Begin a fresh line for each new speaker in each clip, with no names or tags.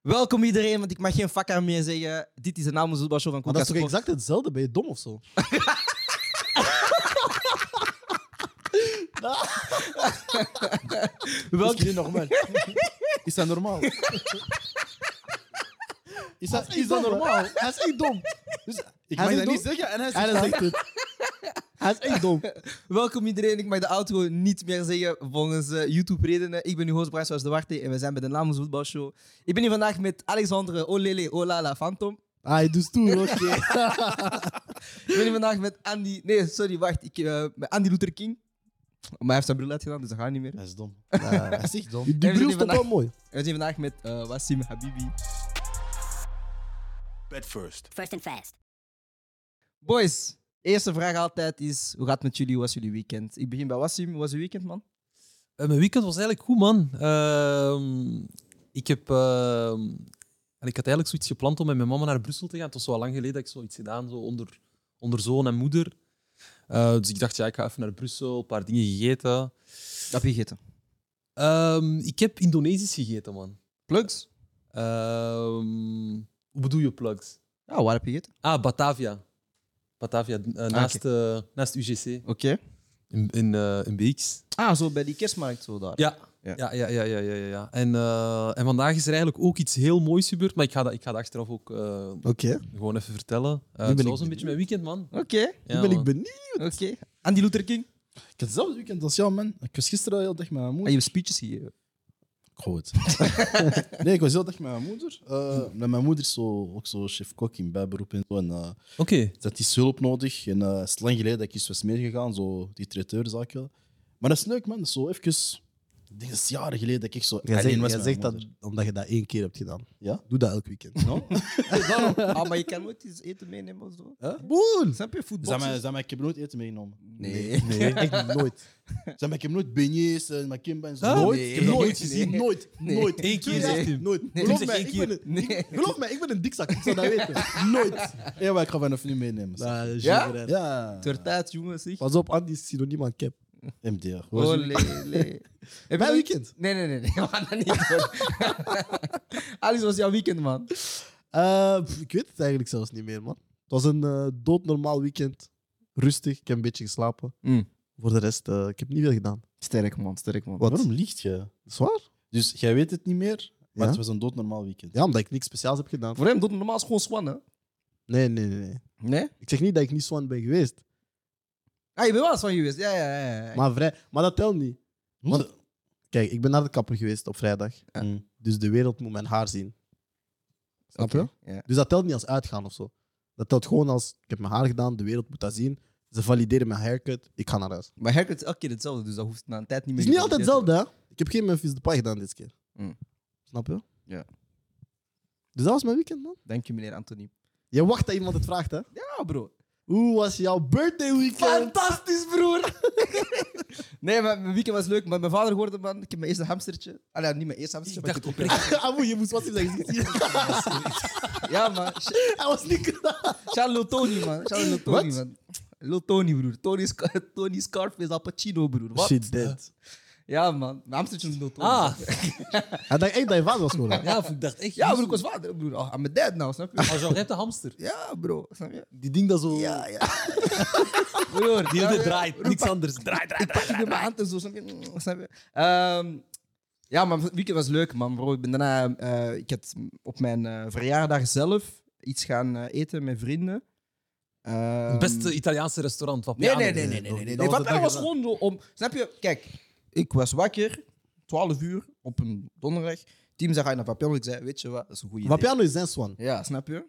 Welkom iedereen, want ik mag geen vak aan meer zeggen. Dit is de Namen Voetbalshow van
Maar
Koeka
dat is toch exact hetzelfde? Ben je dom of zo?
Welk...
Is niet normaal? Is dat normaal? Is dat, is dat normaal? Hij is echt dom. Dus, ik
Hij
mag dat
mag dat niet
niet
zeggen en hij
hij
zegt
zegt het. Hij is echt dom.
Welkom iedereen, ik mag de outro niet meer zeggen volgens eh, YouTube-redenen. Ik ben uw host Brassels de Warte en we zijn bij de Namen Voetbalshow. Ik ben hier vandaag met Alexandre Olele Olala Phantom.
Ah, Hij doet toe, oké.
Ik ben hier vandaag met Andy... Nee, sorry, wacht. Ik, eh, met Andy Luther King. Maar hij heeft zijn bril uitgedaan, dus dat gaat niet meer.
Hij is dom. Ja, hij is echt dom. Die
die
bril staat
vandaag-
wel mooi.
En we zijn vandaag met eh, Wassim Habibi.
Bed first.
First and fast.
Boys, eerste vraag altijd is: hoe gaat het met jullie? Hoe was jullie weekend? Ik begin bij Wassim. Hoe was je weekend, man?
Eh, mijn weekend was eigenlijk goed, man. Ehm, ik heb... ehm, en ik had eigenlijk zoiets gepland om met mijn mama naar Brussel te gaan. Het was zo al lang geleden dat ik zoiets gedaan, zo onder, onder zoon en moeder. Eh, dus ik dacht, ja, ik ga even naar Brussel, een paar dingen gegeten.
Dat heb je gegeten.
Ehm, ik heb Indonesisch gegeten, man.
Plugs?
Ehm, hoe bedoel je plugs?
Ja, waar heb je gegeten?
Ah, Batavia. Batavia, eh, naast, eh, naast UGC.
Oké.
In, in, eh, in BX.
Ah, zo bij die kerstmarkt, zo daar.
Ja.
Ja.
Ja. Ja, ja, ja, ja, ja, ja. En, eh, en vandaag is er eigenlijk ook iets heel moois gebeurd, maar ik ga dat, ik ga dat achteraf ook eh,
Oké,
gewoon even vertellen. Eh
ben
het
ik
was een beetje mijn weekend, man.
Oké,
Ja,
nu ben ik
man.
benieuwd.
oké. Andy Luther King?
Ik had hetzelfde weekend als jou, man. Ik was gisteren heel dag met mijn
Ah,
moeder.
je hebt speeches gegeven.
Goed. nee, ik was heel dag met mijn moeder. Eh, maar mijn moeder is zo, ook zo chef-kok in bijberoep en zo. En, eh,
Oké.
dat is hulp nodig. En eh, het is lang geleden dat ik eens was meegegaan, zo die traiteurzaken. Maar dat is leuk, man. Zo even... Ik denk, dat is jaren geleden dat ik zo
Jij
alleen
zegt,
was
jij
met
zegt
mijn
dat omdat je dat één keer hebt gedaan.
Ja?
Doe dat elk weekend.
moeder. No?
Daarom. Ah, maar je kan nooit iets eten meenemen of zo.
Huh?
Boel! Snap je voetbal?
Zij mij, zij mij, ik heb nooit eten meegenomen.
Nee.
Nee, echt nooit.
Zij mij, ik heb nooit beignets en makimba en zo.
Ah,
nooit?
nee.
Ik heb dat nooit
Nee.
gezien.
Nee.
Nooit.
Nee.
Nooit.
Eén keer,
Ja,
zegt hij.
Nooit.
Nee.
Geloof,
Tim
mij,
zegt
ik
één
ben een,
keer.
ik- geloof mij, ik ben een dikzak. Ik zou dat weten. Nooit. Ja, maar ik ga vanaf nu meenemen. zeg.
Nou,
Ja?
gênant.
Ja.
Het wordt tijd, jongens. Zeg.
Pas op, Andy is synoniem aan cap.
MDR. Hoe was
Oh,
uw-
Olé. Heb
Mijn
je-
weekend.
Nee, nee, nee. nee. We gaan dat niet doen. Alice, was jouw weekend, man?
Eh, pff, ik weet het eigenlijk zelfs niet meer, man. Het was een eh, doodnormaal weekend. Rustig, ik heb een beetje geslapen.
Mm.
Voor de rest, eh, ik heb niet veel gedaan.
Sterk, man. Sterk, man.
Wat?
Waarom liegt je?
Zwaar?
Dus jij weet het niet meer, maar
Ja?
het was een doodnormaal weekend.
Ja, omdat ik niks speciaals heb gedaan.
Voor hem doet het normaal gewoon Swan, hè?
Nee, nee, nee, nee.
Nee?
Ik zeg niet dat ik niet Swan ben geweest.
Ah, je bent wel eens van geweest. Ja, ja, ja. ja.
Maar, vrij, maar dat telt niet.
Hoe
Want- Kijk, ik ben naar de kapper geweest op vrijdag.
Mm.
Dus de wereld moet mijn haar zien. Snap je?
Ja.
Dus dat telt niet als uitgaan of zo. Dat telt gewoon als ik heb mijn haar gedaan, de wereld moet dat zien. Ze valideren mijn haircut, ik ga naar huis. Het
Maar haircut is elke keer hetzelfde, dus dat hoeft na een tijd niet meer.
is niet altijd
gevalideerd te
hetzelfde, hè? Ik heb geen Memphis Depay gedaan dit keer.
Mm.
Snap je?
Ja.
Dus dat was mijn weekend, man.
worden. Dank je, meneer Anthony.
Je wacht dat iemand het vraagt, hè?
Ja, bro.
Hoe was jouw birthday weekend?
Fantastisch, broer. nee, maar mijn weekend was leuk. Maar mijn vader hoorde, man, ik heb mijn eerste hamstertje. Ah, ja, niet mijn eerste hamstertje.
Ik
maar
dacht
heb-
oprecht...
Amoe, je moest wat in zijn gezicht zien.
Ja, man. Sh-
Hij was niet klaar.
Shout out Lil Tony, man. Shout out Lil Tony, man. Lil Tony, broer. Tony, Sc- Tony Scarface Al Pacino, broer. Wat?
Shit, dead.
Ja, man. Mijn hamstertje is Lil Tony.
Ah,
Hij dacht echt dat je vader was geworden.
ja, ik dacht echt...
Ja, broer, ik was vader, broer. Ah, I'm a dad nou, snap je?
Oh, Jean, jij hebt een hamster.
Ja, bro. Snap je?
Die ding dat zo...
Ja, ja. broer, snap
Die hele
je?
draait, niks anders. Draait, draait, draait.
Ik doe mijn hand en zo, snap je? Mm, snap je? Ehm, ja, maar het weekend was leuk, man. Bro, ik ben daarna... eh, ik had op mijn eh, verjaardag zelf iets gaan eh, eten met vrienden. Ehm,
Het beste Italiaanse restaurant van
Nee,
Piano.
nee, nee, nee. nee, nee, nee.
Dat was
Van
de
mij
dag
was
erna.
gewoon zo om... Snap je? Kijk, ik was wakker, 12 uur, op een donderdag. Team zei, ga je naar Vapiano? Ik zei, weet je wat, dat is een goede idee.
Vapiano is zijn swan.
Ja, snap je?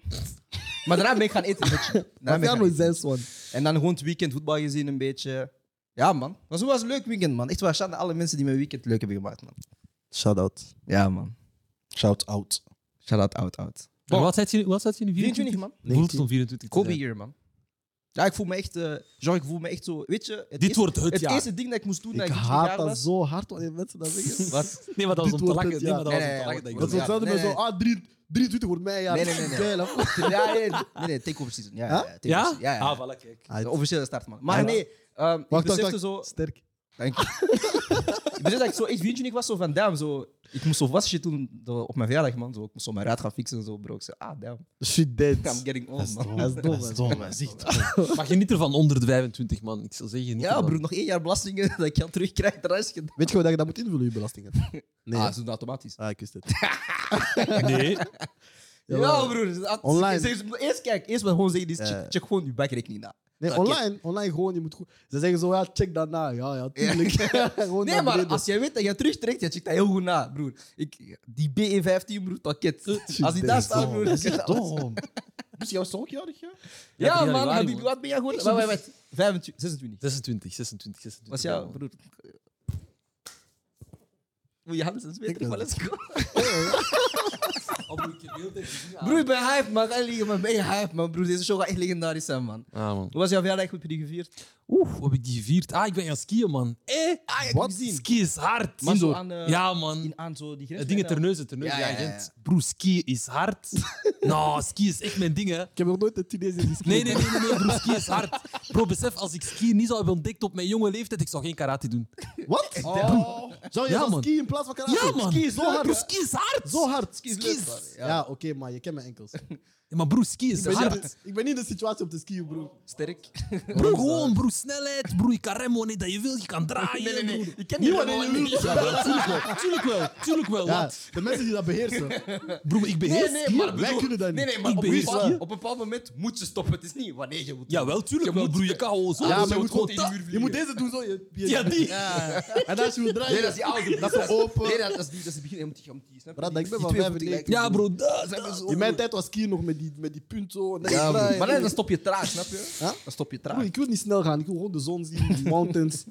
maar daarna ben ik gaan eten, weet je. Daarna ben ik gaan
Vapiano is
eten.
zijn swan.
En dan gewoon het weekend voetbal gezien een beetje. Ja, man. Maar zo was een leuk weekend, man. Echt waar, shout naar alle mensen die mijn weekend leuk hebben gemaakt, man.
Shout-out.
Ja, man.
Shout out.
Shout-out, out-out.
En Wat had je nu? Wat had je nu?
24, man.
Voelt het om 24 te
Kobe eh,
zijn.
hier, man. Ja, ik voel me echt... eh Jean, ik voel me echt zo... Weet je... Het
Dit wordt het
het
jaar.
eerste ding dat ik moest doen dat
Ik
ik 20
haat
jaar
dat
was.
zo hard wanneer mensen dat zeggen.
Wat? Nee, maar dat was om
Dit
te
wordt
lachen.
het
jaar.
Nee, maar dat
Nee,
was om te
nee,
lachen. dat ik
nee,
Dat
dat
is
Ja,
hetzelfde
nee,
met zo,
nee.
ah, drie- 23 wordt mijn jaar.
Nee, nee, nee, nee.
Geil, hè?
Ja, nee, nee, nee, takeover season. Ja, ja,
Ja?
takeover season. Ja, ja.
Ah, voilà, kijk.
Ah,
De officiële start, man. Maar
Ja.
nee, ehm ik
Wacht, wacht,
besefte
wacht.
zo...
Sterk.
Dank je. ik bedoel dat ik zo echt vriendje ik was zo van damn, zo, ik moest zo vast shit doen do- op mijn verjaardag, man. Zo, ik moest zo mijn raad gaan fixen en zo, bro. Ik zei, ah, damn,
Shit dead.
I'm getting old, man.
Dat is dom,
Dat
hè.
is dom, hè. Zie het.
Maar geniet ervan onder de 25, man. Ik zou zeggen, niet
Ja, broer, nog één jaar belastingen dat ik geld terugkrijg, de rest gedaan.
Weet je hoe dat je dat moet invullen, je belastingen? Nee.
Ah,
Ah,
ze doen dat automatisch.
ik wist het.
Nee.
Ja,
Jawel.
broer.
Online.
Ze- ze- Eerst kijk, eerst maar gewoon zeggen, dit is-
Ja.
check, check gewoon je bankrekening na.
Nee,
Oké.
online, online gewoon, je moet goed... Ze zeggen zo, ja, check dat na. Ja, ja, tuurlijk. Gewoon
Nee,
naar
maar
beneden.
als jij weet dat je terugtrekt, je checkt dat heel goed na, broer. Ik, die BE15, broer, pakket. Als die daar staat, broer.
Dat is dom. Dus jij was toch ook jarig, ja?
Ja,
Ja,
drie
man,
januari,
Habib,
man.
wat ben jij geworden?
zo
Wacht, wacht, wacht. 25, 26.
26, 26, 26.
Was jouw broer? Moet je handen eens weten, maar let's go. Broer, ik ben hype, man. Ga liggen, man. Ben je hype, man, broer. Deze show gaat echt legendarisch zijn, man.
Ah, man.
Hoe was jouw verjaardag? Hoe heb je die gevierd?
Oeh, hoe heb ik die gevierd? Ah, ik ben gaan skiën, man. Hé? Eh? Ah,
Wat?
Ski is hard.
Maar zo
Indoor.
aan, eh,
ja, man.
In, aan zo die grens.
Het ding terneuzen, terneuzen. Ja,
Ja,
ja,
ja, ja.
Gent. Broer, skiën is hard. nou, skiën is echt mijn ding, hè.
Ik heb nog nooit een Chinees in die
Nee, nee, nee, nee, nee, broer, skiën is hard. Bro, besef, als ik skiën niet zou hebben ontdekt op mijn jonge leeftijd, ik zou geen karate doen.
Wat? Zou je
Ja,
dan
man.
skiën in plaats van karate?
Ja, man.
Skiën zo hard.
Broer, skiën is hard.
Zo hard.
Skiën is
Skiën.
leuk, man.
Ja, oké, maar je kent mijn enkels. Ik
Ja, maar broer, skiën is
ben, niet, in
hard.
de- ik ben niet in de situatie om te skiën, bro.
Sterk.
Broer, gewoon, broer, snelheid. Broer, je kan remmen wanneer dat je wilt. Je kan draaien.
Nee, nee, nee.
broer.
Ik ken
Niet
die
wanneer je wilt. Ja, wel, tuurlijk wel. Tuurlijk wel. Tuurlijk wel.
Ja,
want,
de mensen die dat beheersen.
broer, ik beheer
Nee, nee,
skiën.
maar bedoel-
Wij kunnen dat niet.
Nee, nee, maar
Ik
op, een
beheers
bepaald-
skiën.
op een bepaald moment moet je stoppen. Het is niet wanneer je moet.
Ja, wel, tuurlijk
Je
wel,
moet-
broer. Je kan gewoon zo.
Ja,
zo
maar je moet gewoon...
gewoon
tegen
ta-
de muur
Je moet deze doen zo. Je, je-
Ja, die.
En als je wil draaien...
Nee, dat is die oude.
Dat is open.
Nee, dat dat is die. Dat is die begin. Je moet die. je moet die- snap je?
Brad,
Die-
ik ben
die
van
twee voeten
95.
gelijk.
Ja, bro. da- da-
Snap je? Zo-
In mijn tijd was skiën nog met die, met die punt zo. en dan
Ja,
draaien.
broer. Maar nee, dan stop je traag, snap je?
Huh?
Dan stop je
Broer,
traag.
ik wil niet snel gaan. Ik wil gewoon de zon zien, die mountains.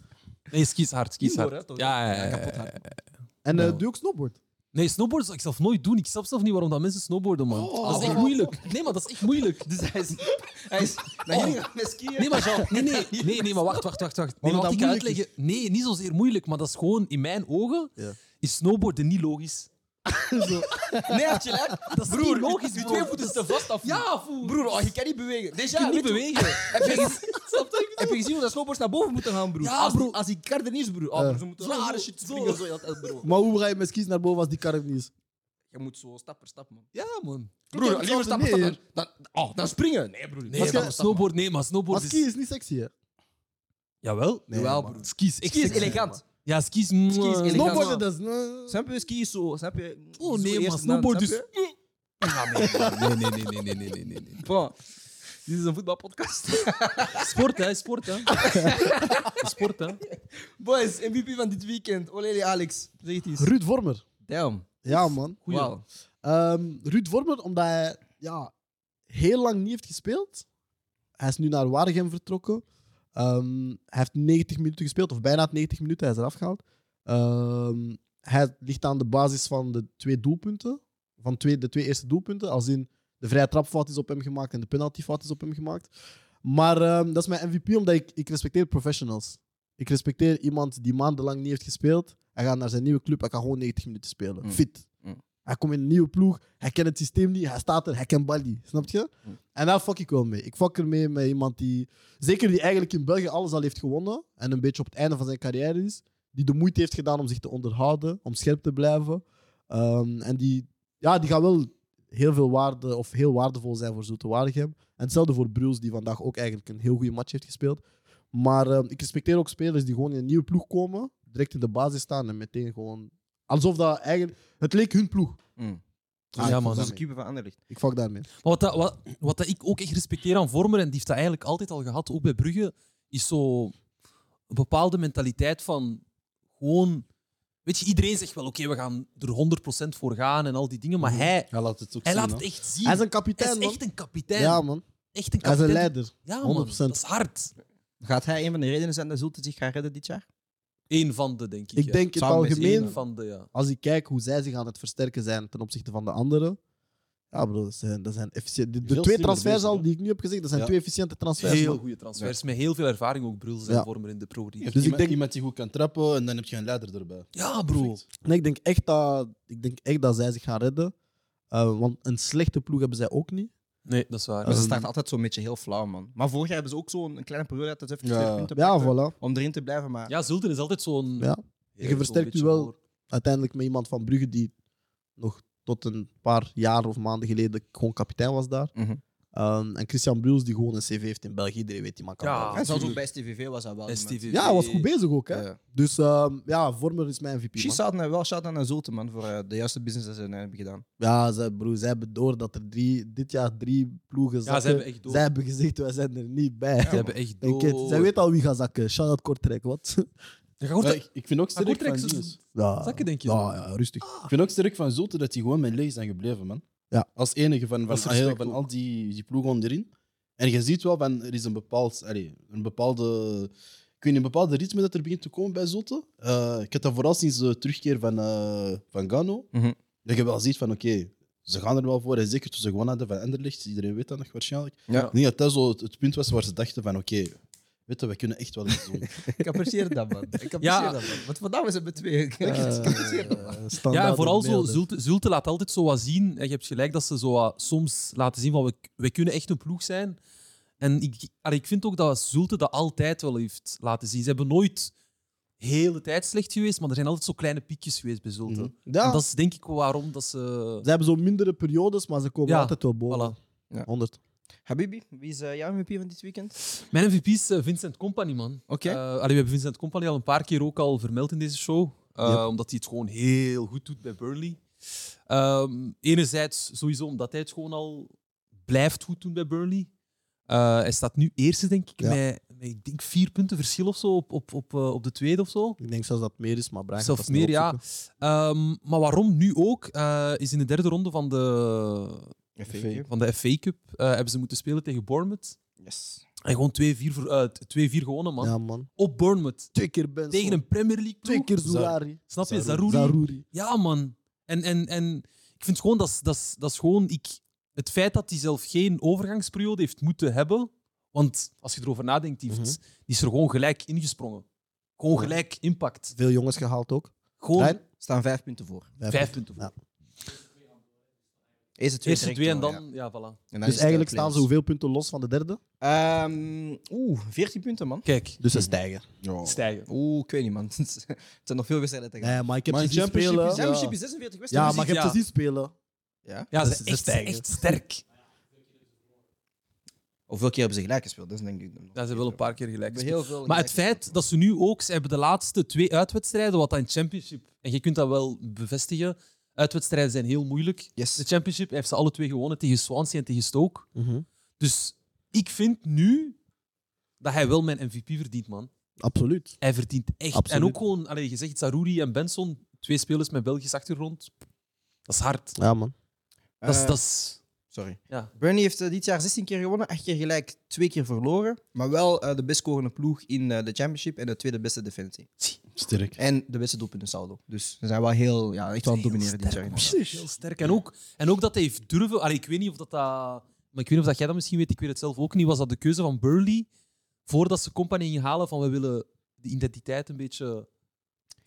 Nee, ski is hard. Ski is
Indoor,
hard.
hè, toch?
Ja, ja, ja,
Kapot
ja.
hard.
En eh,
Ja.
doe ook snowboard.
Nee, snowboarden zou ik zelf nooit doen. Ik snap zelf niet waarom dat mensen snowboarden, man.
Oh.
dat is echt moeilijk. Nee, maar dat is echt moeilijk.
Dus hij is. Hij is. Naar hier gaan we skiën.
Nee, maar, Jean, nee, nee, nee, nee, maar wacht, wacht, wacht. wacht. Nee,
Waarom
maar wat
dat
ik ga
moeilijk
uitleggen. Nee, niet zozeer moeilijk, maar dat is gewoon in mijn ogen
Ja.
is snowboarden niet logisch.
Nee, had je gelijk.
Dat is
Broer,
niet logisch,
je
bro.
twee voeten te vast af.
Ja, voel.
Broer, oh, je kan niet bewegen. Deze
je kunt niet bewegen.
Heb je, heb je gezien hoe dat snowboards naar boven moeten gaan, broer?
Ja,
als, die-
broer.
als die kar er niet is, broer. Oh, broer, ze moeten
Zo,
rare
zo,
shit
zo.
springen. Zo, dat, bro.
Maar hoe ga je met skis naar boven als die kar er niet is?
Je moet zo stap per stap, man.
Ja, man.
Broer,
ik
liever stap
snap het
per stap. Dan, oh, dan springen. Nee, broer.
Nee,
stap
maar
per stap, man.
snowboard, nee, maar
Maar
snowboard
ski
is...
is niet sexy, hè?
Jawel.
Nee,
Jawel,
man.
broer.
Ski is echt
Ski is
sexy.
elegant.
Ja, ski is... Mm, Ski
is elegant.
Snowboarden, dat is... eh, nee.
Snap je? Ski is zo. Snap je?
Oh
Zo
nee,
eerst
maar
en dan,
snowboard is...
snap je?
Ah, nee, man. nee, nee, nee, nee, nee, nee, nee, nee.
Bon. Dit is een voetbalpodcast.
Mm, Sport, hè? Sport, hè? Sport, hè?
Boys, MVP van dit weekend. Olele Alex. Zeg het eens.
Ruud Vormer.
Damn.
Ja, man.
Goeie.
Wauw.
Ehm, Ruud Vormer, omdat hij ja, heel lang niet heeft gespeeld. Hij is nu naar Waregem vertrokken. Ehm, hij heeft 90 minuten gespeeld, of bijna 90 minuten. Hij is eraf gehaald. Ehm, hij ligt aan de basis van de twee doelpunten. Van twee, de twee eerste doelpunten. Als in de vrije trapfout is op hem gemaakt en de penaltyfout is op hem gemaakt. Maar ehm, dat is mijn MVP, omdat ik, ik respecteer professionals. Ik respecteer iemand die maandenlang niet heeft gespeeld. Hij gaat naar zijn nieuwe club. Hij kan gewoon 90 minuten spelen.
Mm.
Fit. Hij komt in een nieuwe ploeg. Hij kent het systeem niet. Hij staat er. Hij kent Bali. Snap je? En daar fuck ik wel mee. Ik fuck ermee met iemand die... Zeker die eigenlijk in België alles al heeft gewonnen. En een beetje op het einde van zijn carrière is. Die de moeite heeft gedaan om zich te onderhouden. Om scherp te blijven. Ehm, en die, ja, die gaat wel heel veel waarde... Of heel waardevol zijn voor Zoete Waregem. En hetzelfde voor Bruls, die vandaag ook eigenlijk een heel goede match heeft gespeeld. Maar ehm, ik respecteer ook spelers die gewoon in een nieuwe ploeg komen. Direct in de basis staan en meteen gewoon... Alsof dat eigenlijk... Het leek hun ploeg.
Ah, ja, man.
Dat is
daarmee.
de keeper van Anderlecht.
Ik fuck daarmee.
Maar wat, dat, wat, wat dat ik ook echt respecteer aan Vormer, en die heeft dat eigenlijk altijd al gehad, ook bij Brugge, is zo een bepaalde mentaliteit van gewoon... Weet je, iedereen zegt wel, oké, we gaan er 100% voor gaan en al die dingen, maar hij,
Hij laat het ook
hij
zien.
laat het
hè.
echt zien.
Mhm. Hij is een
Hij
kapitein,
is
man.
echt een kapitein.
Ja, man.
echt een
Hij is een
kapitein.
leider.
Ja, man.
100%.
Dat is hard.
Gaat hij een van de redenen zijn dat Zulte zich gaat redden dit jaar?
Eén van de, denk ik.
Ik
ja.
denk in het
Samen met
Eén
algemeen,
van de, ja.
als ik kijk hoe zij zich aan het versterken zijn ten opzichte van de anderen. Ja, bro, dat zijn, dat zijn efficiënt. De, de
Veel
twee
slimmer
transfers
bezig,
al
hè?
die ik nu heb gezegd, dat zijn
Ja.
twee efficiënte transfers.
Heel
man.
goede transfers. Met heel veel ervaring ook, Bruls en
Ja.
Vormer in de pro
Je
League.
hebt
Dus ik
iemand,
denk-
iemand die goed kan trappen en dan heb je een leider erbij.
Ja, bro.
Perfect.
Nee, ik denk echt dat, ik denk echt dat zij zich gaan redden. Eh, want een slechte ploeg hebben zij ook niet.
Nee, dat is waar.
Maar ze starten altijd zo'n beetje heel flauw, man. Maar vorig jaar hebben ze ook zo'n een kleine periode dat ze even
Ja.
twee punten
Ja,
pakten
voilà.
om erin te blijven. Maar
Ja, Zulten is altijd zo'n...
Ja.
Ja,
Je versterkt
zo'n beetje
u wel.
hoor.
Uiteindelijk met iemand van Brugge die nog tot een paar jaar of maanden geleden gewoon kapitein was daar.
Mhm.
Ehm, en Christian Bruls die gewoon een CV heeft in België. Iedereen weet die man kan
Ja.
voetballen.
en zelfs ook
tuurlijk.
bij STVV was dat wel. iemand.
STVV.
Ja, hij was
Eh,
goed bezig ook. Hè?
Ja.
Dus ehm, ja, Vormer is mijn MVP.
Precies,
Man.
shout-out naar- wel shout-out naar Zulte, man, voor eh, de juiste business dat ze eh, hebben gedaan.
Ja, zij, broer, zij hebben door dat er drie, dit jaar drie ploegen
Ja,
zakken.
ze hebben echt door.
Zij hebben gezegd, wij zijn er niet bij.
Ze hebben echt
Denk het.
door.
Zij weet al wie gaat zakken. Shout-out Kortrijk, wat?
Ja, je hoort
Maar
dat-
ik, ik vind ook
Maar
sterk
Kortrijk
van
is-
Niels.
Ja.
Zakken, denk je? Ah,
Ja, ja, rustig.
Ik vind ook sterk van Zulte dat die gewoon met leeg zijn gebleven, man.
Ja.
Als enige van, van,
Dat is respect
heel- van
ook.
al die, die ploegen onderin. En je ziet wel, van, er is een, bepaald, allee, een bepaalde... Ik weet niet, een bepaalde ritme dat er begint te komen bij Zulte. Eh, ik heb dat vooral sinds de terugkeer van, eh, van Gano.
Mhm.
Dat je wel ziet van, oké, ze gaan er wel voor. En zeker toen ze gewonnen hadden van Anderlecht. Iedereen weet dat nog waarschijnlijk.
Ja.
Ik denk dat dat zo het, het punt was waar ze dachten van, oké, weet je, we kunnen echt wel iets doen.
Ik apprecieer dat, man. Ik apprecieer
Ja.
dat, man. Want vandaag was het met twee. Ik
Eh,
apprecieer dat, man.
Ja, en vooral zo, Zulte, Zulte laat altijd zo wat zien. En je hebt gelijk dat ze zo wat soms laten zien van we, we kunnen echt een ploeg zijn. En ik, allee, ik vind ook dat Zulte dat altijd wel heeft laten zien. Ze hebben nooit de hele tijd slecht geweest, maar er zijn altijd zo kleine piekjes geweest bij Zulte.
Mhm.
Ja,
En dat is denk ik waarom dat ze...
ze hebben zo mindere periodes, maar ze komen
Ja,
altijd wel boven.
Voilà.
100.
Habibi, wie is eh, jouw MVP van dit weekend?
Mijn MVP is eh, Vincent Company, man.
Oké.
Eh, allee, we hebben Vincent Company al een paar keer ook al vermeld in deze show. eh, Omdat hij het gewoon heel goed doet bij Burnley. Ehm, enerzijds sowieso omdat hij het gewoon al blijft goed doen bij Burnley. Eh, hij staat nu eerste, denk ik,
Ja.
met, met ik denk vier punten verschil of zo op, op, op, eh, op de tweede of zo.
Ik denk zelfs dat het meer is, maar Brian gaat
Zelfs
dat snel
meer, ja.
opzoeken.
Ehm, maar waarom nu ook, eh, is in de derde ronde van de,
Fake.
van de FA Cup eh, hebben ze moeten spelen tegen Bournemouth.
Yes.
En gewoon 2-4 voor- eh, 2-4 gewonnen, man.
Ja, man.
Op Bournemouth.
Twee keer Benson.
Tegen een Premier League
Twee
ploeg.
keer
Zar-
Zoulari.
Snap je?
Zarouri.
Zarouri.
Zarouri.
Ja, man. En, en, en ik vind gewoon, dat is- dat is- dat is gewoon ik, het feit dat hij zelf geen overgangsperiode heeft moeten hebben. Want als je erover nadenkt, die, heeft,
Mhm.
die is er gewoon gelijk ingesprongen. Gewoon gelijk impact.
Veel jongens gehaald ook.
Gewoon
Rijn?
Staan vijf punten voor.
vijf punten.
Ja.
Eerste twee,
Eerst
direct
twee en
door,
dan... Ja, voilà.
En dan is
Dus
het,
eigenlijk
eh,
staan ze
play-offs.
hoeveel punten los van de derde?
Ehm, Oeh, 14 punten, man.
Kijk,
Dus ze stijgen.
Ja.
stijgen.
Oeh, ik weet niet, man. het zijn nog veel wedstrijden te gaan.
Nee, maar ik heb
Maar
ze
in
zien
Championship
spelen.
is-
Championship is 46
Ja,
wedstrijden. dus
maar ik heb
Ja.
ze zien spelen.
Ja.
Ja,
Dus
ze
ze
echt,
stijgen.
echt sterk.
Hoeveel keer hebben ze gelijk gespeeld? Dat is denk ik...
Ja, ze hebben wel een paar keer gelijk.
Heel veel
Maar het
gelijk
feit dat ze nu ook, ze hebben de laatste twee uitwedstrijden, wat dan Championship, en je kunt dat wel bevestigen, uitwedstrijden zijn heel moeilijk.
Yes.
De Championship heeft ze alle twee gewonnen tegen Swansea en tegen Stoke.
Mhm.
Dus ik vind nu dat hij wel mijn MVP verdient, man.
Absoluut.
Hij verdient echt.
Absoluut.
En ook gewoon, allee, je zegt Saruri en Benson, twee spelers met Belgisch achtergrond. Dat is hard.
Ja, man.
gespeeld.
Dat is,
Eh,
dat is-
Sorry.
Ja.
Burnley heeft eh, dit jaar 16 keer gewonnen, 8 keer gelijk, 2 keer verloren. Maar wel eh, de best scorende ploeg in eh, de Championship en de tweede beste defensie.
Sterk.
En de beste doelpunten saldo. Dus ze zijn wel heel, ja, echt wel aan het domineren dit jaar. inderdaad.
Precies. Heel sterk. En ook, en ook dat hij heeft durven. Allee, ik weet niet of dat, dat. Maar ik weet niet of dat jij dat misschien weet. Ik weet het zelf ook niet. Was dat de keuze van Burley voordat ze Company ging halen van we willen de identiteit een beetje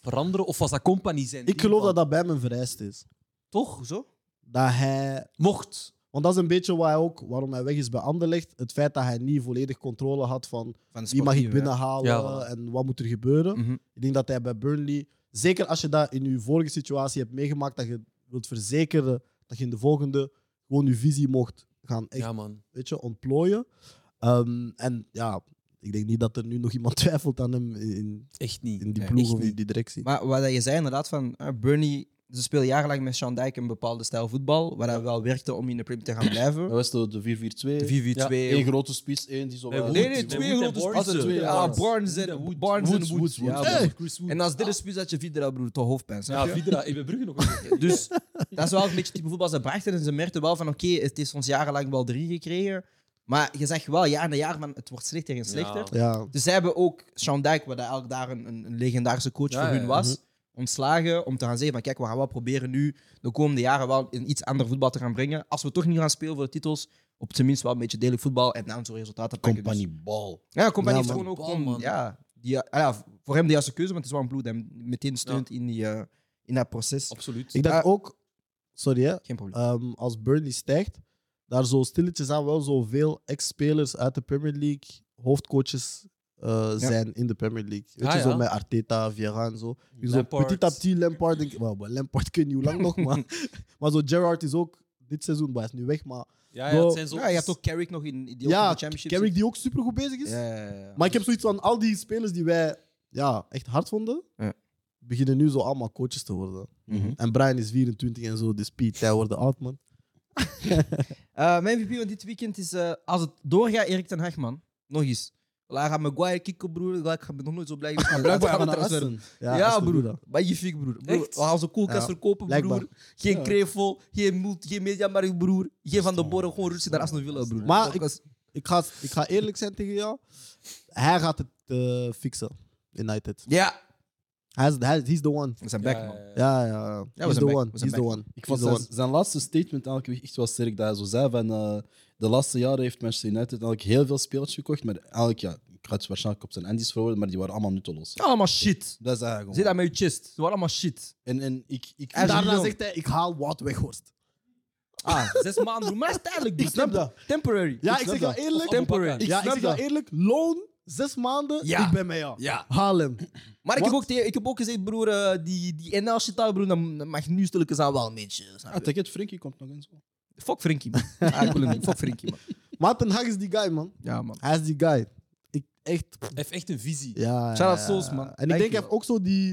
veranderen? Of was dat Company zijn?
Ik
ding
geloof
van,
dat dat bij hem een vereist is.
toch
Hoezo?
Dat hij
mocht.
Want dat is een beetje waar hij ook, waarom hij weg is bij Anderlecht. Het feit dat hij niet volledig controle had van
Van de
wie mag ik
sportieve, hè?
binnenhalen
Ja, voilà.
en wat moet er gebeuren.
Mhm.
Ik denk dat hij bij Burnley, zeker als je dat in je vorige situatie hebt meegemaakt, dat je wilt verzekeren dat je in de volgende gewoon je visie mocht gaan echt,
Ja, man.
weet je, ontplooien. Ehm, en ja, ik denk niet dat er nu nog iemand twijfelt aan hem in,
Echt niet.
in die
Nee,
ploeg
echt
of in
niet.
die directie.
Maar wat je zei inderdaad, van eh, Burnley, ze spelen jarenlang met Sean Dijk een bepaalde stijl voetbal, waar dat wel werkte om in de Premier te gaan
Dat
blijven.
was de, de 4-4-2.
4-4-2.
Eén grote spits, één die zo...
Nee, dus
wel-
Nee, nee,
Wood,
twee
Wood en
grote
Barnes.
spitsen.
Twee,
Ja,
ja.
Barnes en Wood. Barnes en
Woods,
Wood.
Woods,
Ja,
Woods.
Barnes.
Hey! Chris Wood.
En als dit een spits dat je Vidra broer toch hoofdpijn. snap
Ja,
je?
Vidra. Ik ben Brugge nog. een-
Dus dat is wel een beetje type voetbal. Ze brachten en ze merkten wel van oké, het is ons jarenlang wel drie gekregen. Maar je zegt wel jaar na jaar, man, het wordt slechter en slechter.
Ja.
Ja,
Dus zij hebben ook Sean Dijk, wat eigenlijk daar een, een een legendarische coach
Ja,
voor
ja,
hun was,
Mhm.
ontslagen om te gaan zeggen van kijk, we gaan wel proberen nu de komende jaren wel een iets ander voetbal te gaan brengen. Als we toch niet gaan spelen voor de titels, op zijn minst wel een beetje degelijk voetbal en dan zo'n resultaten pakken. Dus-
Compagnie Bal.
ja, Compagnie
Ja,
heeft
man.
gewoon ook
Bal,
gewoon,
man.
ja, die, ja, ah ja, voor hem de juiste keuze, want het is wel een bloed hem meteen steunt in, die, eh, in dat proces.
Absoluut.
ik dacht
Ah.
ook, sorry hè,
Geen probleem.
Ehm, als Burnley stijgt, daar zo stilletjes aan wel zoveel ex-spelers uit de Premier League hoofdcoaches eh, zijn in de Premier League. Weet
Ah,
je, zo
ja.
met Arteta, Vieira en zo. Dus zo
Lampard.
petit à petit Lampard, denk ik, wel, maar Lampard kun je niet hoe lang nog, maar, maar zo Gerrard is ook dit seizoen, maar hij is nu weg, maar
Ja,
Bro.
ja, het zijn zo...
Ja, je hebt ook Carrick nog in die ook in
Ah, ja,
de championship.
Carrick
zit.
die ook supergoed bezig is.
Ja, ja, ja.
Maar ik heb zoiets van al die spelers die wij ja, echt hard vonden,
Ja.
beginnen nu zo allemaal coaches te worden.
Mhm.
En Brian is 24 en zo, dus Piet, hij wordt oud, man.
Eh, mijn MVP van dit weekend is, eh, als het doorgaat, Erik ten Hag, man. Nog eens. Laat gaan Maguire kicken, broer. Ik ben nog nooit zo blij geweest met een
Ah, Blijkbaar
uitgaande
van
transfer.
Assen.
Ja,
dat is de broer,
broer.
hè.
Magnifiek, broer. broer
Echt?
We gaan zo'n koelkast
Ja,
verkopen, broer.
blijkbaar.
Geen
Ja.
Krevel, geen, Mult- geen Mediamarkt, broer. Geen Van de Boren, gewoon rustig naar Aston Villa, broer.
Maar
Dat
ik-
was-
Ik ga, ik ga eerlijk zijn tegen jou. Hij gaat het eh, fixen, United.
Ja.
Hij is, hij, he's the one.
We zijn
Ja,
back, man.
ja, ja.
Ja, ja, ja.
we zijn
He's the
back.
one.
We zijn
He's the
back.
one.
Ik
He's
vond
the
zijn,
one.
zijn laatste statement elke week echt wel sterk. Dat hij zo zei van eh, de laatste jaren heeft Manchester United eigenlijk heel veel spelers gekocht. Maar eigenlijk, ja, ik ga het waarschijnlijk op zijn Andy's verwoorden, maar die waren allemaal nutteloos.
Allemaal shit.
Dat is hij gewoon.
Zit daar met je chest. Ze waren allemaal shit.
En, en ik,
Hij is
ik, ik-
een
Daarna
miljoen.
zegt hij, ik haal Wout Weghorst.
Ah, zes maanden, broer. Maar dat is tijdelijk, broer.
Ik snap
Snap je? Temporary.
Ja,
Ik
ik
snap
zeg jou
dat.
eerlijk.
Temporary.
Abubakar.
Ik ja, ik
snap
zeg jou
dat.
eerlijk, loon, zes maanden,
Ja.
ik ben met jou.
Ja.
Haal hem.
Maar ik heb,
Wat?
ook, tegen- ik heb ook gezegd, broer, eh, die, die NL shit daar, broer, dan dan mag nu stilletjes aan wel een beetje. snap
Ah,
je?
Take it, Frenkie komt nog eens.
Fuck Frenkie, man. Ah, ik wil hem niet. Fuck Frenkie, man.
Maar Ten Hag is die guy, man.
Ja, man.
Hij is die guy. Ik echt.
Hij heeft echt een visie.
Ja,
Shout out
ja,
Souls,
ja.
man.
En
Thank you,
ik denk, hij heeft
man.
ook zo die.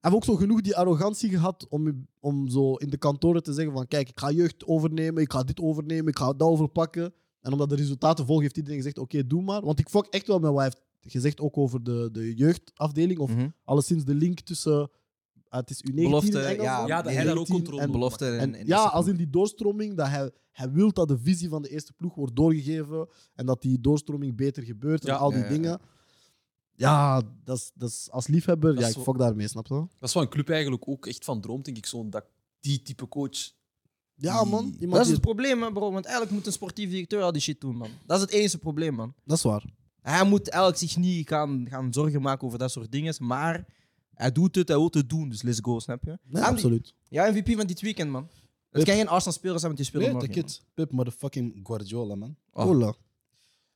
Hij heeft ook zo genoeg die arrogantie gehad om, om zo in de kantoren te zeggen: van kijk, ik ga jeugd overnemen, ik ga dit overnemen, ik ga dat overpakken. En omdat de resultaten volgen, heeft iedereen gezegd: oké, doe maar. Want ik fok echt wel met wat hij heeft gezegd, ook over de, de jeugdafdeling. Of
Mhm.
alleszins de link tussen. ah, het is U19 in
Belofte,
Engeland,
ja,
Ja, dat hij daar ook
19
controle
en-
op
Belofte. En, en
en, ja,
eh, eerste
als
ploeg.
in die doorstroming, dat hij, hij wil dat de visie van de eerste ploeg wordt doorgegeven en dat die doorstroming beter gebeurt
Ja.
en al die
Ja, ja, ja.
dingen. Ja, dat is- dat is als liefhebber,
Dat
ja,
is
ik
zo-
fok daarmee, snap je?
Dat is wat een club eigenlijk ook echt van droomt, denk ik. Zo'n dat- die type coach.
Ja, man.
Die-
Iemand
Dat is
die-
het probleem, hè, bro. Want eigenlijk moet een sportief directeur al die shit doen, man. Dat is het enige probleem, man.
dat is waar.
Hij moet eigenlijk zich niet gaan, gaan zorgen maken over dat soort dingen. Maar hij doet het, hij wil het doen. Dus let's go, snap je?
Nee,
Andy,
absoluut.
Ja, MVP van dit weekend, man. Het
Hup.
kan geen Arsenal-speler zijn, want die
Nee,
spelen
take
morgen.
it. Pep motherfucking Guardiola, man.
Oh.
Cola.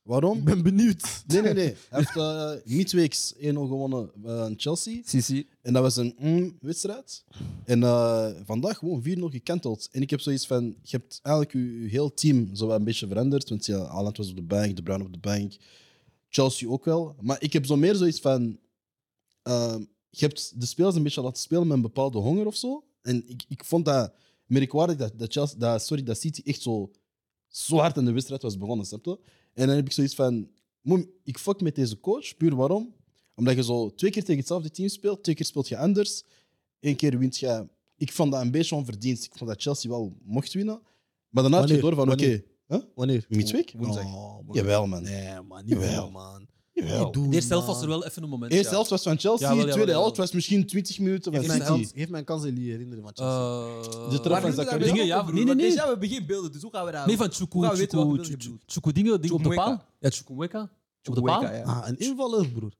Waarom?
Ik ben benieuwd.
Nee, nee, nee. Hij heeft eh, midweeks 1-0 gewonnen aan Chelsea.
Sisi.
En dat was een mm, wedstrijd. En eh, vandaag gewoon 4-0 gekanteld. En ik heb zoiets van: je hebt eigenlijk je, je heel team zo wel een beetje veranderd. Want ja, Haaland was op de bank, De Bruyne op de bank, Chelsea ook wel. Maar ik heb zo meer zoiets van: ehm, je hebt de spelers een beetje laten spelen met een bepaalde honger of zo. En ik, ik vond dat merkwaardig dat, dat, Chelsea, dat, sorry, dat City echt zo, zo hard aan de wedstrijd was begonnen. Snap je? En dan heb ik zoiets van: moem, ik fuck met deze coach, puur waarom? Omdat je zo twee keer tegen hetzelfde team speelt, twee keer speelt je anders. Eén keer wint je. Ik vond dat een beetje onverdiend. Ik vond dat Chelsea wel mocht winnen. Maar daarna had je
Wanneer?
door van, oké,
Wanneer?
huh?
Wanneer?
midweek? Woensdag.
Oh, man.
Jawel, man.
Nee, man.
Jawel.
Jawel, man.
Jawel.
Niet doen,
De eerste helft
man.
was er wel even een moment.
Eerste
ja.
helft was van Chelsea,
Jawel, jawel,
tweede
jawel.
helft was misschien 20 minuten van
Geef mij een
City.
kans- Geef mij een kans, Elie, herinneren van Chelsea.
Eh,
De trap
waar
van
doen we daar
Zakaria.
dingen? Ja, nee, nee, nee.
we hebben geen beelden, dus hoe gaan we daar?
Nee, van Chuku,
Hoe gaan we weten welke
Chuku,
beelden je bedoelt?
Chuku dingen, dingen op de
Chukwuemeka.
paal. Ja, Chukwuemeka. Op de paal.
Ah, een invaller, broer.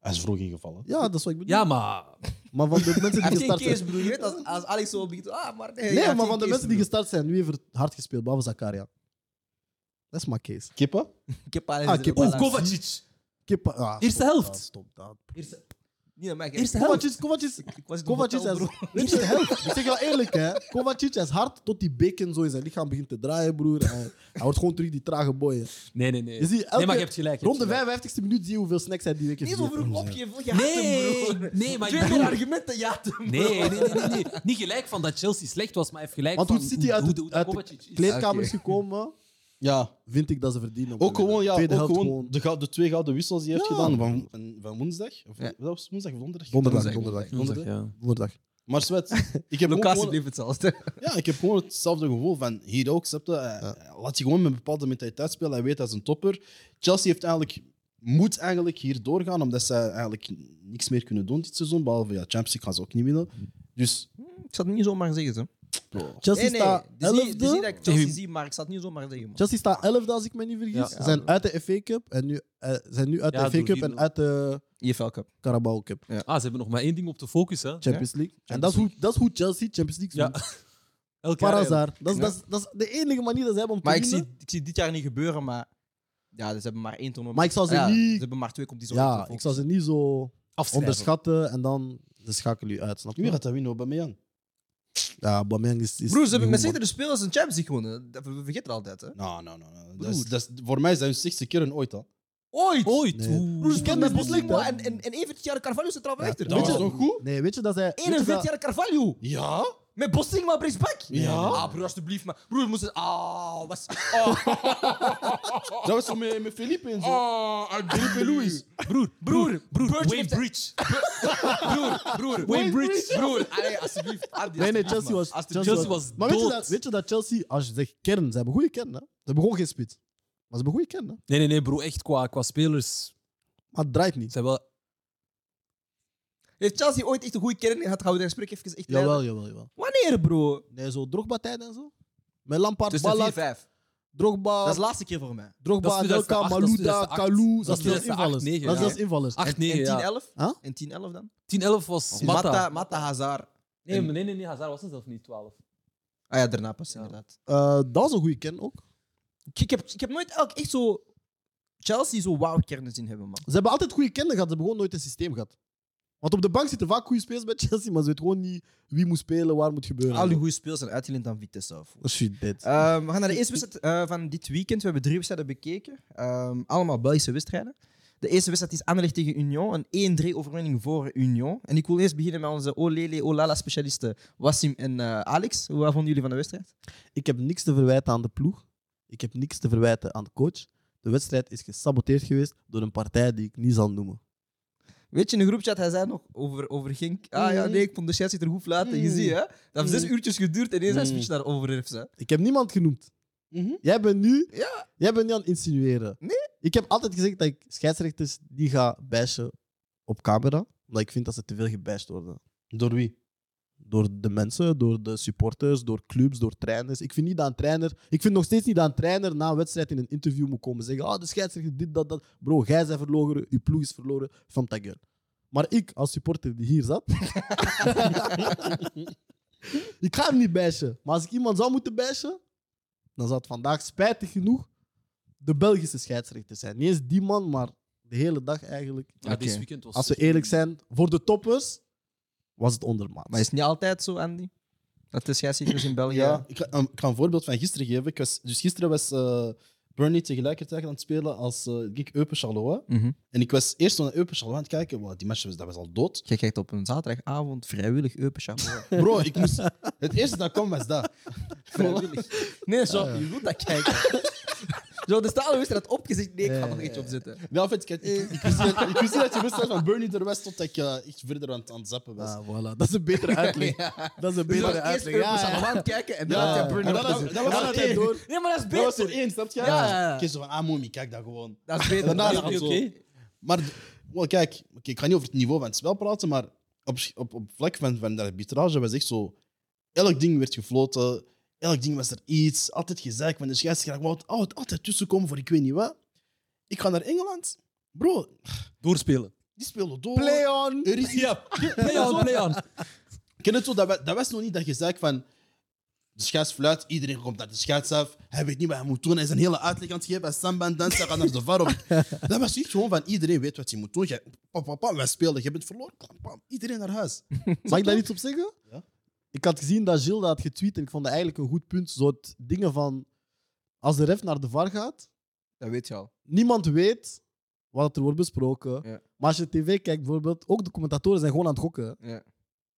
Hij is vroeg ingevallen.
Ja, dat is wat ik bedoel.
Ja, maar...
Maar van de mensen
Hij
die
heeft geen
gestart zijn.
kees, broer. Je weet, als, als Alex zo begint... Ah, maar nee. hij
Nee,
heeft geen
maar van de
kees,
mensen die
broer.
gestart zijn, wie heeft er hard gespeeld? Behalve Zakaria. Dat is mijn case.
Kippen?
Kepa, hij is
Ah,
er
Kepa.
wel
Oeh,
aan.
Kovacic.
Kippa, ah,
Eerste
stop
helft.
dat, stop dat.
Eerste-
Niet aan mij, kijk.
Eerste helft.
Kovacic, Kovacic,
Ik was in het
Kovacic
hotel,
is...
broer.
Eerste helft. Ik zeg jou eerlijk, hè. Kovacic is hard tot die bacon zo in zijn lichaam begint te draaien, broer. En hij wordt gewoon terug die trage boy. hè.
Nee, nee, nee.
Je ziet elke-
Nee, maar je hebt gelijk. je
Rond de
hebt gelijk.
55 e minuut zie je hoeveel snacks hij die week heeft
Niet zo
gegeten.
vroeg opgeven. Je haat hem, broer.
Nee, nee, maar ik
Twee
bedoel-
argumenten, ja.
Nee, nee, nee, nee, nee. Niet gelijk van dat Chelsea slecht was, maar even gelijk
Want
van
hoe City uit,
hoe,
de,
hoe
uit
Kovacic
de
is.
kleedkamer is
Oké.
gekomen,
Ja.
vind ik dat ze verdienen. om te
Ook gewoon,
winnen.
ja, ook
Tweede helft
gewoon, De, gou- de twee gouden wissels die hij heeft
Ja.
gedaan van, van, van woensdag. Of,
Ja.
Dat was woensdag of donderdag?
Donderdag, donderdag.
Woensdag, ja.
Donderdag.
Maar zwet, ik heb ook
Locatie
gewoon
bleef hetzelfde.
Ja, ik heb gewoon hetzelfde gevoel van hier ook. Snap je? Hij-
Ja.
hij Laat je gewoon met een bepaalde mentaliteit spelen. Hij weet dat is een topper. Chelsea heeft eigenlijk, moet eigenlijk hier doorgaan, omdat ze eigenlijk niks meer kunnen doen dit seizoen. Behalve ja, Champions League gaan ze ook niet winnen. Dus
Ik zat het niet zomaar zeggen, ze.
Chelsea
Nee, nee.
staat
Het is niet- het is niet
11e.
dat ik Chelsea zie, maar ik zat het niet zomaar zeggen, man.
Chelsea staat 11 als ik me niet vergis.
Ja.
Ze zijn uit de FA Cup en nu, eh, zijn nu uit
Ja,
de FA
door
Cup en
4-0.
uit de
EFL Cup.
Carabao Cup.
Ah, ze hebben nog maar één ding op de focus, hè.
Champions League. en dat is, hoe, dat is hoe Chelsea Champions League
Ja.
doet.
Elk jaar eigenlijk.
Parazar. Dat is, dat, is, dat is de enige manier dat ze hebben om te
Maar ik
winnen.
zie, ik zie dit jaar niet gebeuren, maar... Ja, dus ze hebben maar één toernooi.
Maar ik zou ze
Ja,
niet-
Ze hebben maar twee competities.
Ja, ik zou ze niet zo
afschrijven.
onderschatten en dan de schakel je uit, snap
Wie
je?
gaat dat winnen? Aubameyang?
Ja, Bameng is... is
Broer, ze hebben met
human.
zeker de spelers een Champions League gewonnen. Dat- We we vergeten dat altijd, hè.
Nou, nou, nou, nou. Dat
Broer.
is, dat is- voor mij is dat hun zesde keer en ooit al.
Ooit!
Ooit.
Nee.
oeh.
Broer, ze kennen
met
Bosley
Bosley, hè?
dus en, en, en 41 jaar Carvalho zit er al achter.
Dat
Weet
was
je-
toch goed?
Nee, weet je dat zij... weet je
41
dat-
jaar Carvalho!
Ja?
Met Boslingma Brisbane?
Ja.
Ah, broer, alsjeblieft. Maar broer, we moesten... Ah, was... Ah,
Dat was toch met, met Felipe en zo?
ah, uit Felipe Luis.
Broer,
Broer, broer,
broer,
Birch
Wayne
heeft-
Bridge.
Broer, broer.
Wayne Bridge.
Broer, allee, alsjeblieft. Andy,
Nee, nee,
alsjeblieft,
Chelsea
man.
was...
Alsjeblieft.
Chelsea was
Maar weet je,
dood.
dat, weet je dat Chelsea, als je zegt kern, ze hebben goede kern, hè? Ze hebben gewoon geen spits. Maar ze hebben goede kern, hè?
Nee, nee, nee, bro. Echt qua, qua spelers.
Maar het draait niet.
Zijn wel...
Heeft Chelsea ooit echt een goede kern gehad? Gaan we daar gesprek even echt leiden?
Jawel, jawel, jawel.
Wanneer, bro?
Nee, zo Drogba-tijd en zo. Met Lampard,
Het is
Ballack,
de 4-5.
Drogba...
Dat is de laatste keer voor mij.
Drogba,
Dat is 2008,
Anelka, Malouda,
dat is 2008.
Kalou. Dat
Dat is
is zelfs
2008,
invallers. Dat
9,
is zelfs
ja.
invallers.
8,
en
9, ja.
10-11?
Huh?
En 10-11 dan?
10-11 was Mata.
Mata, Mata Hazard.
Nee, maar nee, nee, nee, Hazard was er zelf niet, 12.
Ah ja, daarna pas
Ja.
inderdaad.
Eh, dat was een goede kern ook.
Ik, ik, heb, ik heb nooit elk echt zo... Chelsea zo wauw kernen zien hebben, man.
Ze hebben altijd goede kennen gehad, ze hebben gewoon nooit een systeem gehad. Want op de bank zitten vaak goede spelers bij Chelsea, maar ze weten gewoon niet wie moet spelen, waar moet gebeuren.
Ah,
Al die goede speels zijn uitgeleend aan Vitesse af.
Shit, dit.
Ehm, we gaan naar de eerste wedstrijd eh, van dit weekend. We hebben drie wedstrijden bekeken. Ehm, allemaal Belgische wedstrijden. De eerste wedstrijd is Anderlecht tegen Union. Een 1-3 overwinning voor Union. En ik wil eerst beginnen met onze Olele Olala specialisten Wassim en eh, Alex. Hoe vonden jullie van de wedstrijd?
Ik heb niks te verwijten aan de ploeg. Ik heb niks te verwijten aan de coach. De wedstrijd is gesaboteerd geweest door een partij die ik niet zal noemen.
Weet je, in de groepchat, hij zei nog over, over Genk. Ah ja, nee, ik vond de Chelsea er goed fluiten. Je
Mm.
ziet, hè? Dat heeft zes
Mm.
uurtjes geduurd en ineens hij
Mm.
switcht naar Overrefs. hè.
Ik heb niemand genoemd.
Mhm.
Jij bent nu,
Ja.
jij bent nu aan het insinueren.
Nee.
Ik heb altijd gezegd dat ik scheidsrechters die ga bashen op camera. Omdat ik vind dat ze te veel gebashed worden.
Door wie?
Door de mensen, door de supporters, door clubs, door trainers. Ik vind niet dat een trainer. Ik vind nog steeds niet dat een trainer na een wedstrijd in een interview moet komen zeggen: Ah, de scheidsrechter, dit, dat, dat. Bro, jij bent verloren, uw ploeg is verloren, van Tageur. Maar ik, als supporter die hier zat, ik ga hem niet bashen. Maar als ik iemand zou moeten bashen, dan zou het vandaag spijtig genoeg de Belgische scheidsrechter zijn. Niet eens die man, maar de hele dag eigenlijk.
Ja,
Oké.
dit weekend was...
Als we eerlijk zijn, voor de toppers was het ondermaat.
Maar is het niet altijd zo, Andy? Dat de scheidsrechters in België.
Ja, ik ga, um, ik ga een voorbeeld van gisteren geven. Ik was, dus gisteren was eh Burnley tegelijkertijd aan het spelen als eh Gik Eupen Charleroi.
Mhm.
En ik was eerst naar Eupen Charleroi aan het kijken. Wow, die match was, dat was al dood.
Jij kijkt op een zaterdagavond vrijwillig Eupen
Bro, ik moest, het eerste dat kwam was dat.
Vrijwillig. Nee, zo,
Ah, ja.
je moet dat kijken. zo, de stalen wist dat opgezet. Nee, ik ga
Ja,
nog
ja,
eentje opzetten.
Nee, of het, ik, ik, ik, wist niet, dat- ik wist niet dat die wedstrijd van Burnley er was tot ik eh, echt verder aan, het- aan het zappen was.
Ah, voilà. Dat is een betere uitleg. Dat
Dus
is een
je
betere
was eerst
uitleg.
Eupen
Ja, ja.
Charleroi aan het kijken en dan
Ja,
had
ja.
je Burner.
En dan was het- dan was het
beter.
één.
door.
Nee, maar dat is
Dat was
beter.
er één, snap je?
Ja, ja, ja.
Ik keek zo van, ah momie, kijk dat gewoon.
Dat is beter.
En daarna
Ja,
is het
oké.
zo. Maar, wel, kijk, oké, ik ga niet over het niveau van het spel praten, maar op, op, op vlak van, van de arbitrage was echt zo... Elk ding werd gefloten, elk ding was er iets, altijd gezeik van de scheidsrechter. Ik wou het altijd- altijd tussenkomen voor ik weet niet wat. Ik ga naar Engeland. Bro,
Doorspelen.
die speelde door.
Play on.
Er is
Ja, play-on, play-on.
Ken het zo, dat, wa- dat was nog niet dat je zei van... De scheids fluit, iedereen komt naar de scheids af. Hij weet niet wat hij moet doen. Hij is een hele uitleg aan het geven. Hij is samba aan het dansen, hij gaat naar de var. op. Dat was echt gewoon van iedereen weet wat hij moet doen. Jij, pam, pam, pam, wij spelen, je bent verloren. Pam, pam, iedereen naar huis.
Mag ik daar iets op zeggen?
Ja.
Ik had gezien dat Gilles dat had getweet en ik vond dat eigenlijk een goed punt. Zo het dingen van, als de ref naar de VAR gaat,
Dat weet je al.
niemand weet wat er wordt besproken.
Ja.
Maar als je tv kijkt bijvoorbeeld, ook de commentatoren zijn gewoon aan het gokken. hè.
Ja.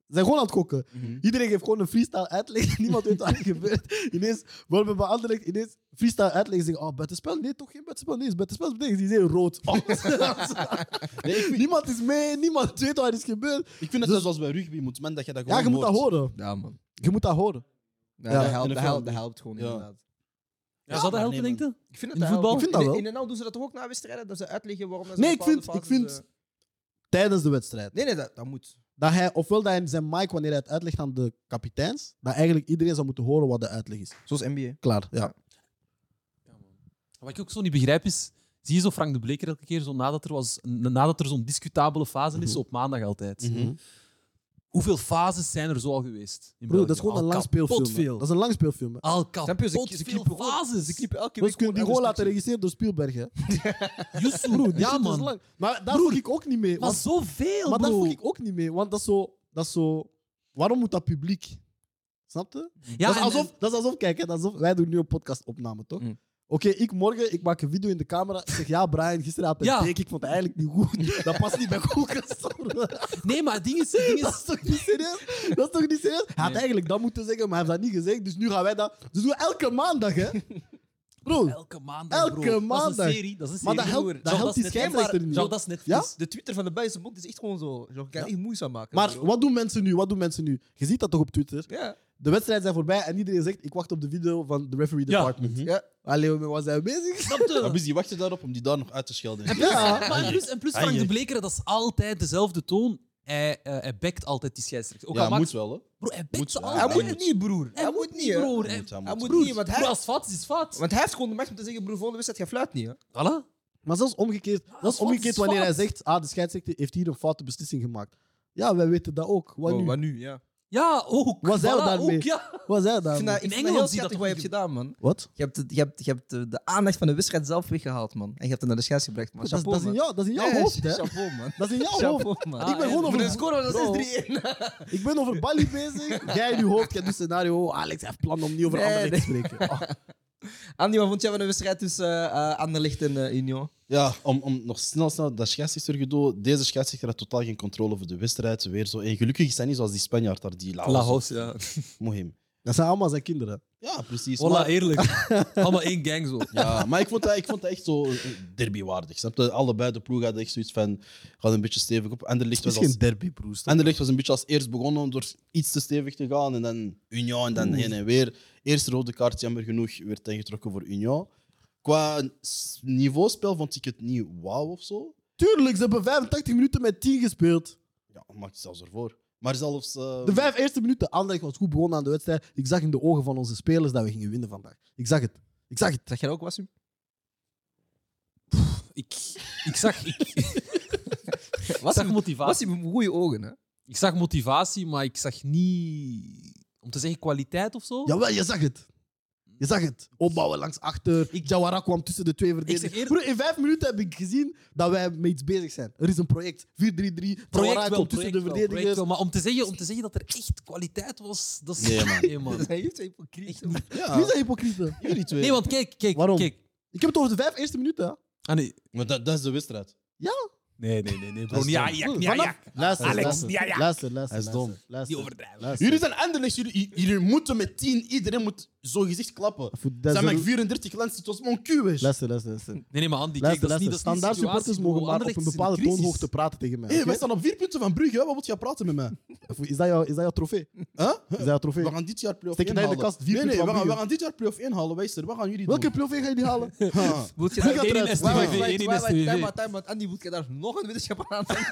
Ze zijn gewoon aan het gokken.
Mhm.
Iedereen geeft gewoon een freestyle uitleg. Niemand weet wat er gebeurt. Ineens, bijvoorbeeld bij Anderlecht, ineens freestyle uitleg. Ze zeggen, oh, buitenspel? Nee, toch geen buitenspel? Nee, is buitenspel betekent die is heel rood. Oh. niemand is mee, niemand weet wat er is gebeurd.
Ik vind dat dat zoals bij rugby moet, man. Dat je dat
Ja,
gewoon
je moet dat horen.
Ja, man.
Je moet dat horen.
Ja,
Ja,
dat,
in
helpt,
de
dat,
film.
helpt, dat helpt gewoon
Ja.
inderdaad.
Ja, zou dat
maar
helpen,
nee,
denk je?
Ik vind
In voetbal?
helpt.
Ik vind dat
In de-
wel.
In de NL doen ze dat toch ook na wedstrijden? Dat ze uitleggen waarom dat ze
Nee, ik
bepaalde
vind, ik
fases,
vind
eh,
tijdens de wedstrijd.
Nee, nee, dat, dat moet.
Dat hij, ofwel dat hij zijn mic, wanneer hij het uitlegt aan de kapiteins, dat eigenlijk iedereen zou moeten horen wat de uitleg is.
Zoals NBA.
Klaar, ja.
Wat ik ook zo niet begrijp is, zie je zo Frank de Bleker elke keer zo nadat er, was- nadat er zo'n discutabele fase is,
Mhm.
op maandag altijd.
Mhm.
Hoeveel fases zijn er zo al geweest? in
Bro, dat is
België?
gewoon
Al
een lang
kapot
speelfilm. hè.
veel.
Dat is een lang speelfilm. hè.
Al kapot
Snap je? Ze- ze
veel
knippen gewoon-
fases.
Ze knippen elke
Maar ze
week
kunnen die
gewoon
gewoon laten
elke
regisseren door Spielberg. Hè.
Justo.
Bro, die
ja,
shit
man.
is lang. Maar daar
Broer,
vroeg ik ook niet mee.
Maar
want-
zoveel,
maar daar
bro.
vroeg ik ook niet mee. Want dat is zo... Dat is zo waarom moet dat publiek? Snap je?
Ja,
dat, is
en-
alsof, dat is alsof, kijk, hè, dat is alsof, wij doen nu een podcastopname, toch?
Mm.
Oké, ik morgen, ik maak een video in de camera. Ik zeg, ja, Brian, gisteren had ik
Ja.
een teken, ik vond het eigenlijk niet goed. Dat past niet bij koelkast.
Nee, maar het ding is... het ding
Dat
is
is toch niet serieus? Dat is toch niet serieus? Hij had
Nee.
eigenlijk dat moeten zeggen, maar hij heeft dat niet gezegd. Dus nu gaan wij dat... Dus doen we elke maandag, hè? Bro,
elke maandag, bro.
Elke
Dat is
maandag.
een serie. Dat is een
maar
serie.
dat
broer.
helpt, dat
Zo,
helpt
is
die
net
schijnrechter
waar.
niet.
Zo, dat is net
Ja?
vies.
De Twitter van de Belgische mond is echt gewoon zo. Zo, Ik kan echt moeizaam maken.
Maar
bro.
wat doen mensen nu? Wat doen mensen nu? Je ziet dat toch op Twitter?
Ja.
De wedstrijden zijn voorbij en iedereen zegt, ik wacht op de video van de referee
Ja.
department.
Ja.
Allee, maar waar zijn we bezig?
Snap je?
Abus, die wachtte daarop om die daar nog uit te schelden.
Ja.
Maar en plus, en
Ah,
plus Frank de Bleker, dat is altijd dezelfde toon. Hij, eh hij backt altijd die scheidsrechter. Ook
Ja,
al maakt-
moet wel, hè.
Bro, hij backt
Moet
ze
wel.
altijd.
Hij
Hij
moet
moet.
niet, broer. Hij moet niet, hè.
broer.
Hij
Hij-
moet, hij
Hij
moet.
moet
Broer,
niet, want
broer,
hij...
als fout is, is fout.
Want hij heeft gewoon de macht om te zeggen, broer, volgende wedstrijd, jij fluit niet, hè.
Voilà.
Maar zelfs omgekeerd,
Ah,
dat is
fout
omgekeerd
is
wanneer hij
fout.
zegt, ah, de scheidsrechter heeft hier een foute beslissing gemaakt. Ja, wij weten dat ook. Oh, Wat
Wow,
nu?
Oh, Wat nu, ja.
Ja, ook.
Wat zijn we
Voilà,
daarmee?
ook, ja.
Wat zei
Ik
daar?
vind dat, ik
In
vind dat heel
Engeland zie je dat
schattig wat
toch
je hebt
niet
gedaan, man.
Wat?
Je hebt, het- je hebt, je hebt de, de aandacht van de wedstrijd zelf weggehaald, man. En je hebt het naar de scheids gebracht, man.
Dat, is-
Chapeau,
dat is in
man.
jou, dat is in jouw
Ja,
hoofd, hè?
Chapeau, man.
Dat is in jouw hoofd.
Chapeau, man.
Ah,
ik ben
en
gewoon
Voor
over
de score was
Bro,
dat 6-3-1.
Ik ben over Bali bezig. Jij in je hoofd, jij doet scenario. Oh, Alex heeft plan om niet over
Nee,
anderen te
nee.
spreken. Oh,
Andy, wat vond jij van de wedstrijd tussen eh, eh, Anderlecht en eh, Union?
Ja, om, om nog snel, snel dat scheidsrechtergedoe. Deze scheidsrechter had totaal geen controle over de wedstrijd. Weer zo. En gelukkig is hij niet zoals die Spanjaard daar, die Laos.
ja.
Mohim.
dat zijn allemaal zijn kinderen.
Ja, precies.
Voilà,
Maar,
eerlijk. Allemaal één gang zo.
ja, maar ik vond, dat, ik vond dat echt zo eh, derbywaardig. Snap je? Allebei de ploeg hadden echt zoiets van... Gaat een beetje stevig op. Anderlecht
Het is
was,
geen
als,
derby, broers.
Anderlecht was een beetje als eerst begonnen door iets te stevig te gaan. En dan Union en dan heen en weer. Eerste rode kaart, jammer genoeg, werd ingetrokken voor Union. Qua s- niveauspel vond ik het niet wauw of zo.
Tuurlijk, ze hebben 85 minuten met 10 gespeeld.
Ja, maakt het zelfs ervoor. Maar zelfs... eh,
De vijf eerste minuten, Anderlecht was goed begonnen aan de wedstrijd. Ik zag in de ogen van onze spelers dat we gingen winnen vandaag. Ik zag het. Ik zag het.
Zag jij dat ook, Wasim?
Ik, ik zag... Ik, ik zag
Wasim,
motivatie.
Wasim heeft goede ogen, hè.
Ik zag motivatie, maar ik zag niet... Om te zeggen kwaliteit of zo.
Jawel, je zag het. Je zag het. Opbouwen langs achter. Jawara kwam tussen de twee
zeg
verdedigers.
eerlijk-
Broer, in vijf minuten heb ik gezien dat wij mee iets bezig zijn. Er is een project. 4-3-3. Jawara
project wel, project
komt tussen de
wel, project
verdedigers.
wel. Maar om te, zeggen, om te zeggen dat er echt kwaliteit was, dat is...
Nee, man.
Dat zijn jullie twee hypocrieten, man.
Wie
Ja,
zijn hypocrieten?
jullie twee.
Nee, want kijk, kijk,
Waarom?
kijk.
Ik heb het over de vijf eerste minuten. hè.
Ah, nee.
Maar dat, dat is de wedstrijd.
Nee, nee, nee, nee,
Dat
bro.
is
Niet
dom.
Ajax,
Broer,
niet
vanaf-
Ajax.
Luister,
Alex,
luister.
ja, ja.
luister, luister.
Hij is
luister,
dom.
Niet
Luister,
overdrijven.
luister.
Jullie zijn Anderlecht, jullie, jullie moeten met 10, iedereen moet zo gezicht klappen.
Voor- dat
Zijn
zullen-
met 34 lens, het was mon kuwes.
Luister, luister, luister.
Nee, nee, maar Andy, kijk,
Luister,
dat is niet dat is
luister.
niet
Standaard
situatie,
supporters
bro.
mogen maar op
Anderlecht
een
is in de
bepaalde
crisis.
toonhoogte praten tegen mij.
Hé, wij
oké?
staan op vier punten van Brugge, hè. wat wil jij praten met mij?
Of Is dat jouw is dat jouw trofee?
Huh?
Is dat jouw trofee?
We gaan dit jaar play-off 1
Steek het in de
halen.
kast, vier
nee,
punten
nee,
van
we gaan, we
Brugge.
gaan dit jaar play-off 1 halen, wijster. Wat gaan jullie
Welke
doen?
play gaan jullie halen?
Huh.
Moet je daar...
Wie gaat
Eén
eruit?
in STVV,
Wacht, wacht,
één in
wacht, wacht,
STVV.
time out, time out. Andy, moet je daar nog een wetenschap aan hangen?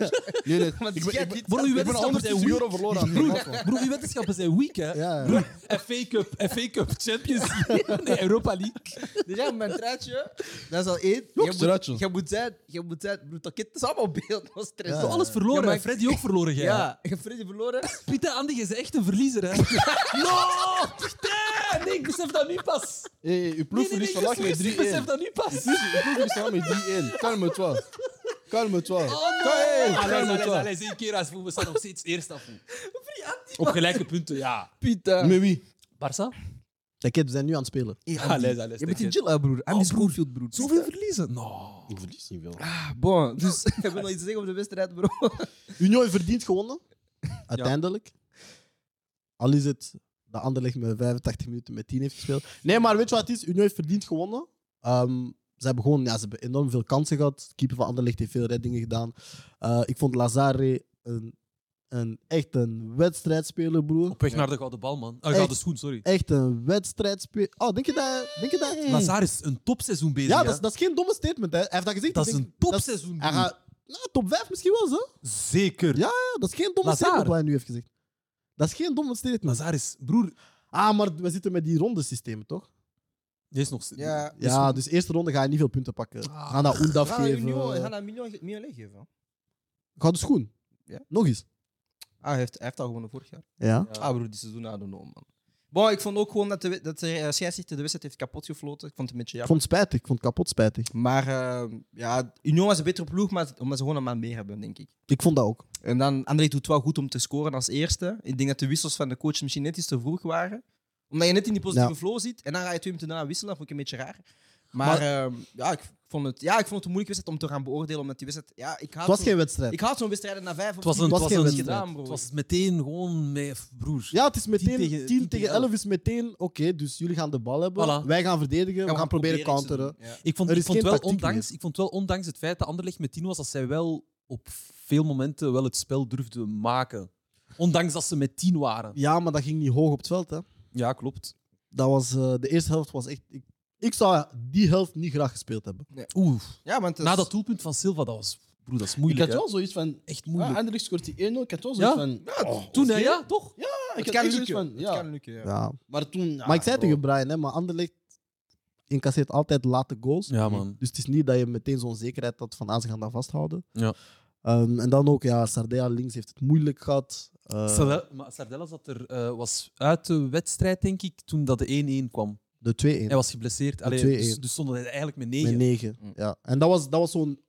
Nee, nee. Ik ben,
Want
ik
jij
ben,
dit-
Bro, uw
ik ben
wetenschappen zijn
120
weak.
euro verloren aan
Broer, broer, uw wetenschappen zijn weak, hè.
Ja, ja.
Broer, FA Cup, FA Cup, Champions League, nee, Europa League.
Dus jij mijn truitje, dat is al één.
Ook
Jij moet-
truitje.
Jij moet zijn, jij moet zijn, broer, dat kind is allemaal beeld, dat is stress.
Zo alles verloren,
Ja, maar-
hè. Freddy ook verloren, jij.
Ja, je hebt Freddy verloren.
Pieter, Andy, jij bent echt een verliezer, hè. no! Pieter! Nee, ik besef dat nu pas.
Hé, uw ploeg
Nee, nee, nee,
verliest vandaag
juist,
met 3-1.
juist, ik besef
Uw
dat nu pas.
ploeg verliest vandaag met 3-1. Kalme-toi. Kalme-toi.
Oh, Allee, allee,
Kalme-toi.
allee, één keer als we staan nog steeds eerst af. Op gelijke punten, ja.
Pieter.
Met wie?
Barça?
Kijk, we zijn nu aan het spelen.
Allee, allee,
Ah, Je bent een
stekje.
chill, hè, broer. Andy
Oh,
is
broer.
Schoolfield, broer.
Zoveel verliezen?
Nou.
No.
Ik verlies niet veel.
Ah, Bon, dus ik wil nog iets zeggen op de wedstrijd, bro.
Union heeft verdiend gewonnen. Uiteindelijk. Al is het dat Anderlecht met 85 minuten met 10 heeft gespeeld. Nee, maar weet je wat het is? Union heeft verdiend gewonnen. Ehm, ze, hebben gewoon, ja, ze hebben enorm veel kansen gehad. De keeper van Anderlecht heeft veel reddingen gedaan. Eh, ik vond Lazare een, een, echt een wedstrijdspeler, broer.
Op weg naar de gouden bal, man. Ah,
Echt?
gouden schoen, sorry.
Echt een wedstrijdspeler. Oh, denk je dat... Denk je dat
Lazar is een topseizoen bezig.
ja,
hè.
dat is, dat is geen domme statement. Hè. Hij heeft dat gezegd.
Dat
ik
is
denk-
een topseizoen.
Hij gaat, nou, top 5 misschien wel, zo.
Zeker.
Ja. Ja, dat is geen domme
Lazar.
statement wat hij nu heeft gezegd. Dat is geen domme statement.
Lazar is, broer,
Ah, maar we zitten met die rondesystemen, toch?
die is nog steeds.
Ja.
Ja, dus eerste ronde ga je niet veel punten pakken.
Ah.
Ga naar Oendaf
Ga naar Union, ga
geven.
naar Mignon, Mignolet geven.
Ga de schoen.
Ja.
Nog eens.
Ah, hij heeft, hij heeft al gewonnen vorig jaar.
Ja.
Ja.
Ah, broer, die seizoen aan de noom, man. Bon, ik vond ook gewoon dat de, we- dat de eh, scheidsrechter de wedstrijd heeft kapotgefloten. Ik vond het een beetje
Ik
jammer.
vond het spijtig. Ik vond het kapot spijtig.
Maar eh, ja, Union was een betere ploeg, maar omdat ze gewoon een man meer hebben, denk ik.
Ik vond dat ook.
En dan, André doet wel goed om te scoren als eerste. Ik denk dat de wissels van de coach misschien net iets te vroeg waren. Omdat je net in die positieve
Ja.
flow zit. En dan ga je twee minuten daarna wisselen. Dat vond ik een beetje raar. Maar, eh, ja, ik vond het, ja, ik vond het een moeilijke wedstrijd om te gaan beoordelen. Omdat die wedstrijd... Ja, ik haat
Het was
zo'n-
geen wedstrijd.
ik haat zo'n wedstrijd na vijf of
Het was,
tien
een,
was
het,
minuten
was
geen
een,
wedstrijd.
gedaan, bro.
het was meteen gewoon met broers.
Ja, het is meteen 10
tegen-
tegen,
10 tegen
11 is meteen oké. dus jullie gaan de bal hebben.
Voilà.
Wij gaan verdedigen. we,
Ja,
gaan proberen
iets te
counteren.
doen, ja.
Ik vond,
Er
ik,
is
vond
geen
wel
tactiek
ondanks, ik vond wel ondanks het feit dat Anderlecht met 10 was, dat zij wel op veel momenten wel het spel durfden maken. Ondanks dat ze met 10 waren.
Ja, maar dat ging niet hoog op het veld. Hè.
Ja, klopt.
Dat was, eh, de eerste helft was echt. Ik, ik zou die helft niet graag gespeeld hebben.
Oeh,
Ja, want het
na
is-
dat doelpunt van Silva, dat was, broer, dat is
Ik
moeilijk.
had
hè.
wel zoiets van.
Echt
Ah,
moeilijk.
Anderlecht scoort die 1-0. Ik had wel zoiets
Ja.
van. oh,
Toen, hè,
oké.
ja, toch?
Ah, Ik
het
had
kan
echt zoiets
lukken.
van.
Het
Ja. Ah,
kan lukken, ja.
Ja.
Maar toen.
maar ik zei
bro.
tegen Brian, hè, maar Anderlecht incasseert altijd late goals.
Ja, man.
Dus het is niet dat je meteen zo'n zekerheid had van ah, ze gaan dat vasthouden.
Ja.
Ehm, en dan ook, ja, Sardea links heeft het moeilijk gehad. Eh,
Sardella, maar Sardella zat er, eh, was uit de wedstrijd, denk ik, toen dat de 1-1 kwam.
de 2-1.
Hij was geblesseerd. Allee,
2-1.
dus, dus stond hij eigenlijk met 9.
Met 9.
Mm.
Ja. En dat was, dat was zo'n. Je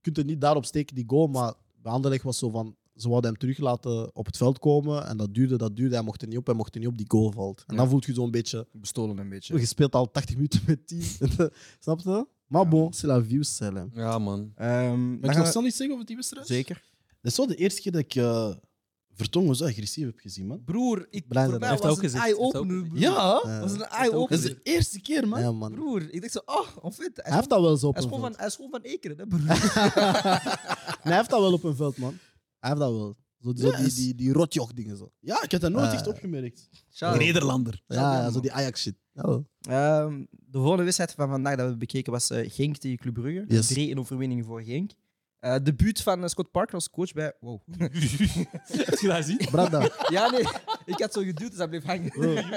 kunt het niet daarop steken, die goal. Maar bij Anderlecht was zo van. Ze wilden hem terug laten op het veld komen. En dat duurde, dat duurde. Hij mocht er niet op, hij mocht er niet op. Die goal valt. En
Ja.
dan voelt je zo'n beetje.
Bestolen een beetje.
Je speelt al 80 minuten met 10. Snap je? Maar
Ja.
bon, c'est la vie, c'est la-
Ja, man.
Ehm,
Maar
dan
ik
gaan
kan
we-
snel iets zeggen over die wedstrijd.
Zeker.
Dat is wel de eerste keer dat ik eh Vertongen zo agressief heb gezien, man.
Broer, ik,
Blij
voor
dat
mij
hij-
was
Heeft
het
hij
een
ook gezegd, heeft hij
eye-opener.
ook
broer.
Ja,
Eh,
Dat is een
dat is
eye-opener.
de eerste keer, man.
ja, man.
Broer, ik dacht zo, oh, onfit. Hij
Hij heeft
is
dat wel zo op een
gewoon van,
veld.
hij is gewoon van Ekeren, hè, broer.
Nee, hij heeft dat wel op een veld, man. Hij heeft dat wel. Zo, zo
Ja,
die,
is-
die, die rotjoch-dingen zo.
Ja, ik had dat nooit
Eh.
echt opgemerkt.
Ciao.
Nederlander.
Ja,
Ja,
ja,
zo
man.
die Ajax-shit. Jawel.
Ehm, de volgende wedstrijd van vandaag dat we bekeken was eh, Genk tegen Club Brugge.
Yes.
3-1 overwinning voor Genk. Eh debuut van eh, Scott Parker als coach bij... Wow.
Heb je dat gezien?
Brada.
ja, nee. Ik had zo geduwd, dus dat bleef hangen.
Oh.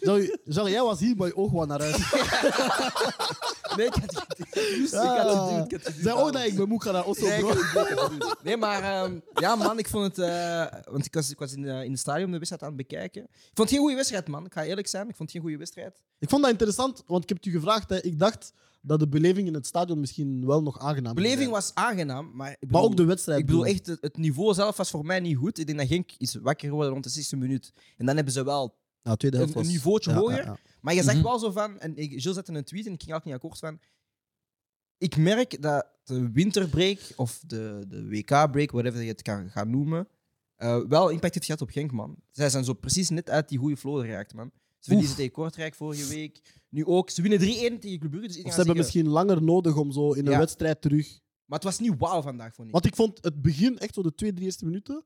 Sorry, sorry, jij was hier, maar je oog was naar huis.
Nee, ik had het geduwd.
Ja.
Dus Ik had het geduwd. Ik had het geduwd.
Ah. Zeg ook dat ik ben moe ga naar Oslo,
Nee, ik
bro.
had het geduwd, ik had het geduwd. Nee, maar ehm, ja, man, ik vond het. eh, want ik was, ik was in, eh, in het stadion de wedstrijd aan het bekijken. Ik vond het geen goede wedstrijd, man. Ik ga eerlijk zijn, ik vond het geen goede wedstrijd.
Ik vond dat interessant, want ik heb het u gevraagd. Hè. Ik dacht dat de beleving in het stadion misschien wel nog aangenaam
De
zou
beleving
zijn.
was aangenaam, maar. Ik
Maar
bedoel-
ook de wedstrijd.
Ik bedoel echt, het het niveau zelf was voor mij niet goed. Ik denk dat Genk is wakker geworden rond de 60 minuut. En dan hebben ze wel.
Nou, tweede helft
een- een
was-
niveautje hoger. Maar je zegt
Mhm.
wel zo van. En ik, Gilles zette een tweet en ik ging er ook niet akkoord van. Ik merk dat de winterbreak of de, de WK-break, whatever je het kan gaan noemen, eh, wel impact heeft gehad op Genk, man. Zij zijn zo precies net uit die goede flow geraakt, man. Ze verliezen tegen Kortrijk vorige week. Nu ook. Ze winnen 3-1 tegen Club Brugge. Dus ik
Of
ga
ze hebben
zeggen-
misschien langer nodig om zo in een
Ja.
wedstrijd terug.
Maar het was niet wauw vandaag, vond ik.
Want ik vond het begin, echt zo de twee, drie eerste minuten.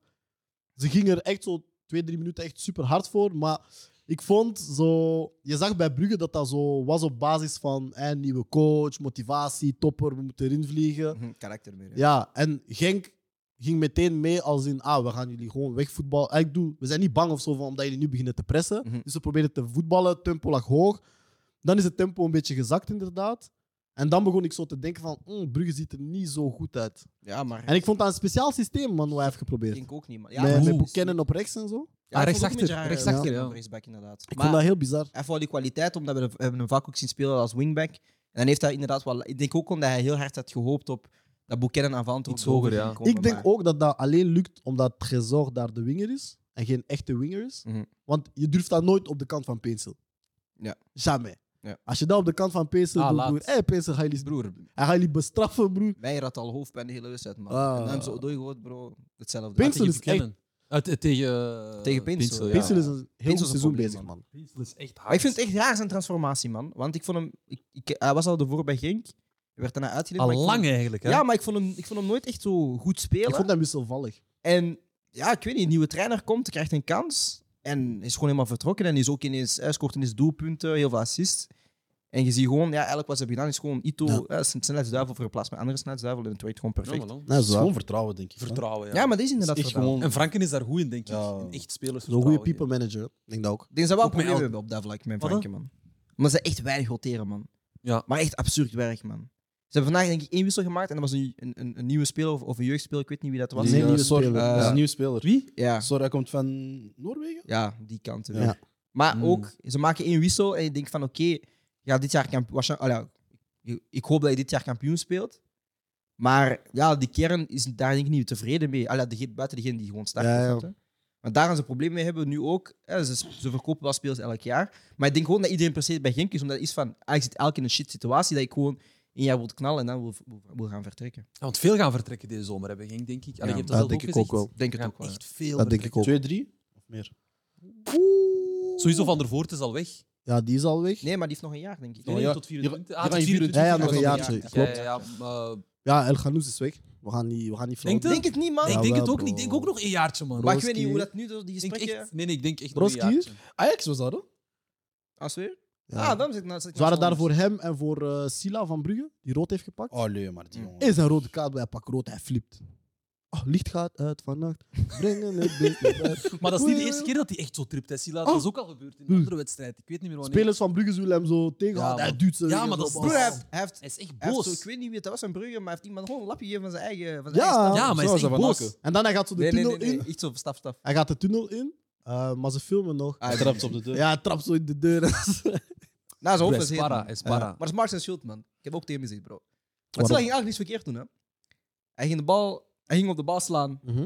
Ze gingen er echt zo twee, drie minuten echt super hard voor. Maar ik vond zo. Je zag bij Brugge dat dat zo was op basis van hè, nieuwe coach, motivatie, topper, we moeten erin vliegen.
Mhm, Karakter meer. hè.
Ja, en Genk ging meteen mee als in, ah, we gaan jullie gewoon wegvoetballen. Ah, Ik doe, we zijn niet bang of zo van, omdat jullie nu beginnen te pressen.
Mhm.
Dus ze proberen te voetballen, tempo lag hoog. Dan is het tempo een beetje gezakt, inderdaad. En dan begon ik zo te denken van, mm, Brugge ziet er niet zo goed uit.
ja maar.
En ik vond dat een speciaal systeem, man, wat hij heeft geprobeerd.
Genk ook niet, man.
met
maar-
met Buchanan op rechts en zo.
Ja,
Ah,
ik vond het ook
rechtsachter,
een beetje raar,
rechtsachter,
ja.
ja.
Rechtsback, inderdaad.
Ik
maar
vond dat heel bizar.
hij heeft wel die kwaliteit, omdat we, we hebben hem vaak ook zien spelen als wingback. En dan heeft hij inderdaad wel... Ik denk ook omdat hij heel hard had gehoopt op dat Buchanan aanvallend
Iets
op de
hoger,
hoogte
ja.
ging komen,
Ik denk
maar-
ook dat dat alleen lukt omdat Trezor daar de winger is en geen echte winger is.
Mhm.
Want je durft dat nooit op de kant van Pencil.
Ja.
Jamais.
Ja.
Als je dat op de kant van Pencil
Ah,
doet,
laat.
broer. Hé, Pencil, ga jullie,
Broer,
hij gaat jullie bestraffen, broer.
Meijer had al hoofdpijn de hele wedstrijd, man.
Ah.
En dan hebben ze Odoi gehoord, bro. Hetzelfde.
Pinsel
Tegen
is echt-
Buchanan. Uit- eh, tegen, eh,
Tegen Pinsel, ja.
Pencil is Ah, een heel
is
goed
een
seizoen
probleem,
bezig,
man.
man.
Pinsel is echt hard.
Maar ik vind het echt raar zijn transformatie, man. Want ik vond hem... Ik, ik- hij was al ervoor bij Genk. Hij werd daarna uitgeleid. maar
Al
ik vond
lang
hem-
eigenlijk, hè?
Ja, maar ik vond, hem, ik vond hem nooit echt zo goed spelen.
Ik vond hem wisselvallig.
En ja, ik weet niet, een nieuwe trainer komt, krijgt een kans. En is gewoon helemaal vertrokken. En is ook ineens, hij scoort ineens doelpunten, heel veel assists. En je ziet gewoon, ja, eigenlijk wat ze hebben gedaan is gewoon Ito,
Ja.
eh, zijn snelheidsduivel verplaatst met andere snelheidsduivel. En het werkt gewoon perfect. Ja, maar,
Perfect.
Dat
Het
is
is
waar.
gewoon vertrouwen, denk ik. man.
Vertrouwen, ja.
dat is
Het
inderdaad
is echt
verdwaald.
gewoon.
En Franken is daar goed in, denk ik.
Ja.
In echt spelers
Zo'n goede
vertrouwen
people manager. Ik denk dat ook.
Ik denk dat ze wel
Ook met
problemen
El-
hebben op dat vlak met
Wat
Franken, man. Omdat ze echt weinig roteren, man.
Ja.
Maar echt absurd werk, man. Ze hebben vandaag denk ik één wissel gemaakt en dat was een, een, een, een nieuwe speler of, of een jeugdspeler, ik weet niet wie dat was.
Nee,
eh, Ah.
nieuwe
Sor-
speler.
dat is
Ja.
een nieuwe speler.
Wie?
Ja,
Sor, hij komt van Noorwegen?
ja, die kant.
Ja.
Ja. Maar
Hmm.
ook, ze maken één wissel en je denkt van oké, ja, dit jaar kampioen. ik hoop dat je dit jaar kampioen speelt. Maar ja, die kern is daar denk ik niet tevreden mee. Allee, dege- buiten degene die gewoon starten.
Ja, ja.
snap je? Want daar gaan ze problemen mee hebben nu ook. Hè, ze, ze verkopen wel spelers elk jaar. Maar ik denk gewoon dat iedereen per se bij Genk is. Omdat het is van, ah, ik zit elk in een shit situatie dat ik gewoon een jaar wil knallen en dan wil, wil, wil gaan vertrekken.
Ja, want veel gaan vertrekken deze zomer, hebben Genk, denk ik. Allee,
Ja,
je hebt
dat
dat, zelf
denk ik ook
gezegd.
wel.
Denk het
Ja,
ook wel.
echt veel
Dat denk ik
vertrekken.
ook.
Twee, drie? Of meer?
Sowieso Van der Voort is al weg.
Ja, die is al weg.
Nee, maar die heeft nog een jaar, denk ik.
Oh,
Nog
Nee,
ja.
tot 24.
Ja,
Ah,
ja,
tot
ja,
24.
ja, nog een
Ja,
jaar,
ja,
sorry.
ja,
Klopt.
Ja, ja, maar- eh,
Ja, El Ghanous is weg. We gaan niet, we gaan niet
Denk
Ik
je?
flauw.
denk het niet, man.
Nee, ik
Ja,
denk het
wel,
ook niet. Ik
bro.
denk ook nog een jaartje, man.
maar ik weet niet
Broski.
hoe dat nu door die
Ik denk
gesprekken...
echt, nee, nee, ik denk echt nog
Broski?
een jaartje.
Ajax was dat, hoor.
Als weer?
Ja.
Ah, dan zit ik nou... zit ik
Ze waren
nou
daar
zo
voor
anders.
hem en voor eh, Sila van Brugge, die rood heeft gepakt.
Oh, nee, maar
Hm.
die jongen.
Is een rode kaart bij pak rood, hij flipt. Oh, licht gaat uit vannacht. Brengen het beest naar buiten.
Maar dat is niet de eerste keer dat hij echt zo tript. Hè, Sila.
Ah.
Dat is ook al gebeurd in een
Hm.
andere wedstrijd. Ik weet niet meer wanneer.
Spelers van Brugge zullen hem zo tegenhouden.
Ja,
hij
man.
duwt ze.
Ja,
weer
maar
zo
dat is-
op.
Broer, hij heeft- hij heeft
Hij is echt
Hij heeft
boos.
zo, ik weet niet wie het was, een Brugge, maar hij heeft iemand gewoon een lapje gegeven van zijn eigen. Van zijn
Ja,
eigen
ja, maar hij
Zoals
is
dat
echt
van
boos.
Aken.
En dan hij gaat zo de
nee, nee,
tunnel
nee, nee,
in.
Echt zo, staf, staf.
Hij gaat de tunnel in, eh, maar ze filmen nog.
Ah,
Hij trapt op de deur.
Ja, hij trapt zo in de deur.
Nou, zijn
Bro,
hoofd
Hij
is
is
heet,
para.
man.
Hij is para.
Maar het is Marks en Schult, man. Ik heb ook tegen hem gezien, bro. Maar
Waarom?
Silla ging eigenlijk niets verkeerd doen, hè. Hij ging, de bal, hij ging op de bal slaan,
Mhm.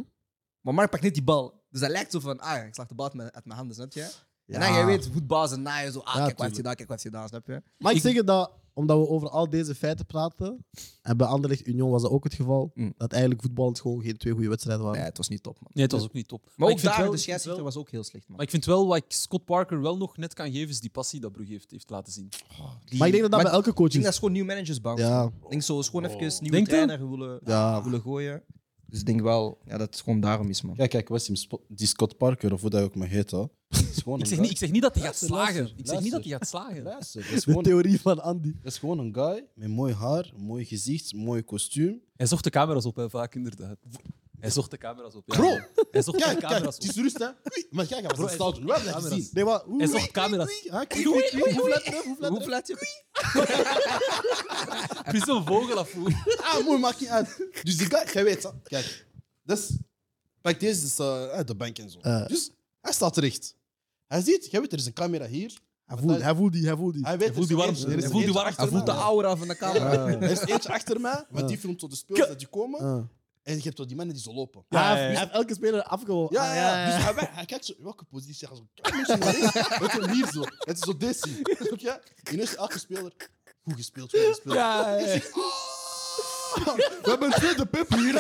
maar Mark pakt niet die bal. Dus hij lijkt zo van, ah, ik slag de bal uit mijn, uit mijn handen, snap je? En dan,
Ja.
jij weet, voetbal is een naaier, zo, ah,
Ja,
kijk wat
tuurlijk.
heeft gedaan, kijk wat heeft gedaan, snap je?
Maar ik,
Ik-
zeg het dat, omdat we over al deze feiten praten, en bij Anderlecht Union was dat ook het geval,
Mm.
dat eigenlijk voetballend gewoon geen twee goede wedstrijden waren.
Nee, het was niet top, man.
Nee, het was ook niet top.
Maar
ik
ook
vind
daar,
wel-
de
ik vind wel-
scheidsrechter was ook heel slecht, man.
Maar ik vind wel wat ik Scott Parker wel nog net kan geven, is die passie dat Brugge heeft, heeft laten zien.
Die-
Maar ik denk dat dat
maar
bij elke coach
ik denk
is.
dat is gewoon nieuw managers bouwen.
Ja,
Ik denk zo, is gewoon even nieuwe
Denk je?
trainer willen,
Ja.
willen gooien. Dus ik denk wel, ja, dat het gewoon daarom is, man.
Kijk, kijk, Westim, Spo- die Scott Parker, of hoe dat ook maar heet, hè. Is gewoon
Ik
een
zeg,
guy.
niet, ik zeg niet dat hij gaat
Luister,
slagen.
luister,
Ik zeg niet dat hij
luister.
gaat slagen.
Luister, dat is
de
gewoon,
theorie van Andy.
dat is gewoon een guy met mooi haar, mooi gezicht, mooi kostuum.
Hij zocht de camera's op, hè, vaak inderdaad. Hij zocht de camera's op. Ja.
Bro!
Hij zocht de
Kijk, kijk,
camera's
het is
op.
rust, hè. Oei, Maar kijk, hij was
Bro,
een
hij
stout.
zocht
We hebben dat
camera's.
gezien.
Nee, maar hoe?
Hij zocht camera's.
Oei, hè, kijk, kijk, kijk, hoe laat het, hoe laat
Hoe laat je?
Het is een vogelafvoer.
het. Ah, mooi, maakt niet uit. Dus die guy, jij weet, hè. Kijk, dus, pak deze is eh, uit de bank en zo.
Eh.
Dus, hij staat recht. Hij ziet, jij weet, er is een camera hier.
Hij voelt, hij voelt die, hij voelt die.
Hij weet,
voelt die warmte. Hij voelt die warmte.
Hij voelt de aura van de camera.
Ah.
Er is eentje achter mij, want die filmt zo de spelers dat die komen.
Ah.
En je hebt zo die mannen die zo lopen.
Ja, Ah, hij,
ja,
heeft,
ja.
hij heeft elke speler afgewonnen.
Ja, ja, ja. Dus hij, wij- hij kijkt zo, in welke positie hij zo. Het is hier zo. Het is zo deze. Snap je? Ineens elke speler. Goed gespeeld, goed gespeeld.
Ja, ja, ja.
We hebben een tweede pip hier.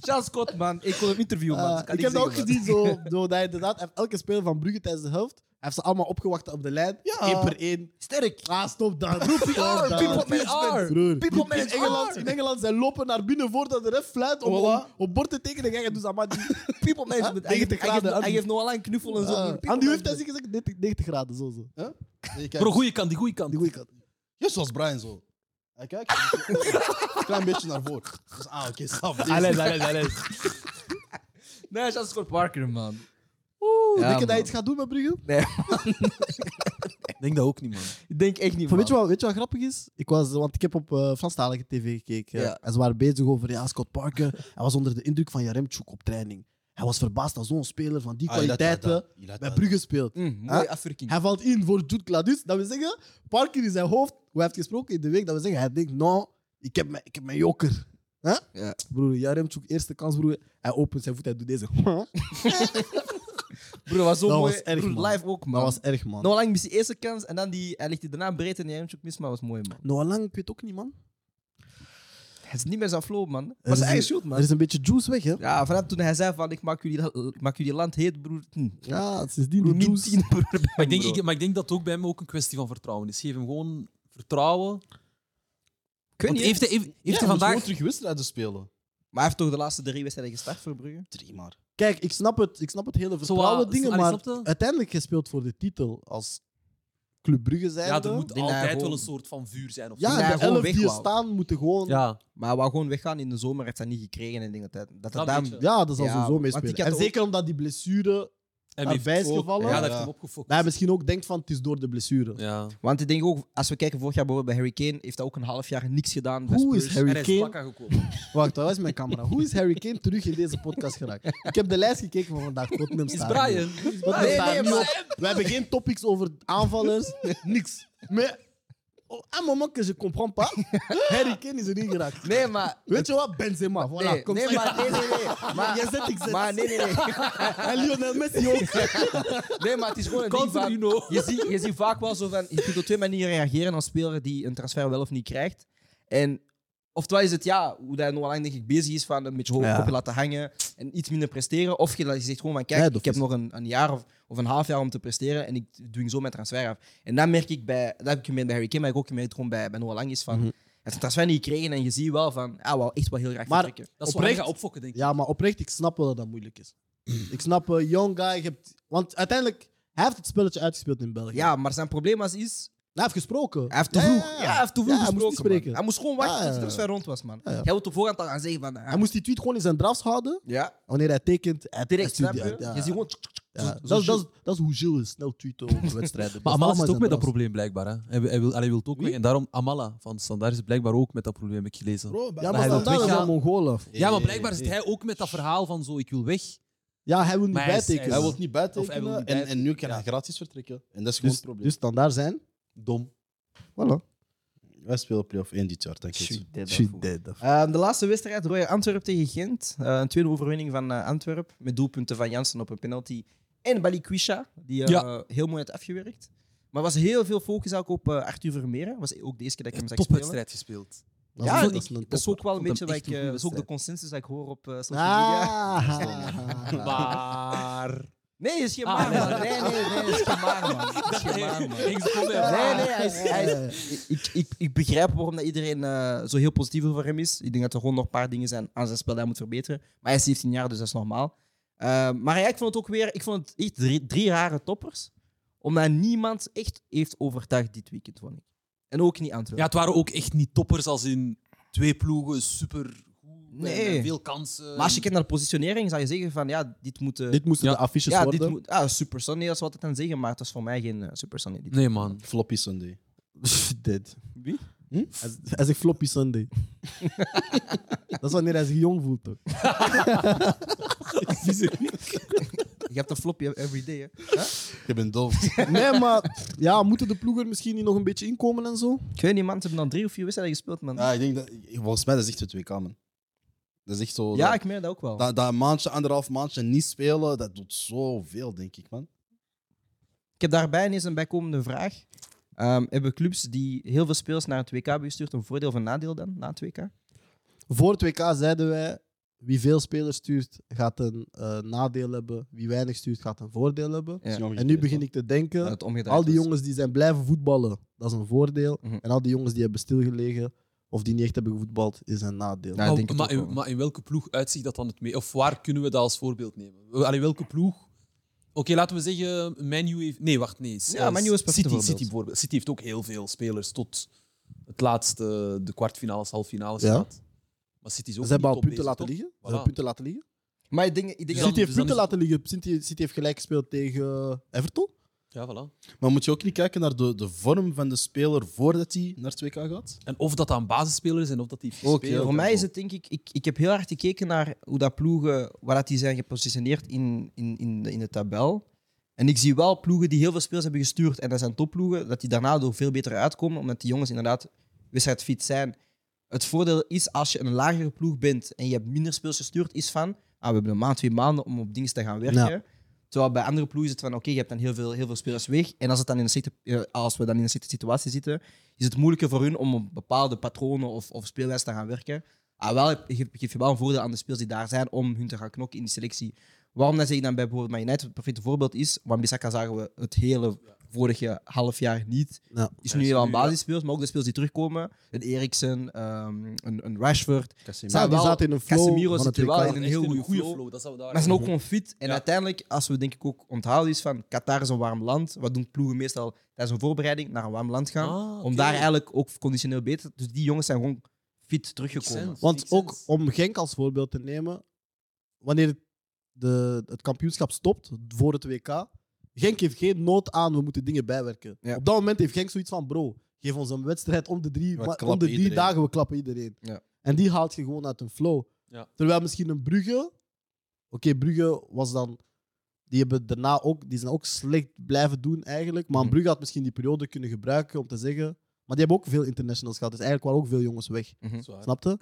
Charles Scott, man. Ik wil hem interviewen, man.
Ah,
Dat kan
ik heb
niet
dat ook
zeggen,
gezien, zo, zo, dat hij inderdaad hij heeft elke speler van Brugge tijdens de helft. Hij heeft ze allemaal opgewacht op de lijn.
Ja.
Eén per één.
Sterk.
Ah, stop dan. Bro, PR,
Ah, people
management.
Broer.
People
in,
management.
Engeland, in Engeland, zij lopen naar binnen voordat de ref fluit om,
Voilà.
om, om bord te tekenen. Jij gaat dus aan die,
man. People management. Hij
90
geeft- hij
graden,
geeft- Hij
Andy.
geeft nog alleen een knuffel en zo.
Ah,
People
aan die heeft hij
management.
zich gezegd 90, 90 graden, zo zo.
Nee, kijk,
Bro, goede kant, die goede kant.
Die goeie kant.
Ja, zoals Brian zo. Hij kijkt. Een klein beetje naar voren. Dus, ah, oké, stop.
Allee, allee, allee.
Nee, Charles Scott Parker, man.
Oeh,
Ja,
denk je dat
man.
hij iets gaat doen met Brugge?
Ik denk dat ook niet, man.
Ik denk echt niet,
Voor,
man.
weet, je wat, weet je wat grappig is? Ik was, want ik heb op eh, Franstalige tv gekeken.
Ja.
En ze waren bezig over ja, Scott Parker. Hij was onder de indruk van Jaremchuk op training. Hij was verbaasd dat zo'n speler van
Ah,
Ah,
die kwaliteiten bij Brugge speelt.
Mm, mooie afwerking.
Hij valt in voor Jude Cladus. Dat wil zeggen, Parker in zijn hoofd, hoe hij heeft gesproken in de week, dat wil zeggen, hij denkt, nou, ik heb mijn, ik heb mijn joker. Huh?
Ja.
Broer, Jaremchuk, eerste kans, broer. Hij opent zijn voet, hij doet deze.
Broer, dat was zo
Dat
mooi.
was erg,
Broer,
man.
live ook,
Dat
man.
was erg, man.
Nog lang mis die eerste kans en dan die, hij ligt die daarna breed en die hem mis, maar dat was mooi, man.
Noah Lang, ik weet ook niet, man.
Het is niet meer zijn flow, man. Het
Er
was zijn
is
eigen
een-
schuld,
Er
man.
is een beetje juice weg, hè?
Ja, vanaf toen hij zei van, ik maak jullie, ik maak jullie land heet, broer. Hm.
Ja, sindsdien
Broer,
die
min
juice.
10 broer.
Maar ik, denk,
Bro.
ik- maar ik denk dat het ook bij hem ook een kwestie van vertrouwen is. Geef hem gewoon vertrouwen.
Ik weet
Want
niet,
heeft hij, heeft, heeft hij
gewoon
vandaag...
terug wedstrijden spelen.
Maar hij heeft toch de laatste drie wedstrijden gestart voor Brugge?
Drie maar.
Kijk, ik snap het, ik snap het hele
Zoals-
vertrouwen dingen,
ah, allee,
maar
snap je?
uiteindelijk gespeeld voor de titel als Club Brugge zijn.
Ja, er moet
denk dat hij
altijd wel
gewoon-
een soort van vuur zijn. Of
ja
hij
de
gewoon
elf
weg
die er
wou.
staan moeten gewoon... Ja,
Ja.
Maar hij wou gewoon weggaan in de zomer, heeft hij niet gekregen. En ik denk dat hij, dat hij
Dat
daarom-
weet je.
dat zal
Ja,
sowieso
want ik
meespelen.
had
En
ook-
zeker omdat die blessure
En
daarbij
heeft
is
ook-
gevallen.
Ja, daar
Ja.
heeft hem opgefokt.
Maar hij misschien ook denkt van het is door de blessure.
Ja.
Want ik denk ook, als we kijken vorig jaar bijvoorbeeld bij Harry Kane, heeft hij ook een half jaar niks gedaan. bij
Hoe is
Spurs.
Harry
En hij is
Kane-
vlak aangekomen.
Wacht, waar is mijn camera? Hoe is Harry Kane terug in deze podcast geraakt? Ik heb de lijst gekeken van vandaag. Tottenham
Is
staat er niet.
Brian. Is Brian.
Tottenham staat er niet op. We hebben geen topics over aanvallers. Niks. Maar op een moment que je comprends pas, Harry Kane is erin geraakt.
Nee, maar...
Weet je wat? Benzema. Voilà,
Nee,
kom
nee,
maar.
maar, nee, nee, nee. Maar,
Jij zet, ik zet.
maar nee, nee, nee.
En Lionel Messi ook.
Nee, maar het is gewoon een ding
Counter,
van...
you know.
Je ziet, je ziet vaak wel zo van... Je kunt op twee manieren reageren als speler die een transfer wel of niet krijgt. En oftewel is het ja, hoe hij nog lang denk ik bezig is van een beetje hoog
Ja.
kopje laten hangen en iets minder presteren. Of je, je zegt gewoon van kijk,
Ja, dat
ik heb
is-
nog een, een jaar of, of een half jaar om te presteren en ik dwing zo mijn transfer af. En dat merk ik bij... Dat heb ik gemerkt bij Harry Kane, maar ik heb ook gemerkt gewoon bij, bij Noah Lang is van...
Mhm.
Hij heeft een transfer niet gekregen en je ziet wel van... Ah, wou echt wel heel graag
Maar-
vertrekken.
Dat is waar hij
Oprecht.
gaat opfokken, denk ik.
Ja, maar oprecht, ik snap wel dat dat moeilijk is. Ik snap, eh, young guy, je hebt... Want uiteindelijk, hij heeft het spelletje uitgespeeld in België.
Ja, maar zijn probleem was is...
Hij heeft gesproken.
Hij heeft te
Ja,
vroeg,
ja,
ja,
ja.
hij heeft te vroeg
Ja, hij
gesproken,
moest niet spreken.
man. Hij moest gewoon wachten
Ja, ja,
tot de
ja.
transfer rond was, man.
Ja, ja.
Jij wilt op voorhand al gaan zeggen van... ah,
Hij moest die tweet gewoon in zijn drafs houden.
Ja,
Wanneer hij tekent, hij
direct,
hij
snap
stuurt
je?
die uit,
Je ziet
ja.
gewoon...
Ja, dat, is- dat, is- dat is hoe Gilles is, snel tweeten over wedstrijden.
Maar
is
Amala zit
allemaal
ook met dat
zijn
probleem blijkbaar. Hè. Hij, wil- hij wil, allee, wil het ook
Wie?
weg. En daarom Amala van Standaard is blijkbaar ook met dat probleem, heb ik gelezen.
Bro,
drafs.
bij-
Ja,
Hij
maar
wil
standaard is
teruggaan.
een Mongool. af.
Ja, maar blijkbaar zit hij ook met dat verhaal van zo, ik wil weg.
Ja, hij wil niet
Maar hij is-
bijtekenen.
Hij wil niet
Of hij
bijtekenen
wil niet
en, en
bijtekenen,
nu kan hij
ja.
gratis vertrekken. En dat is gewoon
dus,
het probleem.
dus standaard zijn.
Dom.
Voilà.
Wij spelen play-off 1 dit jaar, denk ik.
She dead.
Ehm, de laatste wedstrijd, Royal Antwerp tegen Gent. Eh, een tweede overwinning van eh Antwerp. Met doelpunten van Jansen op een penalty. En Balikwisha, die eh, heel mooi had afgewerkt. Maar er was heel veel focus ook op eh, Arthur Vermeer. hè. was ook de eerste keer dat ik hem zag spelen.
Topwedstrijd gespeeld.
Dat
Ja,
is-
en
dat is
ik-
een
dat is ook wel een
Vond
beetje
hem
wat
echt
ik,
een
eh,
goede
dat is ook de
wedstrijd.
consensus dat ik hoor op eh, social media.
Ah.
Maar...
Nee, is geen
Ah.
maar, man. Nee, nee, nee, is geen maar, man. Is geen maar, man. Nee,
Ah.
nee, hij is, hij is- ik, ik, ik begrijp waarom dat iedereen eh, zo heel positief over hem is. Ik denk dat er gewoon nog een paar dingen zijn aan zijn spel dat hij moet verbeteren. Maar hij is 17 jaar, dus dat is normaal. Eh, maar ja, ik vond het ook weer... Ik vond het echt drie, drie rare toppers. Omdat niemand echt heeft overtuigd dit weekend, vond ik. En ook niet
Ja,
Antwerpen.
het waren ook echt niet toppers als in twee ploegen, super
Nee.
veel kansen.
maar als je kijkt naar de positionering, zou je zeggen van... Ja, dit moet... eh,
Dit moesten de affiches
ja,
worden.
dit moet... Ah, Super Sunny, dat is wat het dan zeggen. Maar het was voor mij geen eh, Super Sunny. Dit.
Nee, man.
Floppy Sunday.
Dead.
Wie?
Hij hij zegt Floppy Sunday. dat is wanneer hij zich jong voelt, toch?
Je hebt een flopje every day, hè.
Je bent doof.
Nee, maar ja, moeten de ploegen misschien niet nog een beetje inkomen en zo?
Ik weet niet, man. Ze hebben dan drie of vier wedstrijden gespeeld, man.
ja, ik denk dat, volgens mij dat is echt het WK, man. Dat is echt zo...
Ja,
dat,
ik merk dat ook wel.
dat, dat een maandje, anderhalf maandje niet spelen, dat doet zoveel, denk ik, man.
Ik heb daarbij ineens een bijkomende vraag. Ehm, hebben clubs die heel veel spelers naar het WK hebben gestuurd een voordeel of een nadeel dan na het WK?
Voor het WK zeiden wij, wie veel spelers stuurt, gaat een eh, nadeel hebben. Wie weinig stuurt, gaat een voordeel hebben.
Ja.
En nu begin ik te
Dat
denken,
het omgedraaid
al die
was.
jongens die zijn blijven voetballen, dat is een voordeel.
Mhm.
En al die jongens die hebben stilgelegen, of die niet echt hebben gevoetbald, is een nadeel.
Ja, ik denk het
maar,
ook wel.
in, maar in welke ploeg uitziet dat dan het mee? Of waar kunnen we dat als voorbeeld nemen? Allee, welke ploeg? Oké, laten we zeggen, Manu heeft... Nee, wacht, nee. S-
Ja,
eh,
Man U is perfect
City,
voorbeeld.
City, bijvoorbeeld. City heeft ook heel veel spelers tot het laatste, de kwartfinales, halffinales
Ja.
staat. Maar City is ook
Ze hebben
niet
al
top
punten
bezig,
laten
toch?
liggen. Ze
Voilà.
hebben punten laten liggen.
Maar ik denk, ik denk
Dus
dat-
City heeft
dan
punten
is-
laten liggen. City, City heeft gelijk gespeeld tegen Everton.
Ja, voilà.
Maar moet je ook niet kijken naar de, de vorm van de speler voordat hij naar het WK gaat?
En of dat aan basisspelers en of dat die heeft
Ook,
gespeeld.
ja.
voor mij is het denk ik, ik, ik heb heel hard gekeken naar hoe dat ploegen, waar dat die zijn gepositioneerd in, in, in, de, in de tabel. En ik zie wel ploegen die heel veel spelers hebben gestuurd en dat zijn topploegen, dat die daarna door veel beter uitkomen, omdat die jongens inderdaad wedstrijdfit zijn. Het voordeel is als je een lagere ploeg bent en je hebt minder spelers gestuurd, is van ah, we hebben een maand, twee maanden om op dienst te gaan werken.
Ja.
Terwijl bij andere ploegen is het van oké, je hebt dan heel veel, heel veel spelers weg. En als, het dan in een slechte, eh, als we dan in een slechte situatie zitten, is het moeilijker voor hun om op bepaalde patronen of, of speelwijzen te gaan werken. Ah, wel, geef, geef je wel een voordeel aan de spelers die daar zijn om hun te gaan knokken in die selectie. Waarom dat zeg ik dan bij bijvoorbeeld Man United het perfecte voorbeeld is? Want Bissaka zagen we het hele vorige half jaar niet.
Ja.
Is
Ja,
nu
is
wel
nu,
een basisspeels, maar ook de spelers die terugkomen. Een Eriksen, ehm, een, een Rashford.
Casemiro.
Zijn
die
wel-
zaten in een flow
Casemiro
van
zit
het
er wel
WK.
in een
Ah, Echt
heel goede
goede
flow.
Dat zou daar
Maar ze zijn ook gewoon fit. En
Ja.
uiteindelijk, als we denk ik ook onthouden is van Qatar is een warm land. Wat doen ploegen meestal tijdens een voorbereiding? Naar een warm land gaan.
Ah,
Om
oké.
daar eigenlijk ook conditioneel beter. Dus die jongens zijn gewoon fit teruggekomen.
sense.
Want
Makes
ook
sense.
om Genk als voorbeeld te nemen, wanneer het de, het kampioenschap stopt voor het WK, Genk heeft geen nood aan, we moeten dingen bijwerken.
Ja.
Op dat moment heeft Genk zoiets van, bro, geef ons een wedstrijd om de drie,
We
maar om
klappen
de drie
iedereen.
dagen, we klappen iedereen.
Ja.
En die haalt je gewoon uit een flow.
Ja.
Terwijl misschien een Brugge, oké, Brugge was dan, die hebben daarna ook, die zijn ook slecht blijven doen eigenlijk, maar een
Mhm.
Brugge had misschien die periode kunnen gebruiken om te zeggen, maar die hebben ook veel internationals gehad, dus eigenlijk waren ook veel jongens weg.
Zwaar.
Snapte?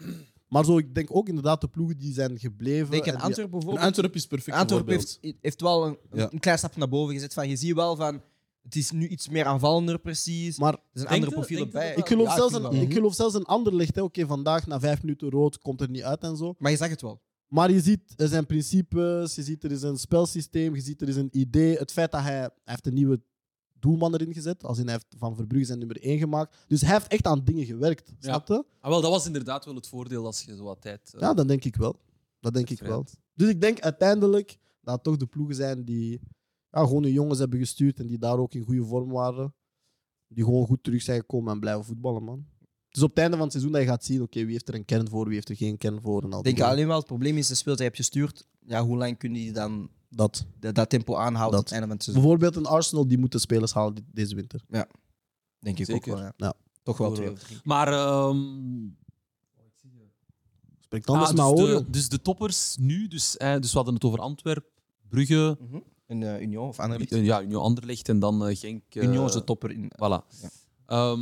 Maar zo, ik denk ook inderdaad de ploegen die zijn gebleven.
Denk
en
aan
die-
Antwerpen
En
bijvoorbeeld.
Antwerpen is perfect.
Antwerpen
voorbeeld.
heeft, heeft wel een,
Ja.
een klein stap naar boven gezet. Van, je ziet wel van, het is nu iets meer aanvallender precies.
Maar
Er zijn
Denk
andere
je-
profielen
denk
bij.
je dat
ik geloof,
Ja,
zelfs
vind
een,
wel.
Mhm.
ik geloof zelfs een ander licht. hè. Oké, vandaag na vijf minuten rood komt er niet uit en zo.
Maar je zag het wel.
Maar je ziet, er zijn principes, je ziet, er is een spelsysteem, je ziet, er is een idee. Het feit dat hij, hij heeft een nieuwe doelman erin gezet, als in hij heeft van Verbrugge zijn nummer één gemaakt. Dus hij heeft echt aan dingen gewerkt, snap je?
Ah, wel, dat was inderdaad wel het voordeel als je zo wat tijd... eh,
Ja, dat denk ik wel. Dat denk ik wel.
bevrijdt.
Dus ik denk uiteindelijk dat het toch de ploegen zijn die ja, gewoon hun jongens hebben gestuurd en die daar ook in goede vorm waren. Die gewoon goed terug zijn gekomen en blijven voetballen, man. Dus op het einde van het seizoen dat je gaat zien, oké, wie heeft er een kern voor, wie heeft er geen kern voor. En al
Ik
die
denk
dingen.
alleen wel, het probleem is, de speels die je hebt gestuurd, ja, hoe lang kun je dan
dat.
de- dat tempo aanhouden tot
Dat.
het einde van het seizoen?
Bijvoorbeeld een Arsenal, die moeten spelers halen dit- deze winter.
Denk ik
Zeker.
ook wel, ja.
Ja.
Toch wel
Voor- eh,
twee of drie.
Maar... ehm,
Spreekt anders
ah,
maar
dus,
horen.
de, dus de toppers nu, dus, eh, dus we hadden het over Antwerpen, Brugge,
Een eh, Union of andere.
eh, ja, Union Anderlecht en dan eh, Genk. eh,
Union is de topper in.
Voilà.
Ja.
Ehm,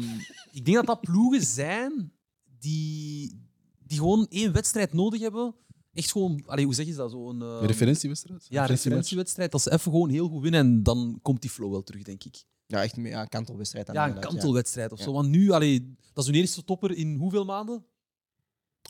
ik denk dat dat ploegen zijn die, die gewoon één wedstrijd nodig hebben. Echt gewoon, allee, hoe zeg je dat? Zo'n
Een
eh,
referentiewedstrijd?
ja,
Referentiematch?
referentiewedstrijd. Als ze even gewoon heel goed winnen, en dan komt die flow wel terug, denk ik.
Ja, echt meer- ja, een kantelwedstrijd. dan
Ja, een
inderdaad,
kantelwedstrijd of
Ja.
zo. Want nu, allee, dat is hun eerste topper in hoeveel maanden?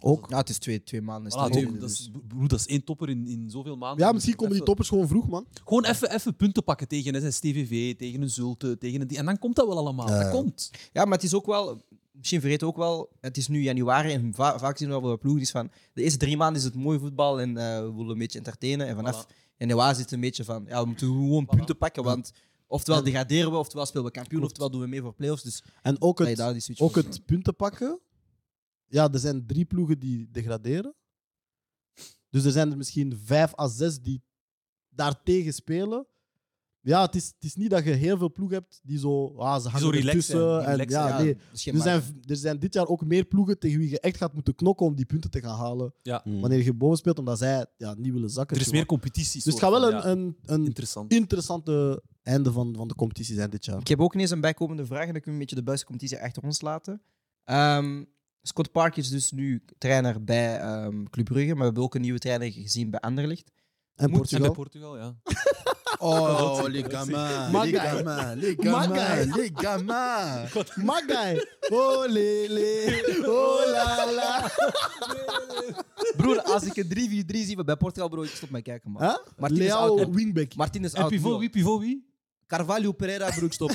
Ook. Ja, het is twee, twee maanden.
Voilà,
is het
dus
tweede,
dat,
dus-
is, broer, dat is één topper in, in zoveel maanden.
Ja, misschien komen die
Even-
toppers gewoon vroeg, man.
Gewoon even, even punten pakken tegen een STVV, tegen een Zulte, tegen een... die- En dan komt dat wel allemaal. Dat komt.
Ja, maar het is ook wel, misschien vergeet ook wel, het is nu januari en va- vaak zien we wel ploegen is van de eerste drie maanden is het mooi voetbal en eh, we willen een beetje entertainen. En vanaf januari zit het een beetje van ja, we moeten gewoon punten pakken, want oftewel degraderen we, oftewel spelen we kampioen, oftewel doen we mee voor playoffs. Dus
En ook
dat je
het,
daar die switch
ook
voor-
het punten pakken. Ja, er zijn drie ploegen die degraderen. Dus er zijn er misschien vijf à zes die daartegen spelen. Ja, het is, het is niet dat je heel veel ploegen hebt die zo, ah, ze hangen
relaxed zijn,
ertussen.
die
En,
relaxed
ja,
zijn.
ja,
nee.
dus geen
Er zijn,
maat.
er zijn dit jaar ook meer ploegen tegen wie je echt gaat moeten knokken om die punten te gaan halen.
Mm.
Wanneer je boven speelt, omdat zij ja, niet willen zakken.
Er is meer competitie.
dus het gaat
soort
wel
van,
een,
ja.
een, een
Interessant.
interessante einde van, van de competitie zijn dit jaar.
Ik heb ook ineens een bijkomende vraag en dan kunnen we een beetje de buitencompetitie achter ons laten. Ehm, Scott Park is dus nu trainer bij ehm, Club Brugge, maar we hebben ook een nieuwe trainer gezien bij Anderlecht.
En
Moet-
En bij
Portugal.
Portugal, ja.
Oh, les gamins,
My
les
guy.
gamins, les
My
gamins,
guy.
les gamins.
Magai! Oh, lele! Oh, la, la!
Broer, als ik een 3-4-3 zie bij Portugal, bro, ik stop met kijken, man.
Huh?
Martinez out,
Leao
hè?
wingback.
Martinez
En
out.
pivot,
bro.
wie, pivot, wie?
Carvalho Pereira, broer, ik stop.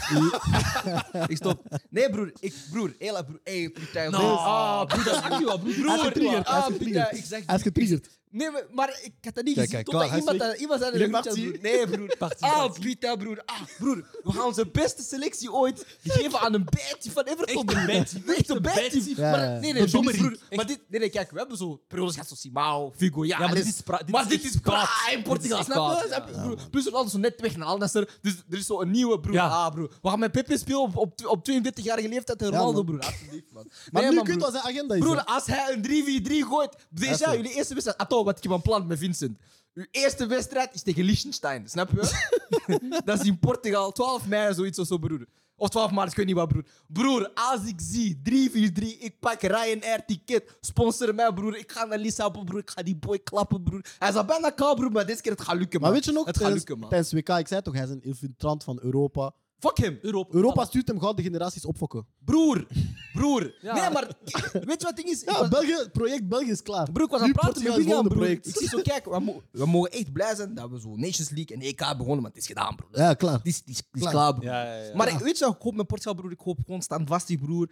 ik stop. Nee, broer. Ik, broer, hela, broer. Hey, putain,
Nou,
broer.
ah, broer, dat is wel,
Hij
broer.
is
broer.
getriggerd, hij is
Ah,
getriggerd.
putain, ik zeg
Hij is getriggerd.
Nee, maar, maar ik had dat niet
Kijk,
gezien.
kijk,
Totdat
klaar,
iemand,
hij
dat, iemand zei in
Jullie
de chat,
Marti?
broer. Nee, broer.
Marti,
Ah,
Marti.
putain, broer. Ah, broer. We gaan onze beste selectie ooit geven aan een bijtje van Everton.
Echt een
bijtje. Echt een bijtje.
Ja, ja.
Maar Nee, nee,
Een
broer.
dommerie.
broer,
Echt.
Maar dit... Nee, nee, kijk. We hebben zo... Perolis gaat zo Simao, Figo, ja.
Ja, maar
alles.
dit is... pra-
maar dit is
echt kwaad.
prime Portugal.
Dit is
Snap je?
kwaad,
Snap je?
ja.
Broer, Plus Ronaldo is zo net weg naar Al Nassr. Dus er is zo een nieuwe broer.
Ja.
Ah, broer. We gaan met Pepe spelen op, op, op 32-jarige leeftijd en
Ja,
Ronaldo,
man.
broer. Alsjeblieft, man.
Maar
Nee,
nu
man,
kun je
broer.
wat zijn agenda is.
Broer,
hè?
als hij een 3-4-3 gooit, deze
Echt,
jaar
hè?
jullie eerste wedstrijd. Atto, wat ik heb aan plan met Vincent. Uw eerste wedstrijd is tegen Liechtenstein, snap je? dat is in Portugal, 12 mei, zoiets of zo, broer. Of 12 maart, ik weet niet wat, broer. Broer, als ik zie 3-4-3, ik pak Ryanair-ticket, sponsor mij, broer. Ik ga naar Lissabon, broer. Ik ga die boy klappen, broer. Hij is al bijna koud, broer, maar deze keer het gaat lukken, man.
Maar weet je nog, eh,
Het gaat
tijdens,
lukken, man.
tijdens WK, ik zei toch, hij is een infiltrant van Europa.
Fuck hem.
Europa.
Europa stuurt hem gouden generaties opfokken.
Broer, broer.
Ja.
Nee, maar weet je wat het ding is? Ik
Ja,
was-
België, project België is klaar.
Broer, ik was aan
Nu
het praten
Portugal
met
is
William,
volgende
broer. Ik
project.
zie zo, kijk, we, mo- we mogen echt blij zijn dat we zo Nations League en EK begonnen, want het is gedaan, broer.
Ja, klaar.
Het is, het is, het is
Klaar.
klaar, broer.
Ja, ja, ja.
Maar ik, weet je wat ik hoop met Portugal, broer? Ik hoop gewoon standvastig, broer.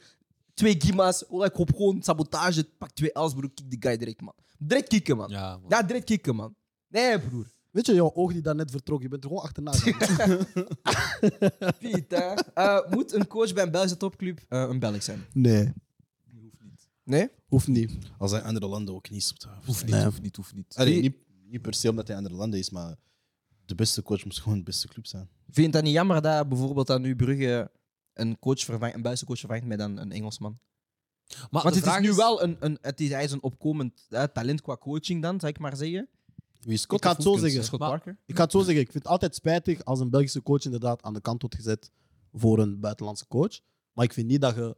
Twee Gima's. oh, Ik hoop gewoon sabotage. Pak twee L's, broer. Kick die guy direct, man. Direct kicken, man. Ja,
Ja, man.
direct kicken, man. Nee, broer.
Weet je, jouw oog die daarnet vertrok, je bent er gewoon achterna. gegaan.
Piet, hè. Eh, moet een coach bij een Belgische topclub eh, een Belg zijn?
nee,
Nee?
hoeft niet.
Als hij andere landen ook niet stopt.
Hoeft niet,
Nee.
hoeft niet, hoeft niet.
Allee, niet, Niet per se omdat hij in andere landen is, maar de beste coach moet gewoon de beste club zijn.
Vind je dat niet jammer dat bijvoorbeeld aan nu Brugge een, coach vervangt, een Belgische coach vervangt met een, een Engelsman?
Maar
Want
de
het Ah, is
vraag
nu wel een, een, het is, hij is een opkomend eh, talent qua coaching dan, zou ik maar zeggen.
Wie is Scott
Ik ga
of
het zo
Hoskins?
zeggen.
Scott
Maar-
Parker.
Ik ga het zo zeggen. Ik vind het altijd spijtig als een Belgische coach inderdaad aan de kant wordt gezet voor een buitenlandse coach. Maar ik vind niet dat je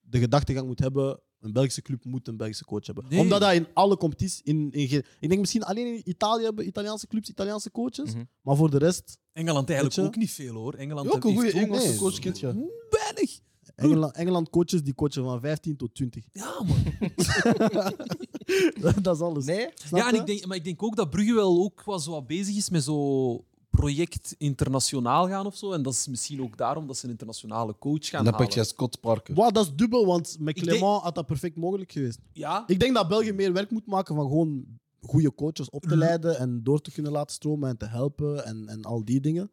de gedachtegang moet hebben. Een Belgische club moet een Belgische coach hebben.
Nee.
Omdat dat in alle competities. In, in, ge- ik denk misschien alleen in Italië hebben Italiaanse clubs Italiaanse coaches.
Mhm.
Maar voor de rest,
Engeland eigenlijk
Weet je?
ook niet veel hoor. Engeland
Ja, ook een
heeft
goede
ook
Engelse
nee.
coach, kind je.
weinig.
Engeland, Engeland coaches die coachen van 15 tot 20.
Ja, man.
dat is alles.
Nee?
Snap
Ja, en
je?
ik denk, maar ik denk ook dat Brugge wel ook wel zo wat bezig is met zo project internationaal gaan of zo. En dat is misschien ook daarom dat ze een internationale coach gaan
En dan pak
halen.
je Scott Parker.
Wow, dat is dubbel, want met
Ik
Clement had dat perfect mogelijk geweest.
Ja,
Ik denk dat België meer werk moet maken van gewoon goede coaches op te
Mhm.
leiden en door te kunnen laten stromen en te helpen en, en al die dingen.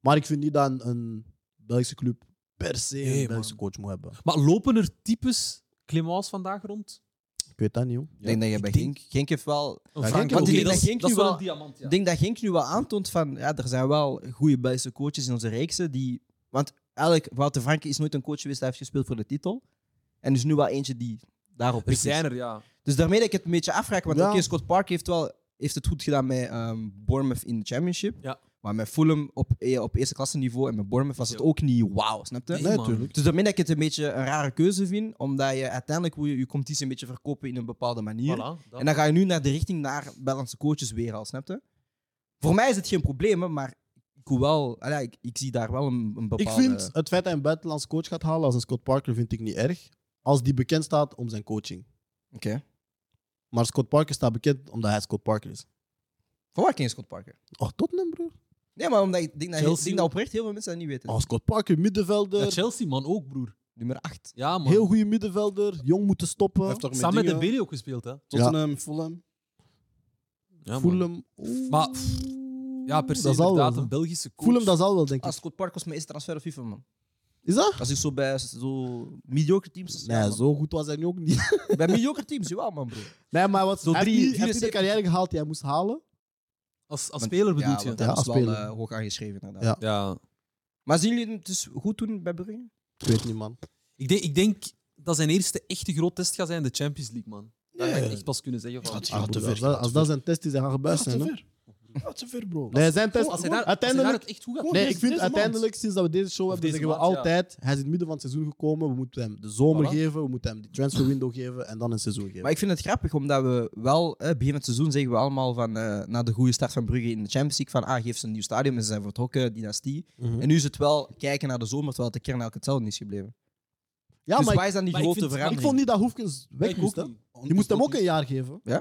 Maar ik vind niet dat een, een Belgische club per se een
Nee, man.
Belgische coach moet hebben.
maar lopen er types Clemens vandaag rond?
Ik weet dat niet, hoor.
Ik denk dat je bij
denk-
Genk, Genk heeft wel...
Een
Ja,
Frank-
Genk-
oké,
want ik
dat,
denk
is-
dat Genk
dat is
nu
wel
wel-
een diamant, ja.
Ik denk dat Genk nu wel aantoont van, ja, er zijn wel goede Belgische coaches in onze reeksen die... Want eigenlijk, Wouter Franke is nooit een coach geweest, hij heeft gespeeld voor de titel. En er is nu wel eentje die daarop
Er
is.
zijn er, ja.
Dus daarmee dat ik het een beetje afvraag, want
Ja.
oké, Scott Park heeft, wel, heeft het goed gedaan met ehm, Bournemouth in de championship.
Ja.
Maar met Fulham op, eh, op eerste klasse niveau en met Bournemouth was het
Ja.
ook niet wauw, snap je?
Nee,
Nee,
man.
tuurlijk.
Dus daarmee dat ik het een beetje een rare keuze vind, omdat je uiteindelijk wil je, je competitie een beetje verkopen in een bepaalde manier.
Voilà, dat.
En dan ga je nu naar de richting naar Belgische coaches weer al, snap je? Voor mij is het geen probleem, hè, maar ik, wil wel, allee, ik, ik zie daar wel een, een
Ik
bepaalde...
vind het feit dat hij een buitenlandse coach gaat halen als een Scott Parker vind ik niet erg. Als die bekend staat om zijn coaching.
Oké.
Maar Scott Parker staat bekend omdat hij Scott Parker is.
Van waar ken je Scott Parker?
Oh, Tottenham, broer.
Nee, maar omdat ik denk dat,
Chelsea
ik denk dat oprecht heel veel mensen dat niet weten.
Oh, Scott Parker, middenvelder.
Ja, Chelsea, man, ook, broer.
Nummer 8.
Ja, man.
heel goede middenvelder. Jong moeten
Hij
stoppen.
heeft toch met
Samen met de
dingen,
Bailey ook gespeeld, hè. Ja,
Tottenham, Fulham.
man.
Fulham. Oeh.
Maar, pff, Ja, per se
Dat zal wel,
inderdaad
hè.
een Belgische coach.
Fulham, dat zal wel, denk
Ah,
ik.
Scott Park was mijn eerste transfer op FIFA, man.
Is dat?
Als ik zo bij zo mediocre teams...
Nee,
ja, man.
zo goed was hij nu ook niet.
Bij mediocre teams, jawel, man, bro.
Nee, maar wat,
Zo
hij
drie-
heeft niet- hij heeft
74.
niet de carrière gehaald die hij moest halen.
Als, als
Want-
speler bedoel
ja,
je?
want hij
Ja,
was
als
wel
speler.
eh, hoog aangeschreven, inderdaad.
Ja.
Ja.
Maar zien jullie het dus goed doen bij Brugge?
Ik weet niet, man.
Ik denk, ik denk dat zijn eerste echte groot test gaat zijn de Champions League, man. Dat ga ik
Nee.
echt pas kunnen zeggen. Van,
Dat
Ah,
gaat te
broer,
ver,
als, dat,
gaat
als
te
dat zijn test is, hij gaat
Gaat
gebuist
te
zijn. hè.
ver. Gaat te ver, bro.
Nee, zijn test...
Oh, als hij daar, als hij daar
uiteindelijk...
het echt goed gaat
Gewoon-
Nee,
Deze-
ik vind
deze
uiteindelijk, sinds dat we deze show hebben,
deze
zeggen we
maand, ja.
altijd... Hij is in het midden van het seizoen gekomen. We moeten hem de zomer
Voilà.
geven. We moeten hem die transfer window geven. En dan een seizoen geven.
Maar ik vind het grappig, omdat we wel, eh, begin het seizoen zeggen we allemaal van, eh, na de goede start van Brugge in de Champions League, van ah, geef ze een nieuw stadion en ze zijn vertrokken, dynastie.
Mhm.
En nu is het wel kijken naar de zomer, terwijl het de kern elke hetzelfde is gebleven.
ja,
dus
maar
waar
ik,
is dan die
maar ik
grote
vind- maar
ik
verandering?
vond niet dat Hoefkens
Nee,
weg
ik
moest.
ook
hè.
niet.
Je moest hem ook een jaar geven.
Dat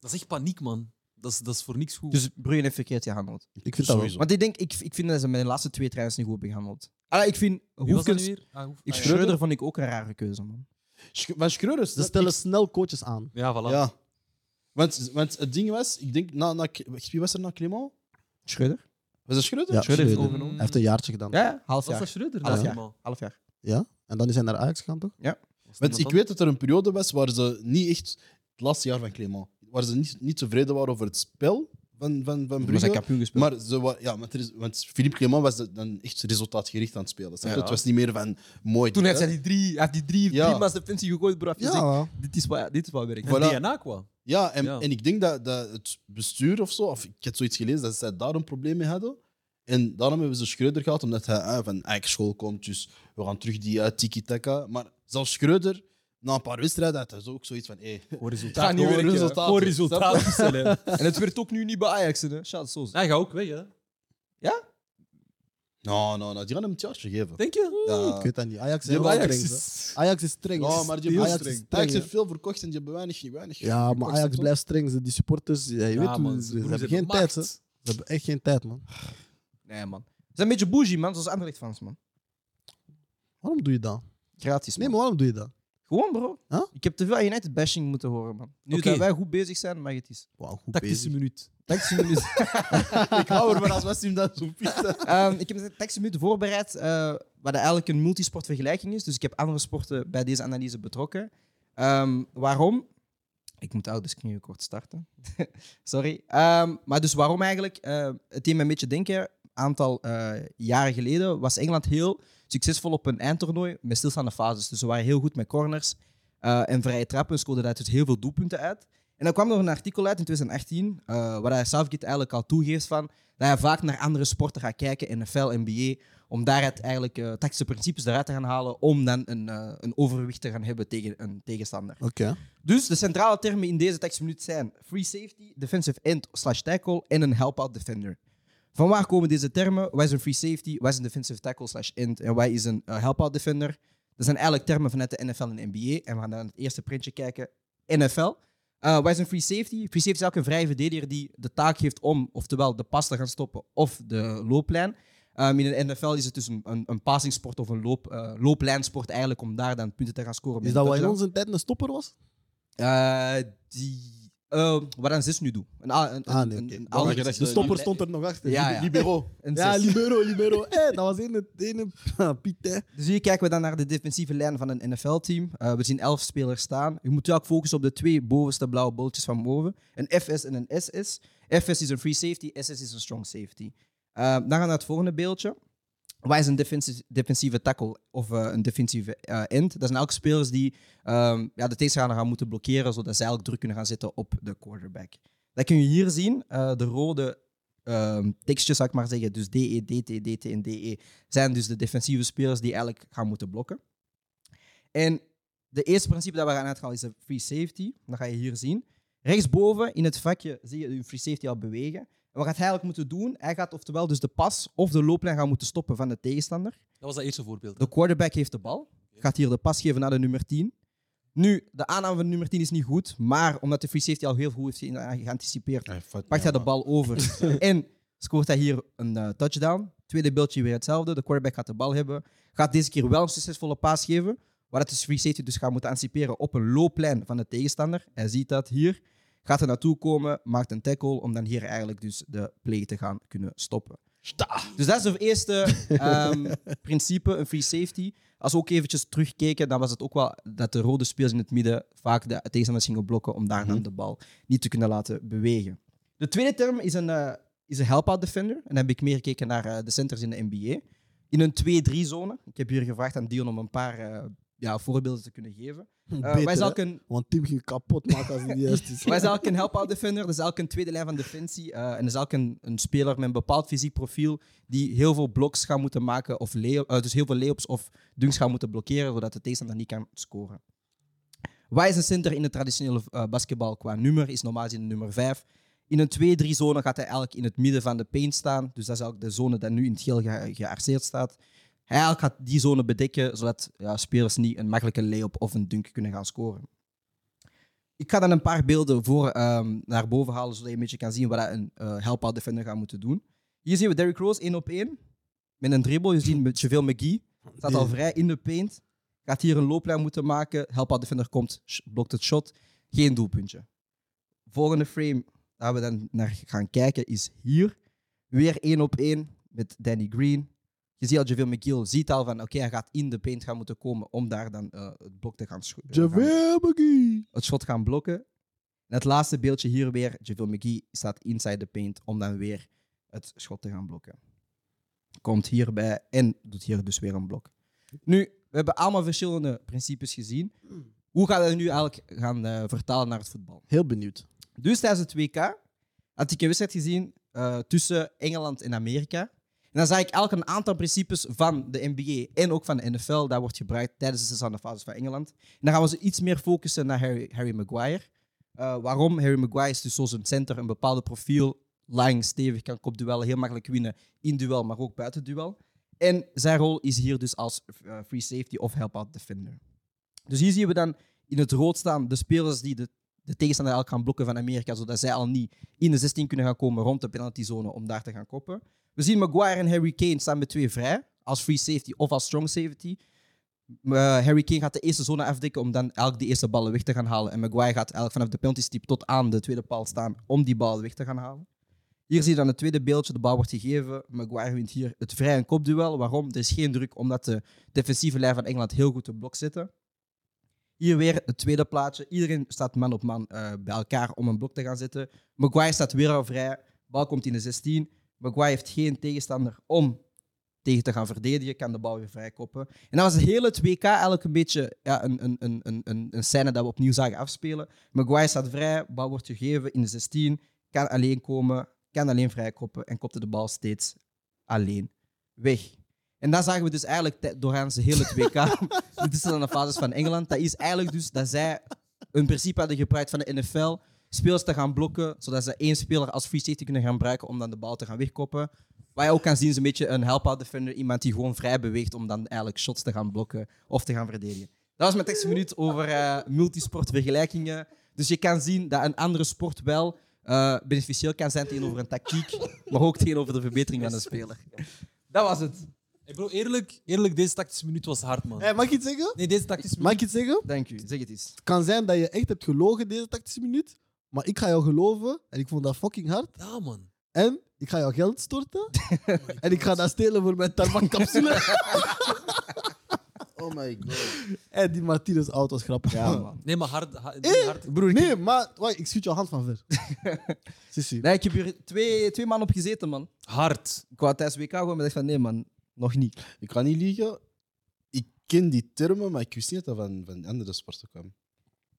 is echt paniek, man. Dat is, dat is voor niks goed.
Dus Brugge heeft verkeerd gehandeld.
Ik vind dat wel.
Sowieso.
Want ik denk, ik, ik vind dat ze mijn laatste twee trainers niet goed hebben gehandeld. Ah, ik vind
Wie was dat nu
Hoefkens...
weer? Ah, Hoef-
Ik
ah, ja.
Schreuder vond ik ook een rare keuze, man.
Sch- Maar Schreuder is
Ze
dat-
stellen snel coaches aan.
Ja, voilà.
Ja. Want, want het ding was, ik denk, na, na, wie was er na Clément?
Schreuder?
Was dat Schreuder?
Ja,
Schreuder heeft
Schreuder.
overgenomen.
Hij heeft een jaartje gedaan.
Ja, half
Was dat
jaar.
Schreuder?
Half
Ja.
jaar.
Was
Half jaar.
Ja? En dan is hij naar Ajax gegaan, toch?
het
Want ik
iemand
weet dat er een periode was waar ze niet echt, het laatste jaar van Clément, waar ze niet, niet tevreden waren over het spel van, van, van
Maar zijn
Brugge.
kampioen gespeeld.
Maar ze wa- ja, want, er is, want Philippe Clément was dan echt resultaatgericht aan het spelen. snap je?
Ja.
Het was niet meer van mooi.
Toen
dit,
heeft
hè. Dus
hij die drie, hij heeft die drie
Ja.
prima defensie gegooid, bro. Hij heeft gezegd, dit is wat, dit is wat werkt.
anders?
Voilà.
En DNA qua.
Ja, en,
Ja.
en ik denk dat, dat het bestuur of zo, of ik heb zoiets gelezen, dat zij daar een probleem mee hadden. En daarom hebben ze Schreuder gehad, omdat hij eh, van eigen school komt. Dus we gaan terug die eh, tiki-taka. Maar zelfs Schreuder, na een paar wedstrijden, had hij zo ook zoiets van: eh, hé, hey,
Voor resultaat. eh,
Gaat niet
Gewoon
werken.
resultaten.
Voor resultaat. bestellen.
En het werd ook nu niet bij Ajax, hè? Shout zo.
Hij gaat ook weg, hè.
nou, nou, nou, die gaan hem het jaartje geven.
Denk je?
Ja.
Ik weet dat niet. Ajax is
Ja,
heel
maar
streng.
is-
hè. Ajax is streng.
Ja, maar die
Heel
Ajax,
streng.
Ajax
Streng,
heeft veel verkocht en die hebben weinig. weinig
hè. ja, maar
verkocht,
Ajax
toch?
blijft streng. ze- Die supporters, ja, je weet hoe,
man,
ze,
broer,
ze hebben
zijn
geen tijd. hè.
macht.
Ze hebben echt geen tijd, man.
Nee, man. Ze zijn een beetje bougie, man. Zoals Anderlecht fans, man.
Waarom doe je dat?
Gratis, man.
Nee, maar waarom doe je dat?
Gewoon, bro.
Huh?
Ik heb te veel United bashing moeten horen, man. Nu
Oké.
dat wij goed bezig zijn, mag het is.
Wauw, goed
Tactische
bezig.
minuut.
Tactische minuut.
Ik hou ervan als Westim dat zo pizza.
Ehm, ik heb een tactische minuut voorbereid, eh wat eigenlijk een multisportvergelijking is. Dus ik heb andere sporten bij deze analyse betrokken. Ehm, waarom? Ik moet oud, dus ik moet nu kort starten. Sorry. Ehm, maar dus waarom eigenlijk? Eh, het deed me een beetje denken. Een aantal eh, jaren geleden was Engeland heel succesvol op een eindtoernooi met stilstaande fases. Dus ze waren heel goed met corners eh, en vrije trappen. Scoorden daar dus heel veel doelpunten uit. En dan kwam er een artikel uit in 2018, eh, waar hij Southgate eigenlijk al toegeeft van dat hij vaak naar andere sporten gaat kijken, NFL, NBA, om daaruit eigenlijk eh, tactische principes eruit te gaan halen om dan een, eh, een overwicht te gaan hebben tegen een tegenstander.
Oké.
Dus de centrale termen in deze tekstminuut zijn free safety, defensive end slash tackle en een help-out defender. Van waar komen deze termen? Wat is een free safety? Wat is een defensive tackle slash end? En wat is een eh, help-out defender? Dat zijn eigenlijk termen vanuit de NFL en NBA. En we gaan naar het eerste printje kijken. NFL. Eh wat is een free safety? Free safety is elke vrije verdediger die de taak heeft om oftewel de pas te gaan stoppen of de looplijn. Ehm, in de NFL is het dus een, een, een passingsport of een loop, eh, looplijnsport eigenlijk om daar dan punten te gaan scoren. met
Is
een
dat wat in
touchdown.
onze tijd een stopper was?
Eh, die, eh, wat een zis nu doet. Een, a- een,
Ah,
een-
nee,
een,
oké.
een
Dan
oude-
mag je dat
De
De
stopper
li-
stond er nog achter.
Ja,
Li-
ja.
Libero.
een
Ja,
zes.
libero, libero. Hé, dat was in het... In het ah, Piet, hè.
Dus hier kijken we dan naar de defensieve lijn van een NFL-team. Eh, we zien elf spelers staan. Je moet je ook focussen op de twee bovenste blauwe bolletjes van boven. Een FS en een SS. FS is een free safety, SS is een strong safety. Eh, dan gaan we naar het volgende beeldje. Wij is een defensie- defensieve tackle of eh, een defensieve eh, end? Dat zijn elke spelers die ehm, ja, de tegenstander gaan moeten blokkeren, zodat ze eigenlijk druk kunnen gaan zetten op de quarterback. Dat kun je hier zien. eh, de rode ehm tekstjes, zou ik maar zeggen, dus DE, DT, DT en DE, zijn dus de defensieve spelers die eigenlijk gaan moeten blokken. En de eerste principe dat we gaan uithalen is de free safety. Dat ga je hier zien. Rechtsboven in het vakje zie je de free safety al bewegen. En wat gaat hij eigenlijk moeten doen? Hij gaat oftewel dus de pas of de looplijn gaan moeten stoppen van de tegenstander.
Dat was dat eerste voorbeeld. hè?
De quarterback heeft de bal. Gaat hier de pas geven naar de nummer 10. Nu, de aanname van de nummer 10 is niet goed. Maar omdat de free safety al heel goed heeft ge- eh, geanticipeerd, pakt hij de bal over. en scoort hij hier een eh, touchdown. Tweede beeldje weer hetzelfde. De quarterback gaat de bal hebben. Gaat deze keer wel een succesvolle paas geven. Waar het dus free safety dus gaat moeten anticiperen op een looplijn van de tegenstander. Hij ziet dat hier. Gaat er naartoe komen, maakt een tackle om dan hier eigenlijk dus de play te gaan kunnen stoppen. Dus dat is het eerste ehm, principe, een free safety. Als we ook eventjes terugkeken, dan was het ook wel dat de rode spelers in het midden vaak de tegenstanders gingen blokken om daar
Mhm.
dan de bal niet te kunnen laten bewegen. De tweede term is een, eh, is een help-out defender. En dan heb ik meer gekeken naar eh, de centers in de NBA. In een 2-3 zone. Ik heb hier gevraagd aan Dion om een paar eh, ja, voorbeelden te kunnen geven. Eh, wij
Beter,
zijn
hè.
ook een
Want Tim ging kapot maken als hij niet juist is.
maar hij is elk een help-out defender, dat is elk een tweede lijn van defensie. eh, en dat is elk een, een speler met een bepaald fysiek profiel die heel veel bloks gaat moeten maken, of lay- eh, dus heel veel layups of dunks gaat moeten blokkeren, zodat de tegenstander niet kan scoren. Wij is een center in de traditionele eh, basketbal qua nummer, is normaal gezien de nummer 5. In een 2-3 zone gaat hij eigenlijk in het midden van de paint staan. Dus dat is eigenlijk de zone die nu in het geel ge- gearseerd staat. Hij eigenlijk gaat die zone bedekken, zodat ja, spelers niet een makkelijke layup of een dunk kunnen gaan scoren. Ik ga dan een paar beelden voor ehm, naar boven halen, zodat je een beetje kan zien wat dat een eh, help-out defender gaat moeten doen. Hier zien we Derrick Rose één op één met een dribbel. Je ziet met Javale McGee, staat al vrij in de paint. Gaat hier een looplijn moeten maken. Help-out defender komt, sh- blokt het shot. Geen doelpuntje. Volgende frame waar we dan naar gaan kijken is hier. Weer één op één met Danny Green. Je ziet al Javale McGee ziet al van oké, hij gaat in de paint gaan moeten komen om daar dan eh, het blok te gaan scho- eh, gaan-
Javale McGee.
het schot gaan blokken. En het laatste beeldje hier weer, Javale McGee staat inside the paint om dan weer het schot te gaan blokken. Komt hierbij en doet hier dus weer een blok. Nu, we hebben allemaal verschillende principes gezien. Hoe gaan we dat nu eigenlijk gaan eh, vertalen naar het voetbal?
Heel benieuwd.
Dus tijdens het WK had ik een wedstrijd gezien eh, tussen Engeland en Amerika. En dan zag ik elk een aantal principes van de NBA en ook van de NFL. Dat wordt gebruikt tijdens de zesde fase van Engeland. En dan gaan we ze iets meer focussen naar Harry, Harry Maguire. Eh, waarom? Harry Maguire is dus zoals een center, een bepaalde profiel. Lang, stevig, kan kopduellen heel makkelijk winnen. In duel, maar ook buiten duel. En zijn rol is hier dus als eh, free safety of help-out defender. Dus hier zien we dan in het rood staan de spelers die de de tegenstander elk gaan blokken van Amerika, zodat zij al niet in de 16 kunnen gaan komen rond de penaltyzone om daar te gaan koppen. We zien Maguire en Harry Kane staan met twee vrij, als free safety of als strong safety. Eh, Harry Kane gaat de eerste zone afdekken om dan elk de eerste ballen weg te gaan halen. En Maguire gaat eigenlijk vanaf de penalty stip tot aan de tweede paal staan om die bal weg te gaan halen. Hier zie je dan het tweede beeldje. De bal wordt gegeven. Maguire wint hier het vrij en kopduel. Waarom? Er is geen druk, omdat de defensieve lijn van Engeland heel goed op blok zitten. Hier weer het tweede plaatje. Iedereen staat man op man eh, bij elkaar om een blok te gaan zetten. Maguire staat weer al vrij. Bal komt in de 16. Maguire heeft geen tegenstander om tegen te gaan verdedigen. Kan de bal weer vrijkoppen. En dat was heel het WK eigenlijk een beetje ja, een, een, een, een- een, een scène dat we opnieuw zagen afspelen. Maguire staat vrij. Bal wordt gegeven in de 16. Kan alleen komen. Kan alleen vrijkoppen. En kopte de bal steeds alleen weg. En dat zagen we dus eigenlijk tij- doorgaans de hele het WK. Dit is dan de fases van Engeland. Dat is eigenlijk dus dat zij een principe hadden gebruikt van de NFL. Spelers te gaan blokken, zodat ze één speler als free safety kunnen gaan gebruiken om dan de bal te gaan wegkoppen. Wat je ook kan zien is een beetje een help-out defender. Iemand die gewoon vrij beweegt om dan eigenlijk shots te gaan blokken of te gaan verdedigen. Dat was mijn tekstminuut minuut over eh multisportvergelijkingen. Dus je kan zien dat een andere sport wel eh, beneficieel kan zijn tegenover een tactiek, maar ook tegenover de verbetering van de speler. Dat was het.
Hey bro, eerlijk, eerlijk, deze tactische minuut was hard, man.
Hey, Eh, mag ik iets zeggen?
Nee, deze tactische
Mag
minuut...
ik iets zeggen?
Dank u. Zeg het eens.
Het kan zijn dat je echt hebt gelogen deze tactische minuut. Maar ik ga jou geloven. En ik vond dat fucking hard.
Ja, man.
En ik ga jou geld storten. en ik ga dat stelen voor mijn tarmaccapsule.
Oh my god.
en Eh, die Martinez auto was grappig.
Ja, man.
Nee, maar hard... hard,
Eh?
hard-
Broer, ik,
Nee, maar wacht, ik schiet jouw hand van ver. Sissi.
nee, ik heb hier twee, twee maanden op gezeten, man.
hard.
Ik wou tijdens WK gewoon, maar ik dacht van nee, man, nog niet.
Ik kan niet liegen. Ik ken die termen, maar ik wist niet dat dat van, van andere sporten kwam.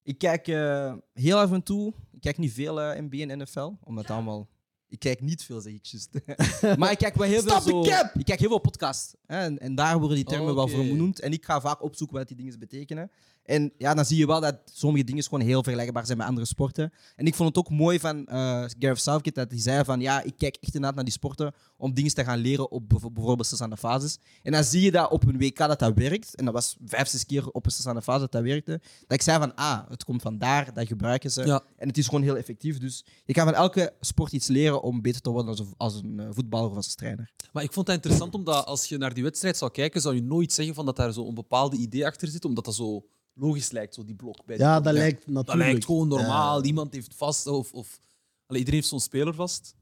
Ik kijk eh, heel af en toe. Ik kijk niet veel eh, NBA en NFL, omdat het allemaal. Ik kijk niet veel, zeg ik juist. maar ik kijk wel heel veel.
Stop
Zo,
the cap!
ik kijk heel veel podcasts. Hè, en, en daar worden die termen wel
Oké.
voor genoemd. En ik ga vaak opzoeken wat die dingen betekenen. En ja, dan zie je wel dat sommige dingen gewoon heel vergelijkbaar zijn met andere sporten. En ik vond het ook mooi van eh Gareth Southgate dat hij zei van ja, ik kijk echt inderdaad naar die sporten om dingen te gaan leren op bijv- bijvoorbeeld zesde fases. En dan zie je dat op een WK dat dat werkt. En dat was vijf, zes keer op een zesde fase dat dat werkte. Dat ik zei van ah, het komt vandaar, dat gebruiken ze.
Ja.
En het is gewoon heel effectief. Dus je kan van elke sport iets leren om beter te worden als een, als een eh, voetballer of als een trainer.
Maar ik vond het interessant, omdat als je naar die wedstrijd zou kijken, zou je nooit zeggen van dat daar zo'n bepaalde idee achter zit, omdat dat zo logisch lijkt, zo die blok. Bij die
Ja,
blok.
dat lijkt natuurlijk.
Dat lijkt gewoon normaal. Iemand heeft vast. Of, of, Allee, iedereen heeft zo'n speler vast.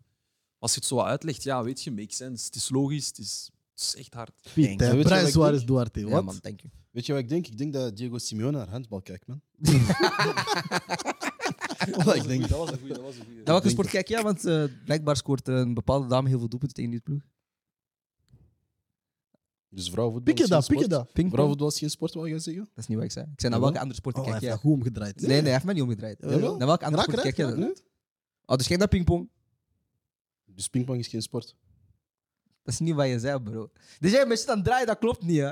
Als je het zo wat uitlegt, ja, weet je, makes sense. Het is logisch, het is, het is echt hard.
Denk
Pieter,
je.
Prijs Suarez Duarte.
Ja,
Wat?
man, thank you.
Weet je wat ik denk? Ik denk dat Diego Simeone naar handbal kijkt, man. Wat ik denk.
Dat was een goeie, dat was een goeie.
Naar welke sport kijk je? Want eh, blijkbaar scoort een bepaalde dame heel veel doelpunten tegen dit ploeg.
Dus vrouwenvoetbal
Pik je
is geen
dat, pik je
sport.
dat.
Pingpong?
Vrouwenvoetbal is geen sport, wou jij zeggen?
Dat is niet wat ik zei. Ik zei naar
Jawel.
welke andere sporten
Oh, hij
kijk jij?
heeft dat goed omgedraaid.
Nee, nee, hij heeft mij niet omgedraaid.
Jawel.
Naar welke andere
Raak
sport kijk
eruit,
jij
raak
dan?
eruit.
Oh, dus kijk naar pingpong.
Dus pingpong is geen sport.
Dat is niet wat je zei, bro. Dus jij bent shit aan het draaien, dat klopt niet, hè?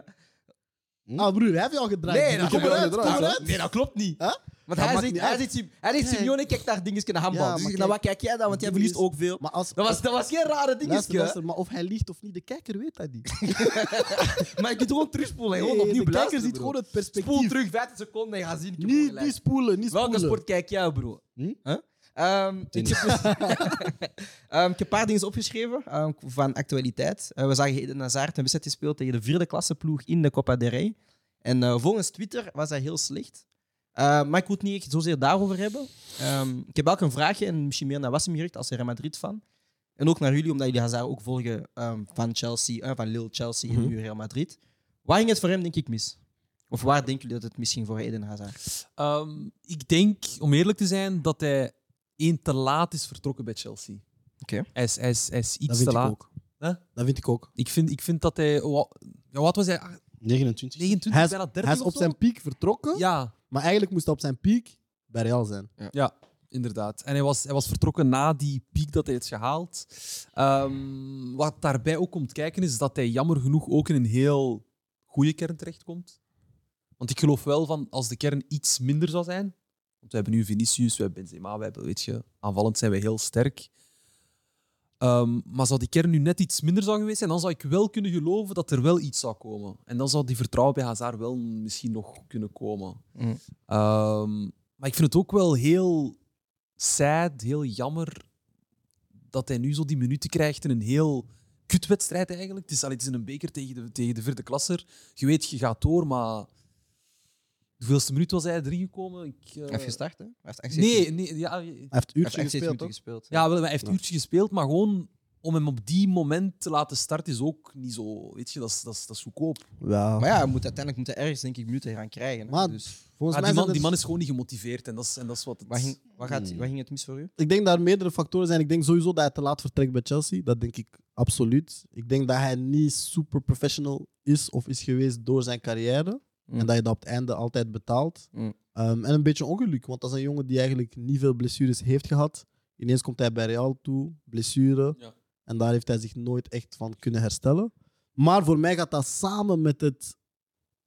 Ah, broer, hij heeft jou gedraaid.
Hm? Nee, dat
kom
heb je
eruit,
al
kom
gedraaid,
eruit.
Nee, dat klopt niet.
Huh?
Want
Dat
hij
maakt
zegt,
niet
hij
uit.
zegt, Sim- hij zegt
Nee.
Simeone, kijk naar dingetjes naar handbal.
Ja,
dus ik
maar
zeg, naar wat
kijk,
kijk jij dan? Want jij
ding
verliest
is-
ook veel.
Maar als...
Dat was, dat was geen rare
Luister,
dingetje. hè?
luister, maar of hij liegt of niet, de kijker weet dat niet.
Maar je kunt gewoon terugspoelen. Gewoon
Nee,
opnieuw
de kijker
beluisteren,
ziet
bro.
gewoon het
Spoel
perspectief.
terug 15 seconden en ga zien. ik heb
Niet,
ongelijk.
niet spoelen, niet spoelen.
Welke sport kijk jij, bro?
Hm?
Huh? Ehm, ik, heb dus- Ehm, ik heb een paar dingen opgeschreven ehm, van actualiteit. Eh, we zagen Eden Hazard een wedstrijd gespeeld tegen de vierde klasse ploeg in de Copa del Rey. En eh, volgens Twitter was dat heel slecht. Eh, maar ik wil het niet echt zozeer daarover hebben. Ehm, ik heb ook een vraagje, en misschien meer naar Wassim gericht als Real Madrid-fan. En ook naar jullie, omdat jullie Hazard ook volgen ehm, van Chelsea, eh, van Lille Chelsea
Mhm.
en nu Real Madrid. Waar ging het voor hem, denk ik, mis? Of waar denken jullie dat het misschien voor Eden Hazard?
Ehm, ik denk, om eerlijk te zijn, dat hij één te laat is vertrokken bij Chelsea.
Oké.
Hij, is, hij, is, hij is iets
Dat vind
te
ik
laat.
ook.
Hè?
Dat vind ik ook.
Ik vind, ik vind dat hij. wa- Ja, wat was hij? Ah,
29.
29,
Hij is,
bijna 30
hij is
of
op
zo?
zijn piek vertrokken,
Ja,
maar eigenlijk moest hij op zijn piek bij Real zijn.
Ja, inderdaad. En hij was, hij was vertrokken na die piek dat hij heeft gehaald. Ehm, wat daarbij ook komt kijken is dat hij jammer genoeg ook in een heel goede kern terechtkomt. Want ik geloof wel van als de kern iets minder zou zijn. Want we hebben nu Vinicius, we hebben Benzema, we hebben, weet je, aanvallend zijn we heel sterk. Ehm, maar zou die kern nu net iets minder zou geweest zijn, dan zou ik wel kunnen geloven dat er wel iets zou komen. En dan zou die vertrouwen bij Hazard wel misschien nog kunnen komen.
Mm.
Ehm, maar ik vind het ook wel heel sad, heel jammer dat hij nu zo die minuten krijgt in een heel kutwedstrijd eigenlijk. Het is, allee, het is in een beker tegen de, tegen de vierde klasser. Je weet, je gaat door, maar... Hoeveelste minuut was hij erin gekomen? Ik, eh,
Hij heeft gestart, hè? Hij heeft echt
Nee, nee ja,
Hij heeft
Hij heeft
uurtje
echt
gespeeld,
minuten
toch?
gespeeld.
ja, wel, hij heeft een uurtje gespeeld, maar gewoon om hem op die moment te laten starten is ook niet zo. Weet je, dat is, dat is, dat is goedkoop.
Ja.
Maar ja, hij moet uiteindelijk moet hij ergens denk ik minuten gaan krijgen. hè.
Maar-
dus,
Volgens
Maar
mij
die, man,
zijn
die
er-
man is gewoon niet gemotiveerd en dat is, en dat is wat. Het...
waar ging, waar gaat, waar ging het mis voor u?
Ik denk dat er meerdere factoren zijn. Ik denk sowieso dat hij te laat vertrekt bij Chelsea. Dat denk ik absoluut. Ik denk dat hij niet super professional is of is geweest door zijn carrière.
Mm.
En dat je dat op het einde altijd betaalt.
Mm.
Um, en een beetje ongeluk, want dat is een jongen die eigenlijk niet veel blessures heeft gehad. Ineens komt hij bij Real toe, blessure.
Ja.
En daar heeft hij zich nooit echt van kunnen herstellen. Maar voor mij gaat dat samen met het,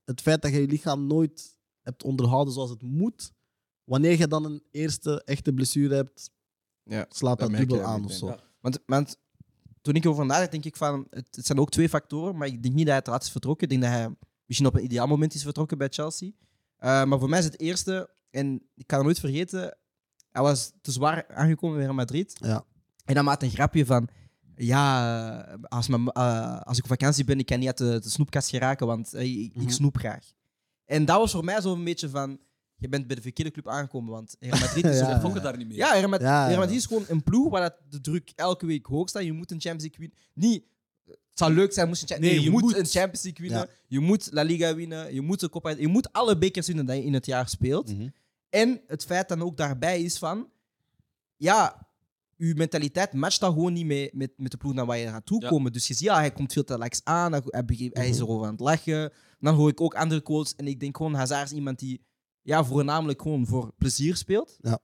het feit dat je je lichaam nooit hebt onderhouden zoals het moet. Wanneer je dan een eerste echte blessure hebt,
Ja, dat
slaat dat
merk
dubbel
je
aan of
meteen.
zo.
Ja.
Want, want toen ik erover nadacht, denk ik van... Het, het zijn ook twee factoren, maar ik denk niet dat hij te laat is vertrokken. Ik denk dat hij misschien op een ideaal moment is vertrokken bij Chelsea. Eh, maar voor mij is het eerste, en ik kan het nooit vergeten... Hij was te zwaar aangekomen weer in Madrid.
Ja.
En dan maakt een grapje van... Ja, eh, als, mijn, eh, als ik op vakantie ben, ik kan niet uit de, de snoepkast geraken, want eh, ik, ik
Mhm.
snoep graag. En dat was voor mij zo'n beetje van... Je bent bij de verkeerde club aangekomen, want Real Madrid is
Ja.
een
Ze fokken daar niet mee.
ja, Real Madrid,
Ja, ja.
Real Madrid is gewoon een ploeg waar dat de druk elke week hoog staat. Je moet een Champions League winnen. Niet, het zou leuk zijn moest je een Cha-
Nee,
nee, je
je
moet,
moet.
een Champions League winnen.
Ja.
Je moet La Liga winnen. Je moet de Copa. Je moet alle bekers winnen die je in het jaar speelt.
Mhm.
En het feit dan ook daarbij is van, ja, uw mentaliteit matcht dat gewoon niet mee met, met de ploeg naar waar je gaat
Ja.
toekomen. Dus je ziet, ja, hij komt veel te lax aan. Hij, hij begint- hij
Mhm.
is erover aan het lachen. Dan hoor ik ook andere quotes. En ik denk gewoon, Hazard is iemand die ja, voornamelijk gewoon voor plezier speelt.
Ja.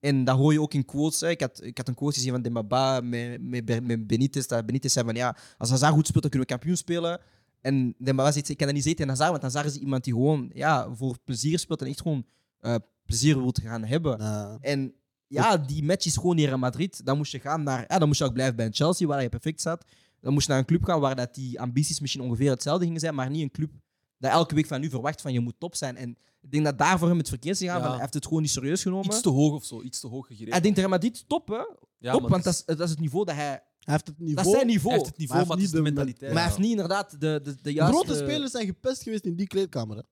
En dat hoor je ook in quotes. Hè. Ik, had, ik had een quote gezien van Dembaba met, met, Ber- met Benitez. Dat Benitez zei van, ja, als Hazard goed speelt, dan kunnen we kampioen spelen. En Dembaba zegt, ik kan dat niet zeggen tegen Hazard, want Hazard is iemand die gewoon ja, voor plezier speelt en echt gewoon eh, plezier wilt gaan hebben.
Eh,
En ja,
Dus-
die match is gewoon hier in Madrid. Dan moest je gaan naar. Ja, dan moest je ook blijven bij een Chelsea, waar je perfect zat. Dan moest je naar een club gaan waar dat die ambities misschien ongeveer hetzelfde gingen zijn, maar niet een club dat elke week van u verwacht van je moet top zijn. En ik denk dat daar voor hem het verkeerd is gegaan,
Ja.
want hij heeft het gewoon niet serieus genomen.
Iets te hoog of zo, iets te hoog
Hij
gegrepen.
denkt tegen Madrid top, hè?
Ja,
Ah, top,
maar
want
het
dat is, dat is het niveau dat hij.
hij heeft het
Dat
niveau.
is zijn
hij
niveau.
heeft het niveau,
heeft
maar het is
niet
de
de men-
mentaliteit.
Maar hij heeft niet inderdaad de, de, de juiste...
Grote spelers zijn gepest geweest in die kleedkamer. Hè.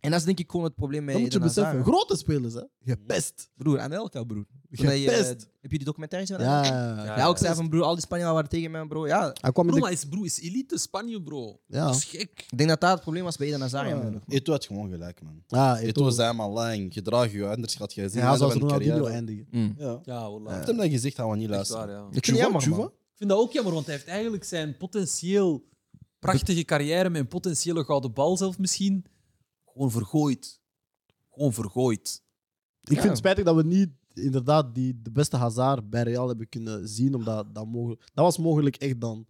En dat is denk ik gewoon het probleem met
Dat moet je
Eden Hazard,
beseffen.
hè.
Grote spelers, hè? Gepest.
Broer, aan elkaar, broer. Toen dat je,
Gepest.
heb je die documentaire gezien?
Ja,
Ja,
ja, ja.
Ja.
ook zei van, broer, al die Spanjaarden waren tegen mij, bro. Ja,
Hij kwam met
Bro, maar
de...
is, bro, is elite Spanje, bro.
Ja.
Dat is gek.
Ik denk dat dat het probleem was bij Eden Hazard.
Ja.
eigenlijk.
Eto'o had gewoon gelijk, man.
Ah,
Eto'o
Eto'o.
zei maar lang, gedraag je anders gaat jij zien.
Hij
einde
zou als
van de
Ronaldinho
carrière.
eindigen.
Ja.
Ja, voilà.
Hij heeft hem dan gezegd, gaan we niet
Echt
luisteren.
waar, ja.
Ik vind het jammer, man.
Ik vind dat ook jammer, want hij heeft eigenlijk zijn potentieel prachtige carrière met een potentiële gouden bal zelf misschien gewoon vergooid. Gewoon vergooid.
Ik
Ja.
vind het spijtig dat we niet inderdaad die, de beste Hazard bij Real hebben kunnen zien. Omdat dat, mogelijk, dat was mogelijk echt dan.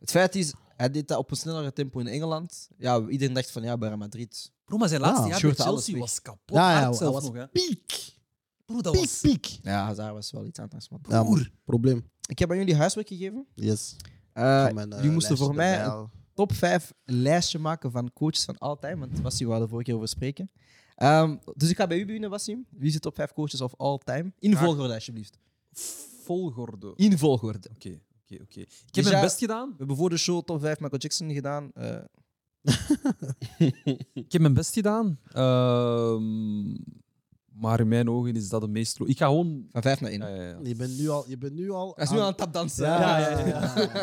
Het feit is, hij deed dat op een snellere tempo in Engeland. Ja, iedereen dacht van, ja, bij Real Madrid.
Bro, maar zijn laatste
Ja,
jaar bij
scheurde alles
Chelsea
weg.
was kapot
Ja, ja,
hard
hij
zelf
was
nog. Hè.
Piek!
Bro, dat
Piek,
was...
piek!
Ja, Hazard was wel iets anders, man.
Ja,
Broer.
Probleem.
Ik heb aan jullie huiswerk gegeven.
Yes.
Eh,
Van mijn, eh,
jullie moesten
lijstje
voor mij
erbij
een
halen.
top 5 lijstje maken van coaches van altijd. Want Wassim wou er vorige keer over spreken. Ehm, dus ik ga bij u beginnen, Wassim. Wie is de top 5 coaches of all time? In
Graag.
volgorde, alsjeblieft.
Volgorde. Oké,
In volgorde.
oké, oké. Ik heb
Dus
mijn
ja-
best gedaan.
We hebben voor de show top 5 Michael Jackson gedaan. Eh,
Ik heb mijn best gedaan. Ehm, maar in mijn ogen is dat de meest... lo- Ik ga gewoon...
van 5 naar 1.
Ja, ja, ja.
Je bent nu al... Je bent nu al
Hij is nu aan het tapdansen.
Ah. Ja, ja, ja.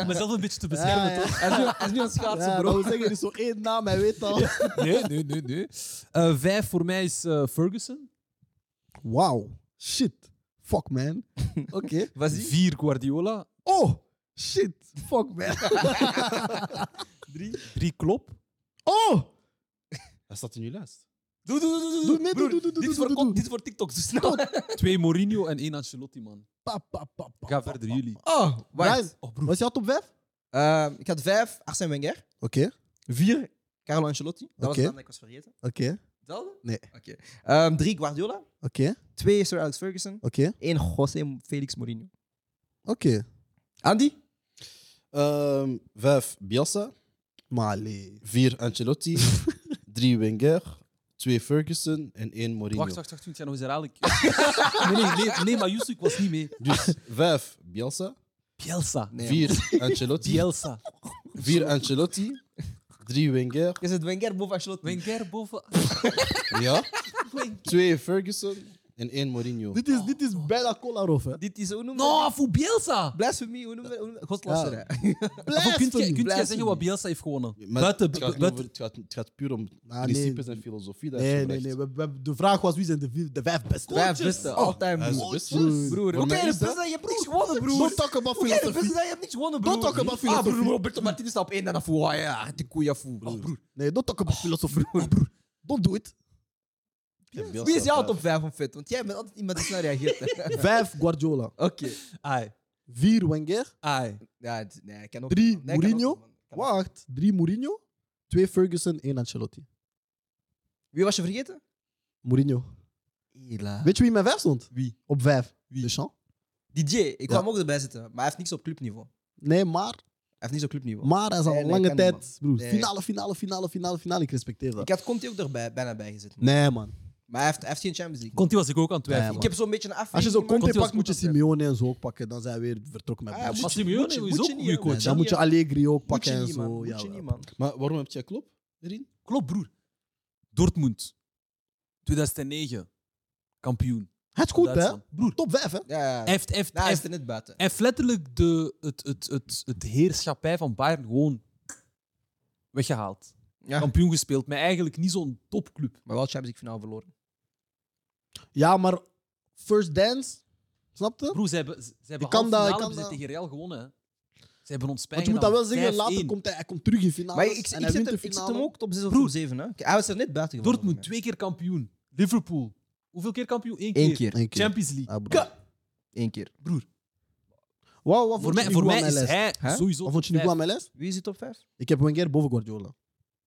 Om mezelf een beetje te
beschermen, Ja, ja.
Hij is nu- hij is nu aan het schaatsen,
Ja,
bro.
dat wil zeggen, er is zo één naam, hij weet al.
Nee, nee, nee. nee. Eh, vijf voor mij is eh, Ferguson.
Wauw. Shit. Fuck, man. Oké.
Was die?
Vier Guardiola.
Oh! Shit. Fuck, man.
Drie. Drie Klopp.
Oh!
Hij staat in je lijst.
Doe, doe, doe, doe,
Doe, nee, doe, doe, doe,
Dit
doe,
is voor
doe,
con-
doe.
dit is voor TikTok, zo snel.
Twee Mourinho en één Ancelotti, man.
Pa, pa, pa, pa,
Ga
pa,
verder,
pa.
jullie.
Oh,
Brian,
wacht.
Oh,
was jouw top 5? Oké.
Ehm, ik had vijf, Arsène Wenger. Vier, Carlo Ancelotti. Dat was
Oké.
de naam dat ik was vergeten.
Oké.
Hetzelfde?
Nee.
Oké. Ehm, drie, Guardiola.
Oké.
Twee, Sir Alex Ferguson.
Oké.
Eén, José Felix Mourinho.
Oké.
Andy?
Ehm, vijf, Bielsa.
Maar allee.
Vier, Ancelotti. Drie, Wenger. Twee, Ferguson. En één, Mourinho.
Wacht, wacht, wacht, want jij nog eens herhaal ik. nee, nee, nee, nee, maar Yusuf was niet mee.
Dus vijf, Bielsa.
Bielsa.
Nee.
Vier, Ancelotti.
Bielsa.
Vier, Ancelotti. Drie, Wenger.
Is het Wenger boven Ancelotti?
Wenger boven.
Ja.
Wenger.
Twee, Ferguson. En één Mourinho.
Dit is, dit is bijna Kolarov, hè?
Dit is hoe noemen we
No, voor Bielsa!
Blasphemy, hoe noemen we- hoe noemen we Godslasteren.
Of kunt jij- kunt jij
blasphemy.
zeggen wat Bielsa heeft gewonnen?
Ja, maar
buiten,
het, gaat niet
buiten-
over- het, gaat, het gaat puur om
Ah,
principes
nee.
en filosofie. Dat
Nee,
je
nee,
brengt.
nee. We, we- de vraag was wie zijn de, vier- de vijf beste?
Vijf beste, all-time
Hij is de
broer.
beste.
Broer,
Voor
Oh. hoe kan
mij
je de
is dat-
beste zijn? Je hebt niks gewonnen, broer. dus
Don't talk about
Hoe kan je de beste
filosofie.
zijn? Je hebt niks gewonnen, broer.
Don't talk about
Ah,
filosofie.
broer, Roberto Martinez staat op één, daarna voor. Ah ja, de koeien voor. Oh, broer.
Nee, don't talk
Oh,
about filosofie. Don't do it.
Ja, Bielsa
Wie is jouw
vijf.
top 5 op fit? Want jij bent altijd iemand die snel reageert. hè.
Vijf Guardiola.
Oké.
Ai,
Vier Wenger.
ai.
Ja, het- nee, ik kan ook
Drie,
niet, man. Nee, ik kan
Mourinho.
ook niet, man. Ik kan ook niet.
Wacht. Drie Mourinho. Twee Ferguson. één Ancelotti.
Wie was je vergeten?
Mourinho.
Hila.
Weet je wie in mijn vijf stond?
Wie?
Op vijf. Deschamps.
DJ, ik kwam ook erbij zitten, maar hij heeft niks op clubniveau. Hij
Nee, maar,
heeft niks op clubniveau.
maar hij is al
Nee, nee,
lange
kan
tijd.
niet,
broer,
Nee.
finale, finale, finale, finale, finale. Ik respecteer dat.
Ik had Conte ook erbij, bijna bij gezet. man.
Nee, man.
Maar hij heeft, hij heeft geen Champions League.
Conti was ik ook aan het twijfelen.
Ja,
ik heb zo'n beetje een afweging.
Als je zo
man.
Conte
Conte was
pakt, moet je
goed aan het
Simeone en zo ook pakken. Dan zijn we weer vertrokken met
Ah, ja,
bullshit.
Maar
moet je-
Simeone
moet je-
is
moet
ook
je
een
niet,
goede
hè, man.
coach.
Dan moet je Allegri ook
Moet je
pakken en
niet, man.
zo.
Moet je
Ja,
niet,
wel.
man.
Maar waarom heb jij Klopp erin?
Klopt, broer. Dortmund. 2009. Kampioen.
Het is goed, hè?
Duitsland. Broer.
Top 5, hè?
Ja, ja.
Hij heeft, hij heeft,
Nou,
hij
hij is
heeft,
er net buiten.
hij heeft letterlijk de, het, het, het, het heerschappij van Bayern gewoon weggehaald.
Ja.
Kampioen gespeeld, maar eigenlijk niet zo'n topclub.
Maar wel Champions League finale verloren.
Nou, Ja, maar First Dance, snapte?
Broer, ze hebben, ze hebben
kan
halve
dat, ik
finale
kan
hebben ze
dat.
tegen Real gewonnen. Hè. Ze hebben ons pijn
Want je moet dat wel zeggen,
gedaan.
later
5-1.
komt hij, hij komt terug in finale.
Maar ik, ik, zet, hem, ik zet hem ook top 6 of top 7. Hè. Hij was er net buiten gevallen.
Dortmund twee keer kampioen. Liverpool. Hoeveel keer kampioen? Eén keer.
Eén keer.
Champions League.
Ah, broer.
Eén keer.
Broer,
Wow, wat
voor
vond je
mij,
nu
voor
goed
mij
aan mijn
is
lijst?
hij
Hè?
sowieso.
Wat vond je nu
top
goed aan
vijf.
mijn lijst?
Wie is die top 5?
Ik heb Wenger boven Guardiola.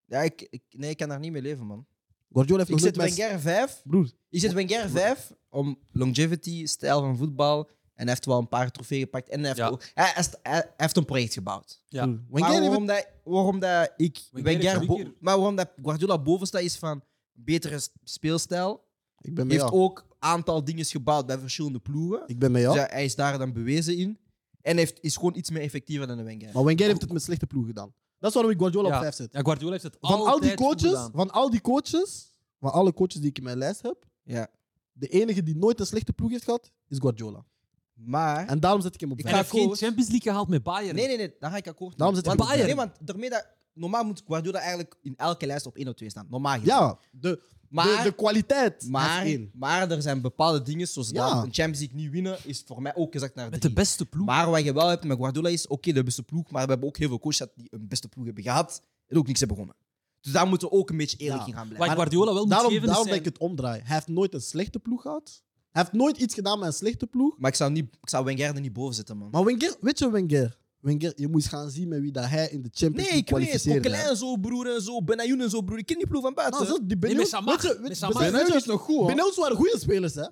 Ja, ik, ik, nee, ik kan daar niet mee leven, man.
Guardiola heeft
Ik
nog
zet
nooit mijn...
Wenger 5.
Broer,
Ik zet Wenger 5 om longevity, stijl van voetbal. En hij heeft wel een paar trofeeën gepakt. En hij heeft,
Ja.
ook- hij, hij, hij heeft een project gebouwd.
Ja.
broer.
Maar
Wenger heeft...
waarom, dat, waarom dat ik
Wenger heeft
Wenger
drie
bo-
keer-
maar waarom dat Guardiola boven staat is van betere s- speelstijl.
Ik ben met
Heeft
jou.
ook een aantal dingen gebouwd bij verschillende ploegen.
Ik ben met
Dus
jou.
hij- hij is daar dan bewezen in. En heeft, is gewoon iets meer effectiever dan de Wenger.
Maar Wenger heeft het met slechte ploeg gedaan. Dat is waarom ik Guardiola
Ja.
op 5 zet.
Ja, Guardiola heeft het
Van al,
altijd
die
goed
coaches,
gedaan.
van al die coaches, van alle coaches die ik in mijn lijst heb,
Ja.
de enige die nooit een slechte ploeg heeft gehad, is Guardiola.
Maar...
En daarom zet ik hem op
Ik
En
ga
hij
5.
heeft geen
akkoord.
Champions League gehaald met Bayern.
Nee, nee, nee. Daar ga ik akkoord mee.
Daarom zit ik
want,
op Bayern.
Nee, want daarmee dat, normaal moet Guardiola eigenlijk in elke lijst op 1 of 2 staan. Normaal gezien.
Ja, de,
Maar-
de, de kwaliteit.
Maar,
is één.
maar er zijn bepaalde dingen, zoals
Ja.
dat een Champions League niet winnen, is voor mij ook gezakt naar
Met
drie.
de beste ploeg.
Maar wat je wel hebt met Guardiola is, oké, de beste ploeg, maar we hebben ook heel veel coaches gehad die een beste ploeg hebben gehad en ook niks hebben gewonnen. Dus daar moeten we ook een beetje eerlijk
Ja.
in gaan blijven.
Waar ik Guardiola wel moet
daarom,
geven is
daarom
zijn-
dat ik het omdraai. Hij heeft nooit een slechte ploeg gehad. Hij heeft nooit iets gedaan met een slechte ploeg.
Maar ik zou, niet, ik zou Wenger er niet boven zetten, man.
Maar Wenger, weet je Wenger? Wenger, je moet eens gaan zien met wie dat hij in de Champions
nee,
League
ik weet het.
kwalificeerde.
Coquelin en zo, broer, en zo. Benayoun en zo, broer. Ik ken die ploeg van buiten.
Nou, zelfs die
Nee,
Benelux,
met Samar.
weet je-
Met
weet-
Samar.
weet je-
Benelux is nog goed, hoor.
Benelux waren goede spelers, hè?
Ja?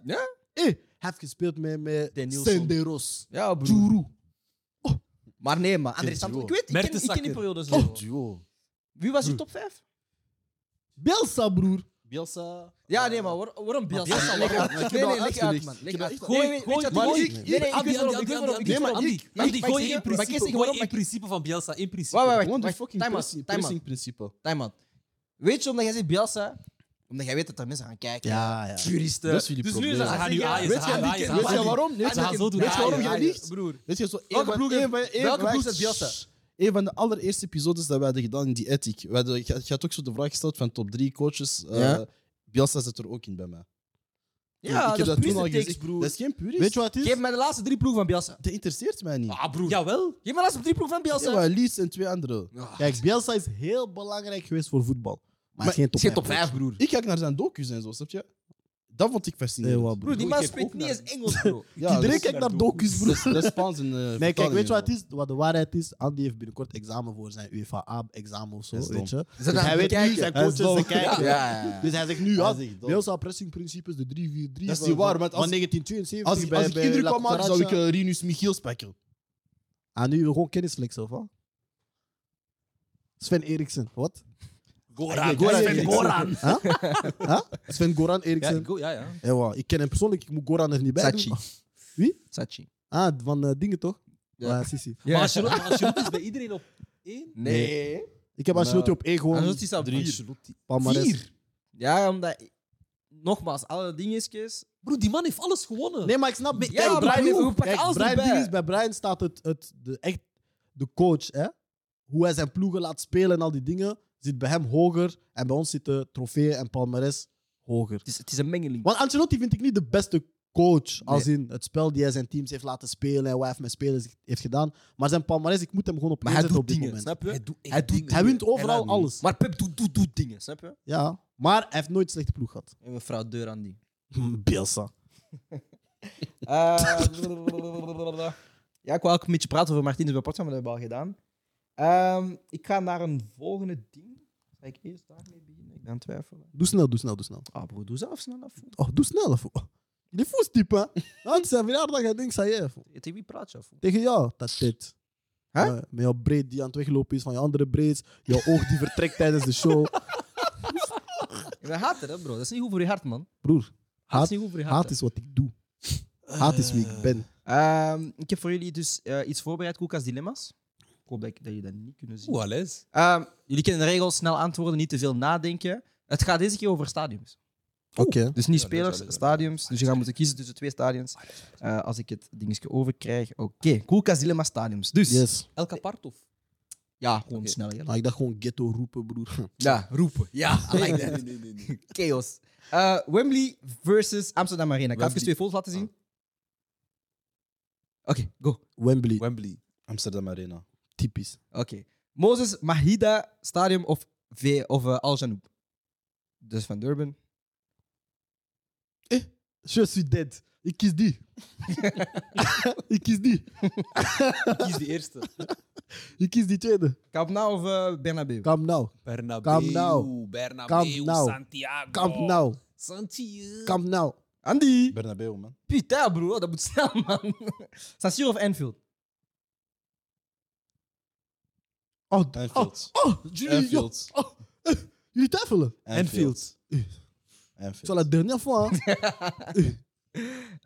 Eh, hij heeft gespeeld met, met
Danielson.
Senderos.
ja, broer. Maar nee, man. André
Ken
Santos. Ik
duo.
weet, ik ken, ik ken
Mertensacker.
die periode zo.
Oh, duo.
Wie was die top 5?
Bielsa, broer.
Bielsa.
Ja, nee, maar waar- waarom Bielsa?
Bielsa,
Leg uit.
waarom? Ik heb
Nee,
dat
nee, leg
uitgelegd.
uit, man.
Ik
Leg
heb dat
uit.
echt-
Gooi,
Gooi-
weet je
gooi-
wat
gooi-
ik- Nee, nee, ik
Andy,
weet waarom. Ik
Andy,
weet waarom. Ik
Andy,
weet
Andy,
waarom.
Andy,
Ik-
Andy,
ik-
gooi
ik-
één
maar ik- maar ik-
principe.
ik-
Gooi
waarom-
één principe van Bielsa. één principe.
Wacht, wacht, wacht.
Gewoon de
Wacht,
fucking
time out,
pressing,
time out.
pressing principe.
Time out. Weet je omdat jij zegt Bielsa? Omdat jij weet dat er mensen gaan kijken.
Ja, ja.
Juristen.
Dat is jullie
dus nu
probleem.
is dat
Ze gaan nu aaien, ze
Weet
gaan
je-
aaien,
weet
ze gaan
je
aaien.
waarom? Nee,
Ze gaan zo doen
Weet je waarom
aaien,
jij
aaien.
liegt?
Broer.
Weet je, zo één
Welke
van-
ploeg
één
heeft-
van- één
welke
van-
ploeg heeft Bielsa?
Shh. Een van de allereerste episodes dat we hadden gedaan in die ethic. We hadden, je, had, je had ook zo de vraag gesteld van top drie coaches. eh,
Ja.
Bielsa zit er ook in bij mij.
Ja,
ik heb dat, toen al
puristentekst,
gezegd.
broer.
Dat is geen purist.
Weet je wat het
Geef
is?
mij de laatste drie ploegen van Bielsa.
Dat interesseert mij niet.
Ah, broer.
Jawel. Geef mij de laatste drie ploegen van
Ja,
Bielsa.
maar Leeds en twee anderen.
Kijk, Bielsa is heel belangrijk geweest voor voetbal. Maar,
Maar
geen top
Het is geen top
5.
5, broer.
Ik kijk naar zijn docu's en zo, snap je? Dat vond ik fascinerend.
Nee, wat, Dus- broer.
Broer, die man
Ik kijk
spreekt
ook
niet
naar-
eens Engels, bro.
Ja,
Iedereen
dat-
kijkt naar
naar
docu's,
dat
broer.
is- Dat is Spaans en eh,
Nee, kijk,
vertaling
weet je
en
wat het is? Wat de waarheid is? Andy heeft binnenkort examen voor zijn UEFA-examen of zo,
Dat is
weet je.
Ze
Dus hij weet nu zijn
Hij is
coaches te
dom.
Ja,
kijken.
ja, ja.
Dus hij zegt nu,
Hij
ja,
is echt dom.
Bielsa pressingprincipes, de 3-4-3.
Dat is
van-
niet waar,
van-
want als-
Van
zo.
1972
Als, ik-
bij,
als ik
bij
indruk
La
kan maken, zou ik
Cucaracha.
eh, Rinus Michiels pakken.
Ah, nu gewoon kennis flexen, of wat? Sven Eriksen, wat?
Goran.
Goran
Goran.
Eriksen.
Goran.
Huh? huh? Sven Goran
Ja,
Eriksen.
go- ja, ja.
Ja, Eh, wauw. Ik ken hem persoonlijk, ik moet Goran er niet bij
Sachi.
doen. Wie?
Sachi.
Ah, van eh, dingen toch? Ah,
Ja.
Ja, Sissi.
Maar Ancelotti maar Ancelotti is bij iedereen op één.
Nee.
Ik heb Ancelotti op één gewoon.
Ancelotti staat op
Drie.
vier.
Palmares.
Ja, omdat... nogmaals, alle dingetjes.
Bro, die man heeft alles gewonnen.
Nee, maar ik snap.
ja, maar Brian
Ploeg.
Ploeg pakt
Kijk,
alles
Brian
erbij.
Ploeg is- bij Brian staat het, het de, echt de coach, hè? Hoe hij zijn ploegen laat spelen en al die dingen zit bij hem hoger. En bij ons zitten trofeeën en palmares hoger.
Het is, het is een mengeling.
Want Ancelotti vind ik niet de beste coach. Als
Nee.
in het spel die hij zijn teams heeft laten spelen en wat hij heeft met spelers heeft gedaan. Maar zijn palmares, ik moet hem gewoon op
Maar hij
neerzetten
doet
op dit
dingen,
moment.
snap je?
doet echt
Hij doet-
dingen.
Hij wint
En
overal
dan-
alles.
Maar Pep doet, doet, doet dingen, snap je?
Ja, maar hij heeft nooit slechte ploeg gehad.
En we fraudeur aan die.
Bielsa.
Eh, blablabla. ja, ik wil ook een beetje praten over Martinez bij Portugal, maar dat hebben we al gedaan. Ehm, ik ga naar een volgende ding. Zal ik eerst daarmee beginnen? Ik ben aan het twijfelen.
Doe snel, doe snel, doe snel.
Ah, bro, doe zelf snel af.
Oh, doe snel. Afo. Die voetstype, hè? Nou, het is zijn verjaardag, hij denkt, zei je. afo.
Tegen wie praat je af?
Tegen jou, dat dit.
Hè?
Ja, met jouw breed die aan het weglopen is van je andere braids. Jouw oog die vertrekt tijdens de show.
Ik ben hater, hè, bro. Dat is niet goed voor je hart, man.
Broer,
Dat is
haat,
niet goed voor je hart.
haat is wat ik doe. Haat is wie ik ben.
Ehm, ik heb voor jullie dus eh, iets voorbereid, Koelka's Dilemma's. Ik hoop dat, ik- dat jullie dat niet kunnen zien.
Oeh, alles.
Ehm, jullie kennen de regels, snel antwoorden, niet te veel nadenken. Het gaat deze keer over stadiums.
Oké.
Dus niet
Ja, dat
spelers,
zou ik-
stadiums. Dus je gaat moeten kiezen tussen twee stadiums. Eh, als ik het dingetje overkrijg. Oké, Koelka's Dilemma stadiums. Dus,
Yes.
El Capartof.
ja, gewoon
Oké.
snel. hè.
Nou, ik dacht gewoon ghetto roepen, broer.
Ja, roepen. Ja, I like that.
nee, nee.
Chaos. Eh, Wembley versus Amsterdam Arena. Ik ga even twee foto's laten zien. Ah. Oké, go.
Wembley,
Wembley.
Amsterdam Arena.
typisch.
Oké. Moses, Mahida, Stadium of, v of eh, Al Janoub? Dus van Durban.
Je suis dead. Ik kies die. ik kies die.
Ik kies de eerste.
Ik kies die tweede.
Camp Nou of eh, Bernabeu?
Come now.
Bernabeu.
Camp Nou.
Bernabeu.
Camp Nou.
Santiago.
Come
Nou.
now.
Santiago.
Come now.
Andy!
Bernabeu, man.
Putain, bro. Dat moet snel, man. San Siro of Enfield?
Oh, d- oh,
Anfield.
oh, jullie, joh,
Anfield.
oh, eh, jullie twijfelen.
Anfield.
Eh,
Anfield.
C'est la dernière fois. hein.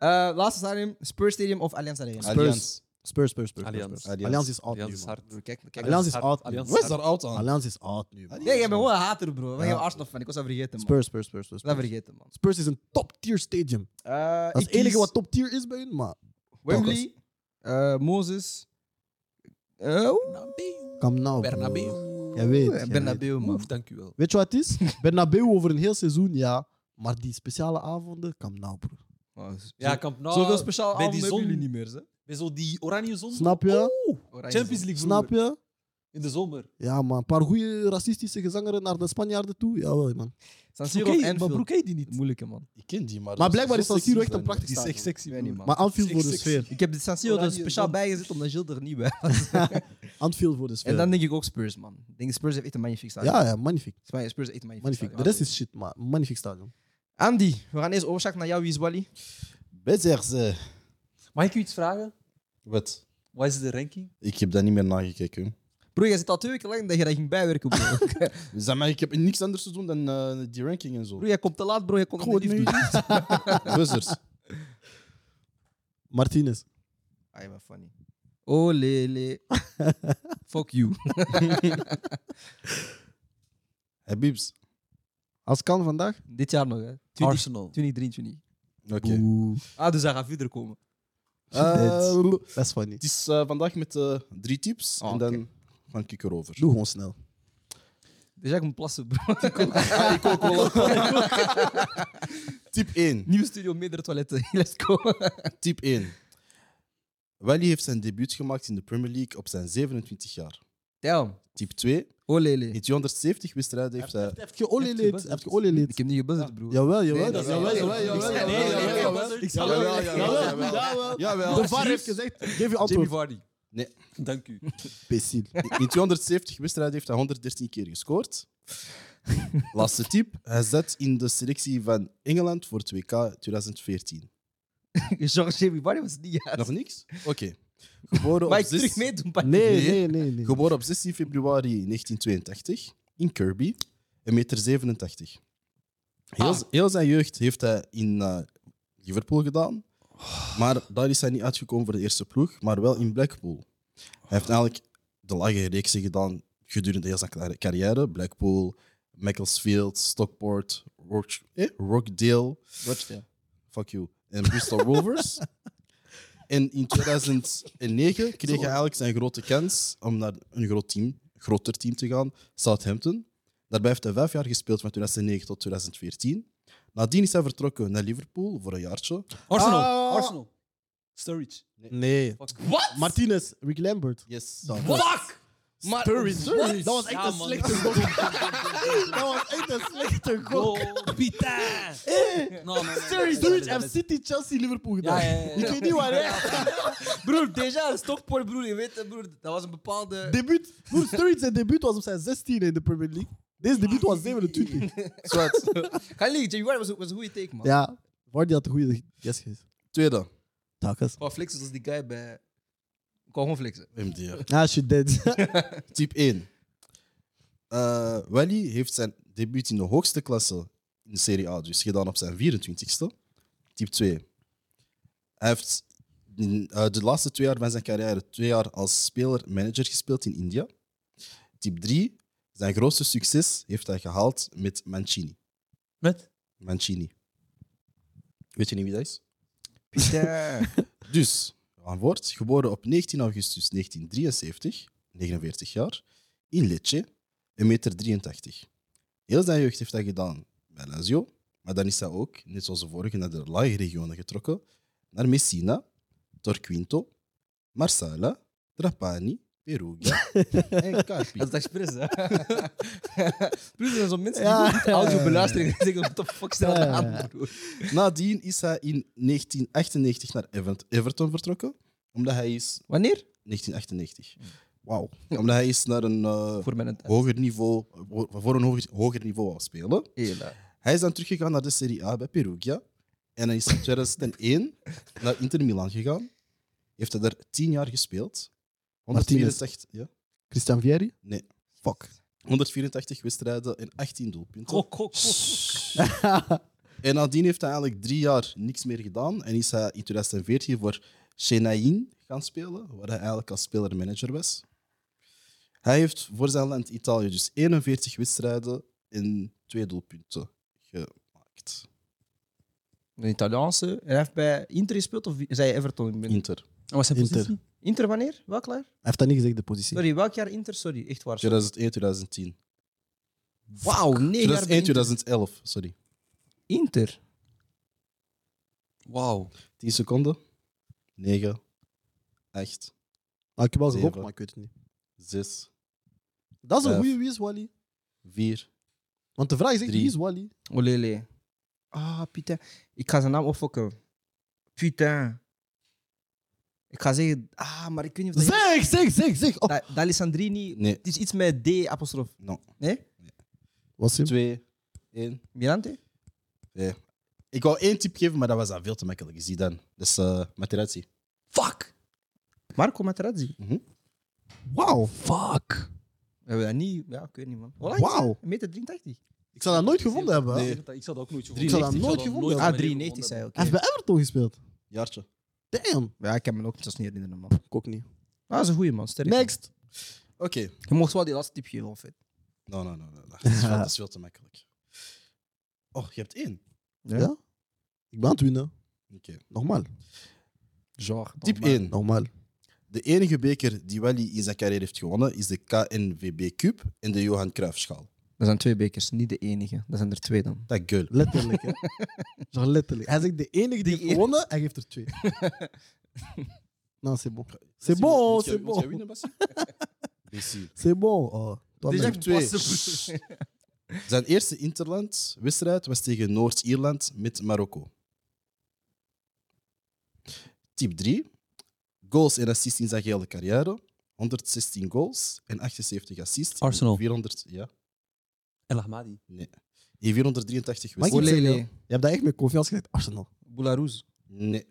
Eh, laatste stadium, Spurs Stadium of Allianz Arena?
Spurs.
Allianz.
Spurs, Spurs, Spurs.
Allianz.
Spurs. Allianz
Nou.
is oud
Allianz
nu,
is
man.
hard.
Bro, kijk, kijk.
Allianz is oud.
Allianz
Wat is daar oud aan?
Allianz is oud nu, man.
Allianz.
Nee, jij bent gewoon een hater, bro. Ik ben
Ja.
heel Arsenal fan. Ik was dat vergeten, man.
Spurs, Spurs, Spurs. Spurs,
Dat
Spurs.
vergeten, man.
Spurs is een top-tier stadium.
Eh,
Dat is
ik
het enige
kies
wat top-tier is bij hun, maar...
Wembley, eh, Moses... Eh, oeh,
Bernabeu.
Come now, bro.
Bernabeu.
Jij weet, jij weet.
Bernabeu, man.
Oef, dank u wel.
Weet je wat het is? Bernabeu over een heel seizoen, ja. Maar die speciale avonden, come now, bro.
Oh,
Ja, Camp Nou.
Zoveel speciaal
bij die
avonden hebben
zon-
jullie niet meer, hè?
Met zo die oranje zon.
Snap je?
Oeh, Champions League
Snap
vroeger.
je?
In de zomer.
Ja, man. Een paar goede racistische gezangeren naar de Spanjaarden toe. Jawel,
San
man.
Broek
Siro of
heet- maar
Anfield.
broek heet die niet.
Moeilijke man.
Ik ken die, maar...
Maar
dat
blijkbaar
zo
is San Siro
sexy
echt
van
een prachtig
die
Die is echt
stadion.
sexy,
Ik weet niet,
broer.
man.
Maar Anfield voor de
Six, six.
sfeer.
Ik heb de San Siro er
Oranje
speciaal
zon.
bijgezet omdat Gilles er niet bij was.
Anfield voor de sfeer.
En dan denk ik ook Spurs, man. Ik denk Spurs heeft echt een magnifiek stadion.
ja, ja, magnifiek.
Spanje, Spurs heeft echt een magnifiek
magnifiek. De
stadion.
rest is shit, maar magnifiek stadion.
Andy, we gaan eerst overschakelen naar jou. Wie is Wally?
Bezig, ze.
Mag ik u iets vragen?
eh. Wat?
Wat is de ranking?
Ik heb daar niet meer nagekeken.
Bro, jij zit al twee weken lang dat je dat ging bijwerken, bro.
Zeg maar, Dus ik heb niks anders te doen dan eh, die ranking en zo.
bro, jij komt te laat, bro. Jij komt
Goed,
niet lief doen.
Buzzers.
Martinez.
Ai, wat funny. Oh, lele. Fuck you.
Habibs.
Als kan vandaag.
Dit jaar nog, hè. 20,
Arsenal.
2023.
Oké.
Oeh,
Ah, dus hij gaat verder komen.
Eh,
Dit. dat is funny.
het is eh, vandaag met eh, drie tips
Ah,
en dan
oké.
ga ik erover.
Doe gewoon snel.
Dus jij moet plassen, bro.
Ah,
ik ook Tip 1.
Nieuw studio, meerdere toiletten. Let's go.
Tip 1. Wally heeft zijn debuut gemaakt in de Premier League op zijn 27 jaar.
Damn.
Tip 2.
Oh, lele.
In 270 wedstrijden heeft hij...
Heb je olielid? Heb je olielid?
Ik heb niet gebuzzed, bro.
Jawel, jawel.
dat is-
Jawel, jawel,
Ik-
jawel.
Nee, nee, nee, nee, nee,
jawel, jawel, jawel.
ik-
Jawel,
jawel,
jawel,
jawel.
jawel.
Jawel.
De VAR heeft gezegd, geef je
Jamie
antwoord.
Vardy.
Dank u.
Imbecile.
In 270 wedstrijden heeft hij 113 keer gescoord. Laatste tip. Hij zat in de selectie van Engeland voor het WK 2014.
George Jamie Vardy was het niet juist.
Nog niks? Oké. Geboren op
Maar ik
zes-
terug meedoen, Patrick.
Nee, nee, nee. nee.
Geboren op 16 februari 1982 in Kirby, 1,87 meter. 87. Heel,
Ah.
heel zijn jeugd heeft hij in eh, Liverpool gedaan, maar daar is hij niet uitgekomen voor de eerste ploeg, maar wel in Blackpool. Hij heeft eigenlijk de lage reeksen gedaan gedurende heel zijn carrière. Blackpool, Macclesfield, Stockport, Roch- eh? Rockdale.
Rochdale.
Fuck you. En Bristol Rovers. En in 2009 kreeg hij eigenlijk zijn grote kans om naar een groot team, groter team te gaan, Southampton. Daarbij heeft hij vijf jaar gespeeld, van 2009 tot 2014. Nadien is hij vertrokken naar Liverpool voor een jaartje.
Arsenal.
Ah,
Arsenal. Sturridge.
Nee.
What?
Martinez, Rick Lambert.
Yes.
Fuck!
Maar,
Sturridge. Dat was echt
Ja,
een
man.
slechte gok. dat was echt een slechte gok.
Pita!
Hey,
No, no, no,
Sturridge, Sturridge heeft City, Chelsea, Liverpool gedaan.
Ja, ja, ja, ja.
Ik weet niet waar hij...
broer, déjà, Stockport, broer, je weet het, broer. Dat was een bepaalde...
Debuut. Broer, Sturridge zijn debuut was op zijn 16 in de Premier League. Deze debuut was 27.
Zwart.
Ga je liegen, Jamie Vardy was, was een goede take, man.
Ja, Vardy had een goede guess gegeven.
Tweede.
Takas.
Ik wou flexen zoals die guy bij... Ik wou gewoon flexen.
MDR.
Ah, she did.
Type 1. Eh Wally heeft zijn debuut in de hoogste klasse in de Serie A, dus gedaan op zijn 24ste. Type 2. Hij heeft in, eh, de laatste twee jaar van zijn carrière twee jaar als speler-manager gespeeld in India. Type 3. Zijn grootste succes heeft hij gehaald met Mancini.
Met?
Mancini. Weet je niet wie dat is?
Pita.
Dus, aan woord, geboren op 19 augustus 1973, 49 jaar, in Lecce, 1,83 meter. Heel zijn jeugd heeft hij gedaan bij Lazio, maar dan is hij ook, net zoals de vorige, naar de lage regionen getrokken, naar Messina, Torquinto, Marsala, Trapani, Perugia en Carpi.
Dat is expres, hè? Plus, er zijn zo'n mensen
Ja.
die niet audio beluisteren en zeggen: wat de fuck stel
Ja,
dat
ja, ja.
aan, broer?
Nadien is hij in 1998 naar Event- Everton vertrokken, omdat hij is...
Wanneer?
1998. Wauw. Omdat hij is naar een... eh,
Voor mijn tijd.
hoger niveau, voor een hoger, hoger niveau wou spelen.
Hela.
Hij is dan teruggegaan naar de Serie A bij Perugia. En hij is in 2001 naar Inter Milan gegaan. Heeft hij daar tien jaar gespeeld. 184, ja?
Christian Vieri?
Nee.
Fuck.
184 wedstrijden en 18 doelpunten.
Kok, kok, kok.
En nadien heeft hij eigenlijk drie jaar niks meer gedaan. En is hij in 2014 voor Shenaïn gaan spelen, waar hij eigenlijk als speler-manager was. Hij heeft voor zijn land Italië dus 41 wedstrijden en twee doelpunten gemaakt.
Een Italiaanse. Hij heeft bij Inter gespeeld of zei Everton? Ik ben-
Inter.
was zijn
Inter.
positie?
Inter wanneer? Welk jaar?
Hij heeft dat niet gezegd, de positie.
Sorry, welk jaar Inter? Sorry, echt waar.
2001, 2010.
Wauw, nee, jaar
2001,
bij Inter.
2011, sorry.
Inter.
Wauw.
10 seconden. 9, 8,
Ah, ik heb wel
Zeven.
gehoord, maar ik weet het niet.
6,
Dat is een
Vijf.
goede wie is Wally.
4.
Want de vraag is echt,
Drie.
wie is Wally?
Olele. Ah, putain. Ik ga zijn naam opfokken. Putain. Ik ga zeggen, ah, maar ik weet niet of dat...
Zeg, zeg, zeg, zeg. Oh.
Da- D'Alessandrini.
Nee,
Het is iets met D apostrof.
no.
Nee?
Was hem?
2, 1.
Mirante?
Ik wou één tip geven, maar dat was dan veel te makkelijk. Je ziet dan. Dus eh Materazzi.
Fuck!
Marco Materazzi. Eh
Wauw. Fuck.
We hebben dat niet... Ja, ik weet niet, man. Hoe lang is
Wauw.
hij? 1,83 meter 83.
Ik zou dat nooit gevonden hebben. hè.
Nee.
Ik zou dat ook nooit gevonden
Ik zou dat nooit gevonden
Ah, 93 zei
Hij heeft
oké.
bij Everton gespeeld.
Jaartje.
Damn.
Ja, ik heb me ook niet zo snel herinneren, man.
Ik ook niet.
Ah, dat is een goeie, man. Sterk.
Next.
Oké.
Je mocht wel die laatste tip geven, of het.
No, no, no, no. Dat is veel, dat is veel te makkelijk. Oh, je hebt één.
Ja?
Ja? Ik ben aan het winnen.
Oké.
Nogmaal.
Genre.
Type 1.
Nogmaal.
De enige beker die Wally in zijn carrière heeft gewonnen is de KNVB Cup en de Johan Cruijffschaal.
Dat zijn twee bekers, niet de enige. Dat zijn er twee dan.
Dat girl.
Letterlijk, hè. Genre letterlijk. Hij is de enige die heeft gewonnen, hij geeft er twee. nou, c'est bon. C'est bon, c'est bon.
Merci.
C'est bon. Oh, toi,
Déjà
man.
que- Zijn eerste interland-wedstrijd was tegen Noord-Ierland met Marokko. Type 3. Goals en assists in zijn gehele carrière. 116 goals en 78 assists. in
Arsenal.
400, ja,
El Ahmadi.
in 483
Mag ik
wedstrijden.
iets zeggen? Je hebt daar echt met confiance gezegd. Arsenal.
Boularouz.
Nee.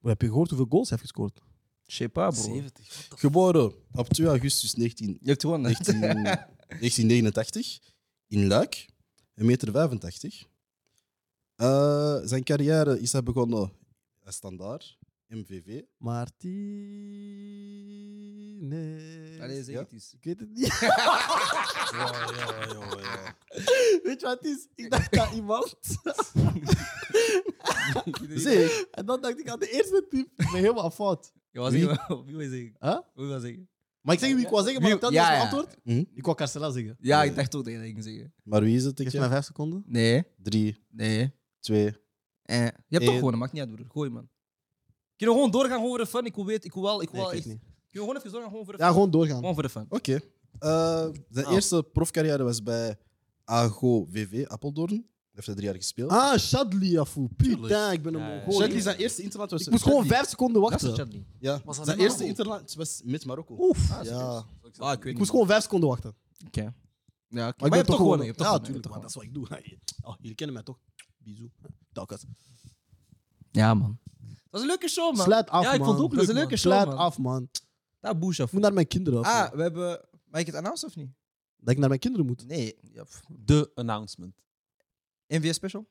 Heb je gehoord hoeveel goals hij heeft gescoord?
Je sais
Ah,
pas, bro. Je
70. What the fuck?
Geboren op 2 augustus 19,
hebt gewonnen.
19 1989 in Luik, 1,85 meter. 85. Eh, zijn carrière is hij begonnen als standaard MVV.
Martinez.
Allee, zeg
Ja?
het eens.
Ik weet het niet.
Ja, ja, ja, ja.
Weet je wat het is? Ik dacht aan iemand.
Zeg,
En dan dacht ik aan de eerste tip. Ik ben helemaal fout.
Je was
Wie?
zeggen, wie wil je zeggen?
Huh?
Wie wil je zeggen?
Maar ik zeg niet wie ik wou zeggen, maar
Wie-
dat
ja,
was mijn
ja.
antwoord.
Mhm.
Ik wou Carcela zeggen.
Ja, ik dacht ook dat je dat ging zeggen.
Maar wie is het? Ik
Geef mij
zeg?
vijf seconden.
Nee,
Drie,
nee.
twee.
Eh, je hebt toch
Eh.
gewoon, dat maakt niet uit, broer. Gooi, man. Kunnen we gewoon doorgaan gewoon voor de fun? Ik wil weten, ik wil wel, ik wil
Nee, ik
wel echt...
weet niet.
Kunnen we gewoon even doorgaan gewoon voor de fun? Ah,
Ja, gewoon doorgaan.
Gewoon voor de fun.
Oké. Eh, zijn
Ah.
eerste profcarrière was bij AGO VV Apeldoorn. Hij heeft hij drie jaar gespeeld.
Ah, Shadli Afu. Putain,
Tuurlijk.
ik ben een
Ja, ja, ja.
Mongool.
Shadley,
Ik
zijn eerste interland was...
moest gewoon
Shadley-
vijf seconden
Dat is
wachten.
Chadli.
Ja,
Was dat
zijn
met
eerste
Marokko?
interland was met Marokko.
Oef.
Ah,
Ja.
Ah, ik weet
Ik
niet.
moest gewoon vijf seconden wachten.
Oké. Ja, oké.
Maar,
Maar je
ik
hebt
ben
toch
toch gewoon.
gewonnen. je hebt toch
ja,
gewonnen,
natuurlijk,
je
man.
hebt
Dat
toch
is wat ik doe. Oh, jullie kennen mij toch? Bisous. Dankjewel.
gewonnen. Ja, man. Dat was een leuke show, man.
Sluit af,
Ja, ik vond
man.
het ook
Dat is een
leuk,
leuke show,
Sluit
man.
af, man.
Daar boes af.
Ik moet naar mijn kinderen af.
Ah,
man.
we hebben... Mag ik het announce of niet?
Dat ik naar mijn kinderen moet.
Nee. Ja, pff.
De announcement.
NVS special?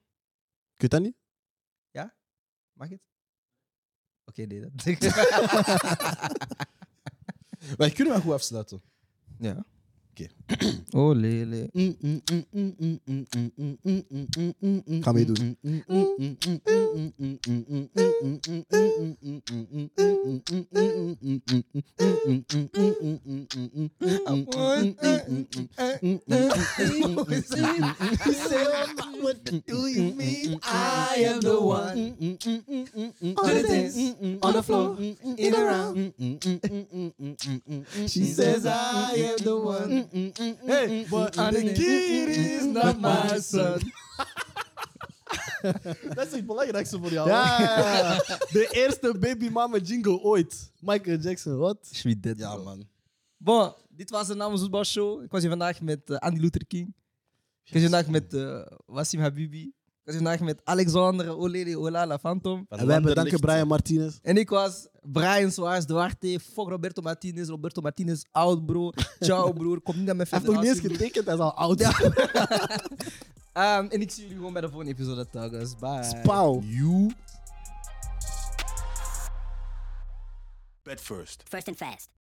Ik weet dat niet.
Mag het? Oké, nee. Dat.
Wij kunnen wel goed afsluiten.
ja.
Oké.
Oh, lele.
Mm, Gaan
Gaan we doen.
Ah, Mm, Eh, mm, I am the one. mm,
On
the dance,
on the
floor,
in
a
round.
She says I am the one.
Hey,
but the kid is not my son.
Dat is het belangrijkste voor jou.
hè?
Ja, de eerste baby mama jingle ooit. Michael Jackson, wat?
Sweet dead.
Ja,
bro.
man.
Bon, dit was de Namens Voetbal Show. Ik was hier vandaag met eh, Andy Luther King. Ik was hier vandaag met eh Wassim Habibi. Ik was hier vandaag met Alexandre Olele Olala Phantom.
En wij bedanken Brian Martinez.
En ik was Brian Soares Duarte. Fuck Roberto Martinez. Roberto Martinez, oud bro. Ciao broer. Kom niet naar mijn
Hij heeft nog niet eens
federatie, broer.
getekend, hij is al oud.
Ehm, en ik zie jullie gewoon bij de volgende episode. Dag, guys. Bye.
Pauw.
First and fast.